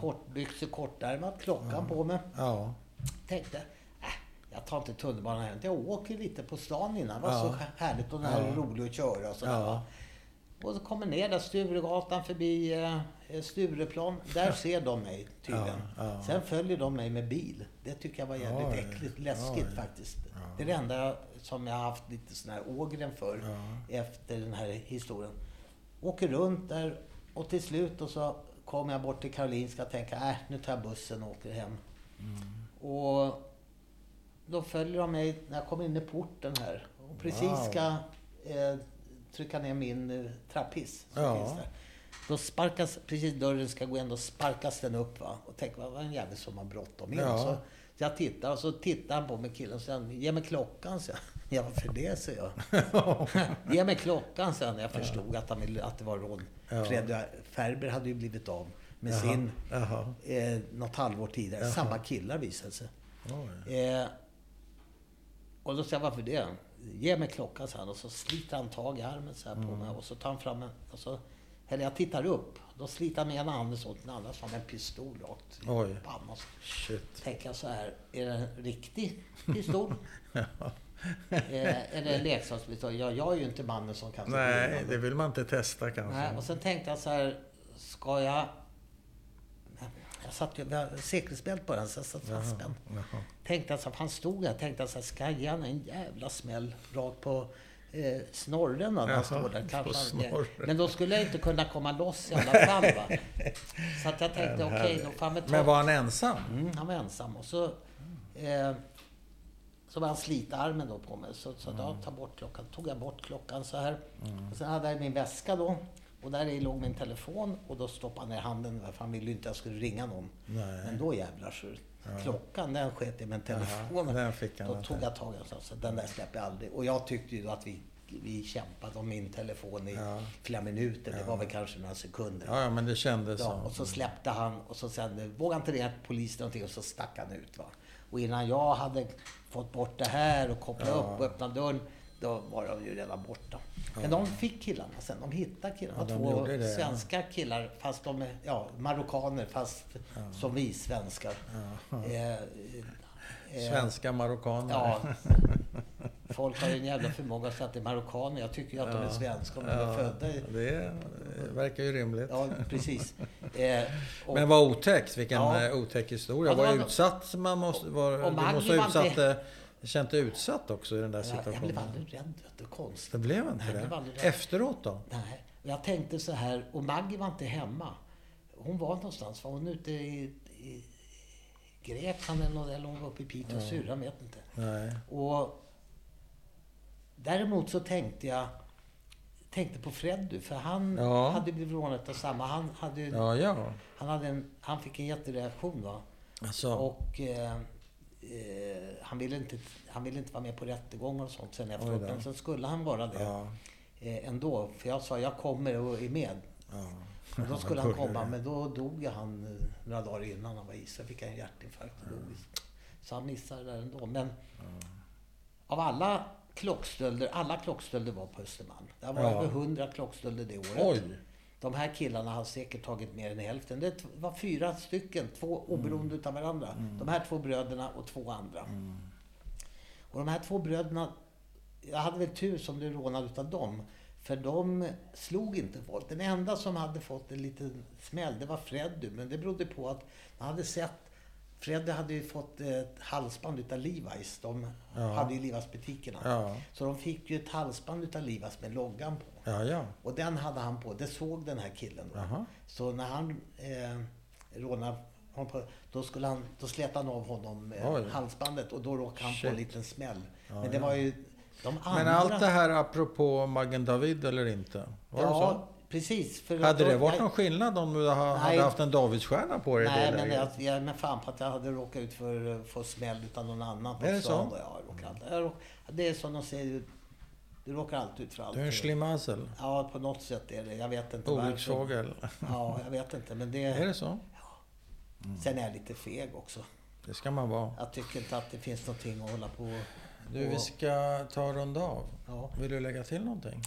Speaker 2: Kortbyxor, kortärmat, klockan på mig.
Speaker 1: Ja.
Speaker 2: Tänkte, äh, jag tar inte tunnelbanan hem. Jag åker lite på stan innan. Det var
Speaker 1: Ja.
Speaker 2: så härligt och den här
Speaker 1: Ja.
Speaker 2: är rolig att köra och sådär.
Speaker 1: Ja.
Speaker 2: va. Och så kommer ner där, Sturegatan förbi eh, Stureplan.
Speaker 1: <laughs>
Speaker 2: Där ser de mig tydligen.
Speaker 1: Ja, ja.
Speaker 2: Sen följer de mig med bil. Det tycker jag var jävligt
Speaker 1: Oj,
Speaker 2: äckligt, läskigt
Speaker 1: oj.
Speaker 2: faktiskt. Det är det enda som jag har haft lite sån här ågren för
Speaker 1: Ja.
Speaker 2: efter den här historien. Åker runt där och till slut och så kom jag bort till Karolinska och tänkte äh, nu tar jag bussen och åker hem. Mm. Och då följer de mig när jag kommer in i porten här. Och precis
Speaker 1: Wow.
Speaker 2: ska eh, trycka ner min eh, trapphiss som
Speaker 1: Ja.
Speaker 2: finns där. Då sparkas, precis dörren ska gå in, då sparkas den upp va. Och tänker, vad var en jävel som har bråttom in.
Speaker 1: Ja.
Speaker 2: Så jag tittar och så tittar han på mig killen och säger, ge mig klockan sen. Ja, varför det, säger
Speaker 1: <laughs>
Speaker 2: jag. <laughs> Ge mig klockan sen. Jag förstod att, han ville, att det var rån.
Speaker 1: Ja.
Speaker 2: Fredrik Ferber hade ju blivit av med
Speaker 1: Jaha,
Speaker 2: <laughs> sin
Speaker 1: <laughs> Jaha.
Speaker 2: eh, något halvår tidigare. Samma killar visade det sig.
Speaker 1: Oj.
Speaker 2: Eh, och då sa jag, varför det? Ge mig klockan, så han. Och så sliter han tag i armen så här
Speaker 1: Mm.
Speaker 2: på mig. Och så tar han fram en... Och så, eller jag tittar upp. Då sliter han med ena handen så åt den andra. Så har han en pistol rakt i
Speaker 1: Oj.
Speaker 2: pannan. Och så
Speaker 1: Shit.
Speaker 2: tänker jag så här, är det en riktig
Speaker 1: <laughs>
Speaker 2: pistol?
Speaker 1: Ja.
Speaker 2: eh, eller en leksakspistol? Ja, jag är ju inte mannen som kan...
Speaker 1: Nej, det vill man inte testa
Speaker 2: Nej,
Speaker 1: kanske.
Speaker 2: och sen tänkte jag så här, ska jag... Men Jag satt ju, jag hade säkerhetsbälte på den, så jag satt fastspänd.
Speaker 1: Jaha.
Speaker 2: Tänkte alltså, han stod där, tänkte alltså, ska jag ge han en jävla smäll rakt på eh, snorren när
Speaker 1: Jaha,
Speaker 2: han står där?
Speaker 1: på
Speaker 2: Kanske han,
Speaker 1: snorren.
Speaker 2: men då skulle jag inte kunna komma loss i alla fall. Va?
Speaker 1: <laughs>
Speaker 2: Så att jag tänkte,
Speaker 1: Den här-
Speaker 2: okej, då får han väl ta
Speaker 1: Men var han ensam?
Speaker 2: Mm, han var ensam. Och så, eh, så började han slita armen då på mig. Så, så då,
Speaker 1: Mm.
Speaker 2: ta bort klockan. tog jag bort klockan så här. Och sen hade jag min väska då. Och där i låg min telefon. Och då stoppade han ner handen. För han ville ju inte att jag skulle ringa någon.
Speaker 1: Nej.
Speaker 2: Men då jävlar så. Klockan den sket i men telefonen.
Speaker 1: den fick han
Speaker 2: Mm. då
Speaker 1: inte.
Speaker 2: tog jag tag i den. så- Så den där släpper jag aldrig. Och jag tyckte ju då att vi, vi kämpade om min telefon i
Speaker 1: Ja.
Speaker 2: flera minuter. Det var väl kanske några sekunder.
Speaker 1: Ja, ja, men det kändes
Speaker 2: Ja,
Speaker 1: så.
Speaker 2: och så släppte han och så sen vågade inte ringa polisen någonting och så stack han ut. Va? Och innan jag hade fått bort det här och kopplat upp och öppnat dörren, då var de ju redan borta. Men de fick killarna sen, de hittade killarna.
Speaker 1: Ja, de
Speaker 2: Två
Speaker 1: gjorde det.
Speaker 2: svenska killar, fast de är ja, marockaner, fast som vi svenskar.
Speaker 1: <laughs>
Speaker 2: Eh, eh,
Speaker 1: Svenska marockaner.
Speaker 2: Ja, folk har ju en jävla förmåga att säga att det är marockaner. Jag tycker ju att de är svenskar, men de är födda i...
Speaker 1: Det eh, verkar ju rimligt.
Speaker 2: Ja, precis. Eh, och-
Speaker 1: Men vad otäckt, vilken
Speaker 2: Ja.
Speaker 1: eh, otäck historia.
Speaker 2: Ja, det
Speaker 1: vad
Speaker 2: var-
Speaker 1: utsatt man måste vara.
Speaker 2: och
Speaker 1: Du
Speaker 2: Maggie
Speaker 1: måste ha
Speaker 2: var inte-
Speaker 1: utsatt, eh, känt dig utsatt också i den där
Speaker 2: Ja, Jag, jag
Speaker 1: situationen.
Speaker 2: blev aldrig rädd. vet du. Konstigt.
Speaker 1: Det blev inte
Speaker 2: Nej,
Speaker 1: det?
Speaker 2: jag blev aldrig rädd.
Speaker 1: Efteråt då?
Speaker 2: Nej. Och Jag tänkte så här, och Maggie var inte hemma. Hon var någonstans. Var hon ute i, i Grekland eller, något, eller hon var uppe i Piteå och syrran, vet inte.
Speaker 1: Nej.
Speaker 2: Mm. Och däremot så tänkte jag tänkte på Freddy, för han
Speaker 1: Ja.
Speaker 2: hade blivit rånad av samma. Han, hade, ju-
Speaker 1: Ja, ja.
Speaker 2: han, hade en, han fick en jättereaktion. Va?
Speaker 1: Alltså,
Speaker 2: Och eh, eh, han, ville inte, han ville inte vara med på rättegångar och sånt sen efteråt.
Speaker 1: då.
Speaker 2: Men sen skulle han vara det
Speaker 1: Ja.
Speaker 2: eh, ändå. För jag sa, jag kommer och är med.
Speaker 1: ja.
Speaker 2: Och då skulle han
Speaker 1: Började
Speaker 2: komma,
Speaker 1: det.
Speaker 2: men då dog ju han eh, några dagar innan han var i sig. fick han en hjärtinfarkt och dog. Så han missade det där ändå. Men av alla klockstölder, alla klockstölder var på Östermalm. Det var
Speaker 1: Ja.
Speaker 2: över 100 klockstölder det året.
Speaker 1: Oj!
Speaker 2: De här killarna har säkert tagit mer än hälften. Det t- var fyra stycken, två
Speaker 1: Mm.
Speaker 2: oberoende utav varandra. De här två bröderna och två andra. Och de här två bröderna, jag hade väl tur som blev rånad utav dem. För de slog inte folk. Den enda som hade fått en liten smäll, det var Freddy. Men det berodde på att man hade sett Freddy hade ju fått ett halsband utav Levi's. De
Speaker 1: Ja.
Speaker 2: hade ju Levi's-butikerna.
Speaker 1: Ja.
Speaker 2: Så de fick ju ett halsband utav Levi's med loggan på.
Speaker 1: Ja, ja.
Speaker 2: Och den hade han på. Det såg den här killen då.
Speaker 1: Jaha.
Speaker 2: Så när han eh, rånade honom på, då, skulle han, då slet han av honom
Speaker 1: Oj.
Speaker 2: eh, halsbandet och då råkade han
Speaker 1: Shit.
Speaker 2: få en liten smäll.
Speaker 1: Ja,
Speaker 2: Men det
Speaker 1: ja.
Speaker 2: var ju de andra...
Speaker 1: Men allt det här apropå Magen David eller inte? Var
Speaker 2: Ja, precis. För
Speaker 1: det så? Hade
Speaker 2: då-
Speaker 1: det varit
Speaker 2: jag-
Speaker 1: någon skillnad om du ha-
Speaker 2: Nej.
Speaker 1: hade haft en Davidsstjärna på dig? i
Speaker 2: Nej,
Speaker 1: det
Speaker 2: men
Speaker 1: läget?
Speaker 2: jag, jag men fan på att jag hade råkat ut för att få smäll utan någon annan. på
Speaker 1: Är det
Speaker 2: stan
Speaker 1: så?
Speaker 2: då. Ja, jag råkar alltid, jag råk, det är som de säger, du råkar alltid ut för allt.
Speaker 1: Du är en slimassel.
Speaker 2: Ja, på något sätt är det. Jag vet inte
Speaker 1: Olycksfågel.
Speaker 2: Ja, jag vet inte. Men det,
Speaker 1: Är det så? Mm.
Speaker 2: Sen är jag lite feg också.
Speaker 1: Det ska man vara.
Speaker 2: Jag tycker inte att det finns någonting att hålla på och-
Speaker 1: Du, vi ska ta och runda av.
Speaker 2: Ja,
Speaker 1: Vill du lägga till någonting?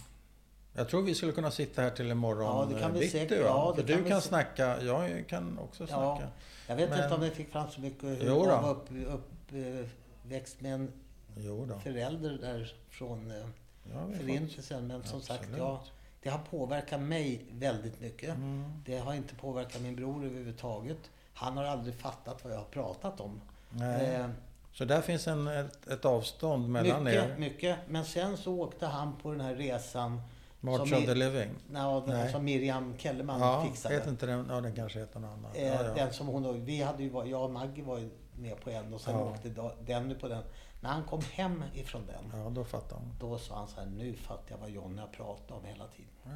Speaker 1: Jag tror vi skulle kunna sitta här till imorgon
Speaker 2: Ja, det kan vi
Speaker 1: bitti,
Speaker 2: säkert.
Speaker 1: va?
Speaker 2: Ja, det
Speaker 1: För
Speaker 2: kan
Speaker 1: du
Speaker 2: vi
Speaker 1: kan
Speaker 2: sä-
Speaker 1: snacka, jag kan också
Speaker 2: ja.
Speaker 1: snacka.
Speaker 2: Jag vet
Speaker 1: Men-
Speaker 2: inte om jag fick fram så mycket hur
Speaker 1: Jo då.
Speaker 2: jag var upp, uppväxt med en
Speaker 1: Jo då.
Speaker 2: förälder där från eh,
Speaker 1: Ja, vi har fått-
Speaker 2: Förintelsen. Men som sagt,
Speaker 1: Absolut.
Speaker 2: jag, det har påverkat mig väldigt mycket.
Speaker 1: Mm.
Speaker 2: Det har inte påverkat min bror överhuvudtaget. Han har aldrig fattat vad jag har pratat om.
Speaker 1: Nej.
Speaker 2: Eh,
Speaker 1: Så där finns en, ett, ett avstånd mellan
Speaker 2: mycket,
Speaker 1: er.
Speaker 2: mycket. Men sen så åkte han på den här resan
Speaker 1: March
Speaker 2: som
Speaker 1: of
Speaker 2: i-
Speaker 1: the Living.
Speaker 2: Ja, den här
Speaker 1: Nej.
Speaker 2: som Miriam Kellerman
Speaker 1: Ja,
Speaker 2: fixade.
Speaker 1: heter inte den, ja den kanske heter något annat.
Speaker 2: Eh,
Speaker 1: Ja, ja.
Speaker 2: Den som hon, vi hade ju, varit- jag och Maggie var ju med på en och sen
Speaker 1: Ja.
Speaker 2: åkte da- Denny på den. När han kom hem ifrån den,
Speaker 1: ja, då fattar man.
Speaker 2: då sa han så här, nu fattar jag vad Johnny har pratat om hela tiden.
Speaker 1: Ja,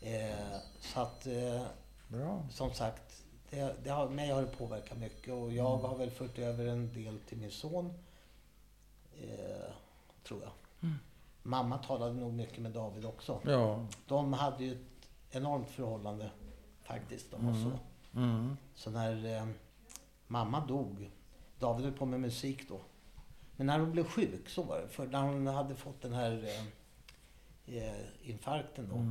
Speaker 2: Eh, så att, eh,
Speaker 1: bra.
Speaker 2: som sagt, det, det har, mig har det påverkat mycket och jag
Speaker 1: Mm.
Speaker 2: har väl fört över en del till min son. Eh, tror jag.
Speaker 1: Mm.
Speaker 2: Mamma talade nog mycket med David också.
Speaker 1: Ja.
Speaker 2: De hade ju ett enormt förhållande faktiskt, de och så.
Speaker 1: Mm.
Speaker 2: Så när eh, mamma dog, David höll på med musik då. Men när hon blev sjuk, så var det. För när hon hade fått den här eh, eh, infarkten då.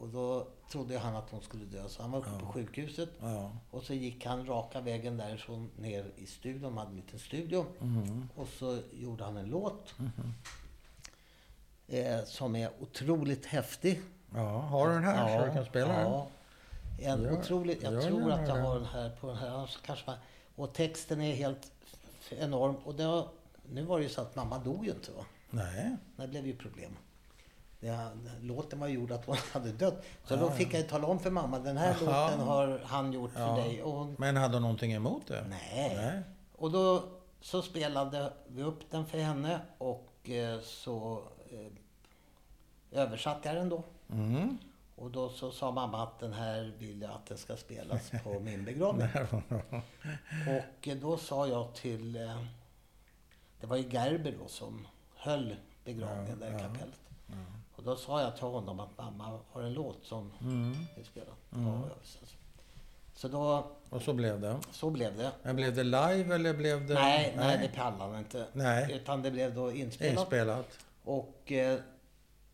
Speaker 2: Och då trodde han att hon skulle dö. Så han var uppe på sjukhuset.
Speaker 1: Ja.
Speaker 2: Och så gick han raka vägen därifrån ner i studion. De hade en liten studio. Och så gjorde han en låt. Eh, som är otroligt häftig.
Speaker 1: ja, har du den här så du kan spela den?
Speaker 2: ja. En
Speaker 1: Gör-
Speaker 2: otrolig, jag
Speaker 1: gör
Speaker 2: tror
Speaker 1: gärna
Speaker 2: att jag
Speaker 1: det.
Speaker 2: har den här på den här. annars Kanske man, och texten är helt f- enorm. Och det var, nu var det ju så att mamma dog ju inte. Va?
Speaker 1: Nej.
Speaker 2: Det blev ju problem. Det, låten var gjord att hon <laughs> hade dött. Så
Speaker 1: Ja,
Speaker 2: då
Speaker 1: ja.
Speaker 2: fick jag ju tala om för mamma, den här
Speaker 1: Jaha.
Speaker 2: låten har han gjort
Speaker 1: Ja.
Speaker 2: för dig. Och hon,
Speaker 1: Men hade du någonting emot det?
Speaker 2: nej.
Speaker 1: Nej.
Speaker 2: Och då så spelade vi upp den för henne och eh, så eh, översatte jag den då.
Speaker 1: Mm. <laughs>
Speaker 2: Och då så sa mamma att den här vill jag att den ska spelas
Speaker 1: <laughs>
Speaker 2: på min begravning. Och eh, då sa jag till... eh, Det var ju Gerber då som höll begravningen där i kapellet. Och då sa jag till honom att mamma har en låt som
Speaker 1: Mm.
Speaker 2: vi spelar. Ja, ja, så- Så då,
Speaker 1: Och så blev det.
Speaker 2: så blev det.
Speaker 1: Men blev det live eller blev det...
Speaker 2: Nej, nej, det pallade han inte.
Speaker 1: Nej.
Speaker 2: Utan det blev då inspelat.
Speaker 1: Inspelat.
Speaker 2: Och eh,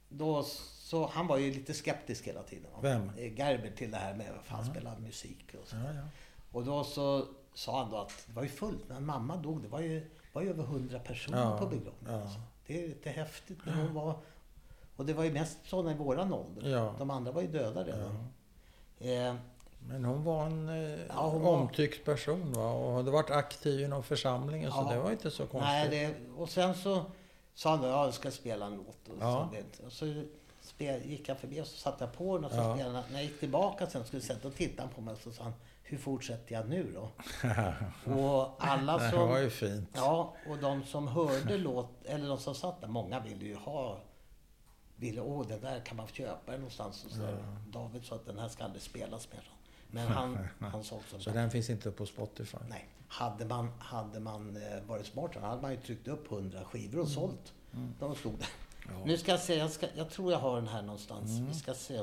Speaker 2: då så, han var ju lite skeptisk hela tiden. va?
Speaker 1: Vem?
Speaker 2: Eh, Gerber till det här med att han spelar musik och så.
Speaker 1: Ja, ja.
Speaker 2: Och då så sa han då att det var ju fullt när mamma dog. Det var ju, det var ju över hundra personer
Speaker 1: Ja,
Speaker 2: på begravningen.
Speaker 1: ja.
Speaker 2: Alltså. Det är lite häftigt. När hon var, och det var ju mest sådana i våran ålder.
Speaker 1: Ja.
Speaker 2: De andra var ju döda redan. Eh,
Speaker 1: Men hon var en eh,
Speaker 2: Ja, hon var-
Speaker 1: omtyckt person va? och hade varit aktiv inom församlingen så
Speaker 2: Ja.
Speaker 1: det var inte så konstigt.
Speaker 2: nej, det, och sen så sa han då, ja, jag ska spela en låt. Och,
Speaker 1: Ja.
Speaker 2: så, det, och så spel, gick jag förbi och så satte jag på den och så
Speaker 1: Ja.
Speaker 2: spelade han. När jag gick tillbaka sen skulle sätta och tittade han på mig och så sa han, hur fortsätter jag nu
Speaker 1: <laughs>
Speaker 2: då? och alla
Speaker 1: Nej,
Speaker 2: som...
Speaker 1: det var ju fint.
Speaker 2: alltså- Ja, och de som hörde
Speaker 1: Mm.
Speaker 2: låt, eller de som satt där, många ville ju ha ville, åh den där kan man köpa den någonstans. Och så David sa att den här ska aldrig spelas mer. Men
Speaker 1: <laughs>
Speaker 2: han, han sa också...
Speaker 1: Så den finns inte på Spotify?
Speaker 2: Nej. Hade man, hade man eh, varit smart så hade man ju tryckt upp 100 skivor och sålt. De stod där.
Speaker 1: Mm. Ja. Mm.
Speaker 2: Nu ska jag se, jag, ska, jag tror jag har den här någonstans. Vi ska se.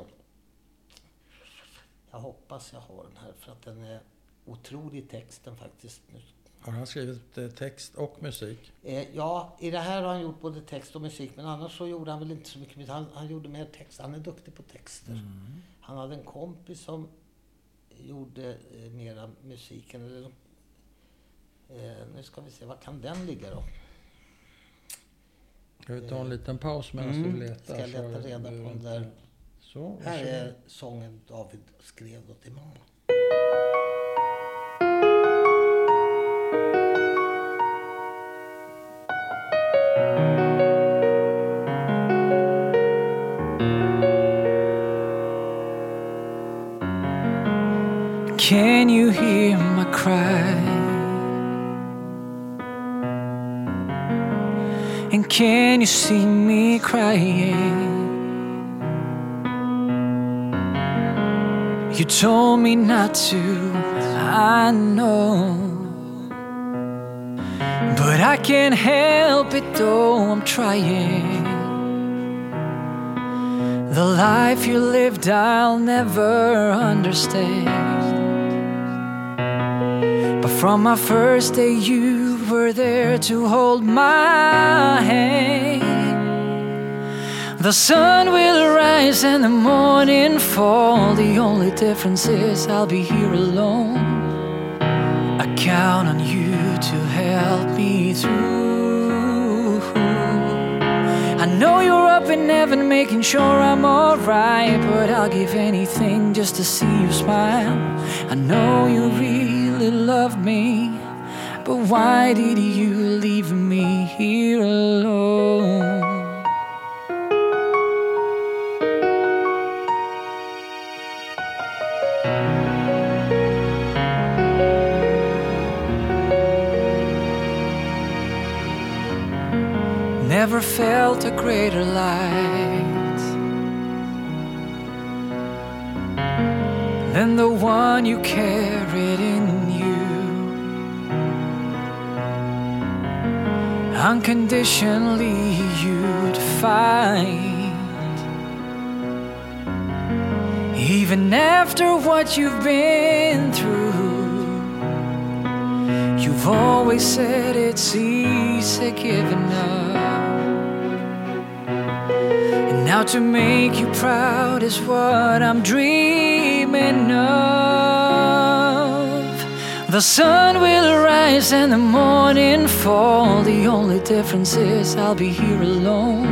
Speaker 2: Jag hoppas jag har den här för att den är otrolig texten faktiskt. Nu
Speaker 1: Har han skrivit eh, text och musik?
Speaker 2: Eh, ja, i det här har han gjort både text och musik, men annars så gjorde han väl inte så mycket musik. Han, han gjorde mer text. Han är duktig på texter. Han hade en kompis som gjorde eh, mera musiken. Eller, eh, nu ska vi se, var kan den ligga då?
Speaker 1: Ska vi ta en liten paus medan
Speaker 2: Mm.
Speaker 1: du letar?
Speaker 2: Ska jag
Speaker 1: så
Speaker 2: leta reda
Speaker 1: behöver
Speaker 2: på den
Speaker 1: inte-
Speaker 2: där?
Speaker 1: Så,
Speaker 2: Här
Speaker 1: varsågod.
Speaker 2: är sången David skrev då till mamma.
Speaker 3: Can you hear my cry? And can you see me crying? You told me not to, I know. But I can't help it though I'm trying. The life you lived, I'll never understand. But from my first day, you were there to hold my hand. The sun will rise and the morning fall. The only difference is I'll be here alone. I count on you to help me through. I know you're up in heaven making sure I'm alright, but I'll give anything just to see you smile. I know you really love me, but why did you leave me here alone? Never felt a greater light than the one you carried in you. Unconditionally, you'd find. Even after what you've been through, You've always said it's easy giving up. And now to make you proud is what I'm dreaming of. The sun will rise and the morning fall. The only difference is I'll be here alone.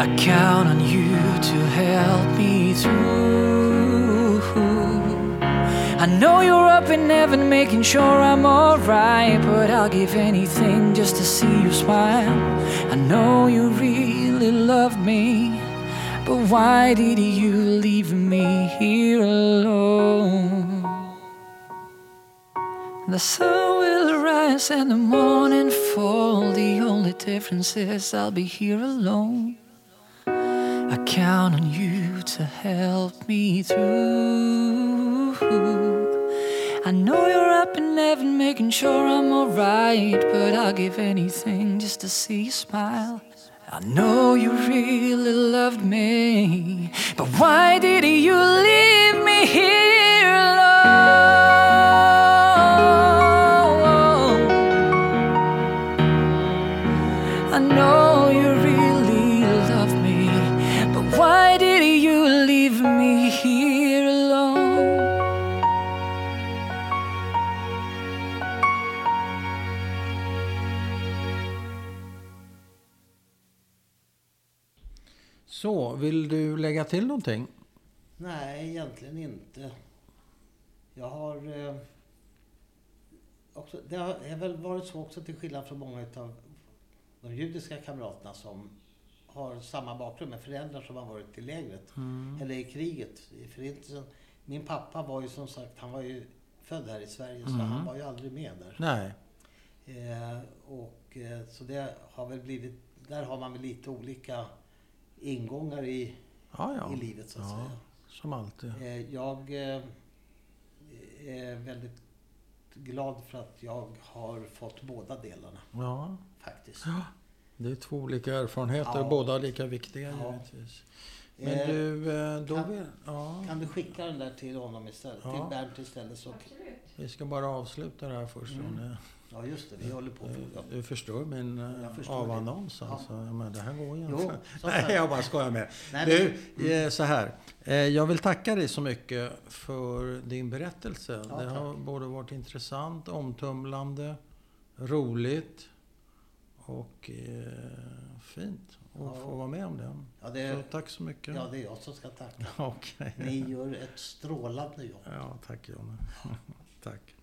Speaker 3: I count on you to help me through. I know you're up in heaven making sure I'm alright, but I'll give anything just to see you smile. I know you really love me, but why did you leave me here alone? The sun will rise and the morning fall. The only difference is I'll be here alone. I count on you to help me through. I know you're up in heaven making sure I'm alright, but I'll give anything just to see you smile. I know you really loved me, but why did you leave me here alone? I know you really love me, but why did you leave me here alone?
Speaker 1: så, vill du lägga till någonting?
Speaker 2: Nej, egentligen inte. Jag har... Eh, också, det har är väl varit så också till skillnad från många av de judiska kamraterna som har samma bakgrund med föräldrar som har varit i lägret.
Speaker 1: Mm.
Speaker 2: Eller i kriget, i förintelsen. Min pappa var ju som sagt, han var ju född här i Sverige
Speaker 1: Mm.
Speaker 2: så han var ju aldrig med där.
Speaker 1: Nej.
Speaker 2: Eh, och, eh, så det har väl blivit, där har man väl lite olika ingångar i,
Speaker 1: Ja, ja.
Speaker 2: i livet så att
Speaker 1: ja,
Speaker 2: säga.
Speaker 1: Som alltid.
Speaker 2: Eh, Jag eh, är väldigt glad för att jag har fått båda delarna
Speaker 1: Ja,
Speaker 2: faktiskt.
Speaker 1: det är två olika erfarenheter.
Speaker 2: Ja.
Speaker 1: Båda lika viktiga
Speaker 2: Ja.
Speaker 1: givetvis. Men
Speaker 2: Eh,
Speaker 1: du, eh, då
Speaker 2: kan-
Speaker 1: vill... Ja,
Speaker 2: Kan du skicka den där till honom istället?
Speaker 1: Ja.
Speaker 2: Till Bernt istället så...
Speaker 4: Absolut.
Speaker 1: vi ska bara avsluta det här först. Mm.
Speaker 2: Ja just det, vi håller på. Ja.
Speaker 1: Du förstår min eh,
Speaker 2: Jag förstår det.
Speaker 1: avannons
Speaker 2: Ja.
Speaker 1: alltså. Ja. Men det här går ju
Speaker 2: Jo,
Speaker 1: inte. <laughs>
Speaker 2: så
Speaker 1: Nej,
Speaker 2: här.
Speaker 1: jag bara skojar med
Speaker 2: Nej,
Speaker 1: Du, eh, så här. Eh, Jag vill tacka dig så mycket för din berättelse.
Speaker 2: Ja,
Speaker 1: det har både varit intressant, omtumlande, roligt och eh, fint att
Speaker 2: Ja.
Speaker 1: få vara med om det.
Speaker 2: Ja,
Speaker 1: Så
Speaker 2: det,
Speaker 1: tack så mycket.
Speaker 2: ja, <laughs> det är jag som ska tacka.
Speaker 1: Okej.
Speaker 2: Ni gör ett strålande jobb.
Speaker 1: Ja, <laughs> tack Jonne. tack.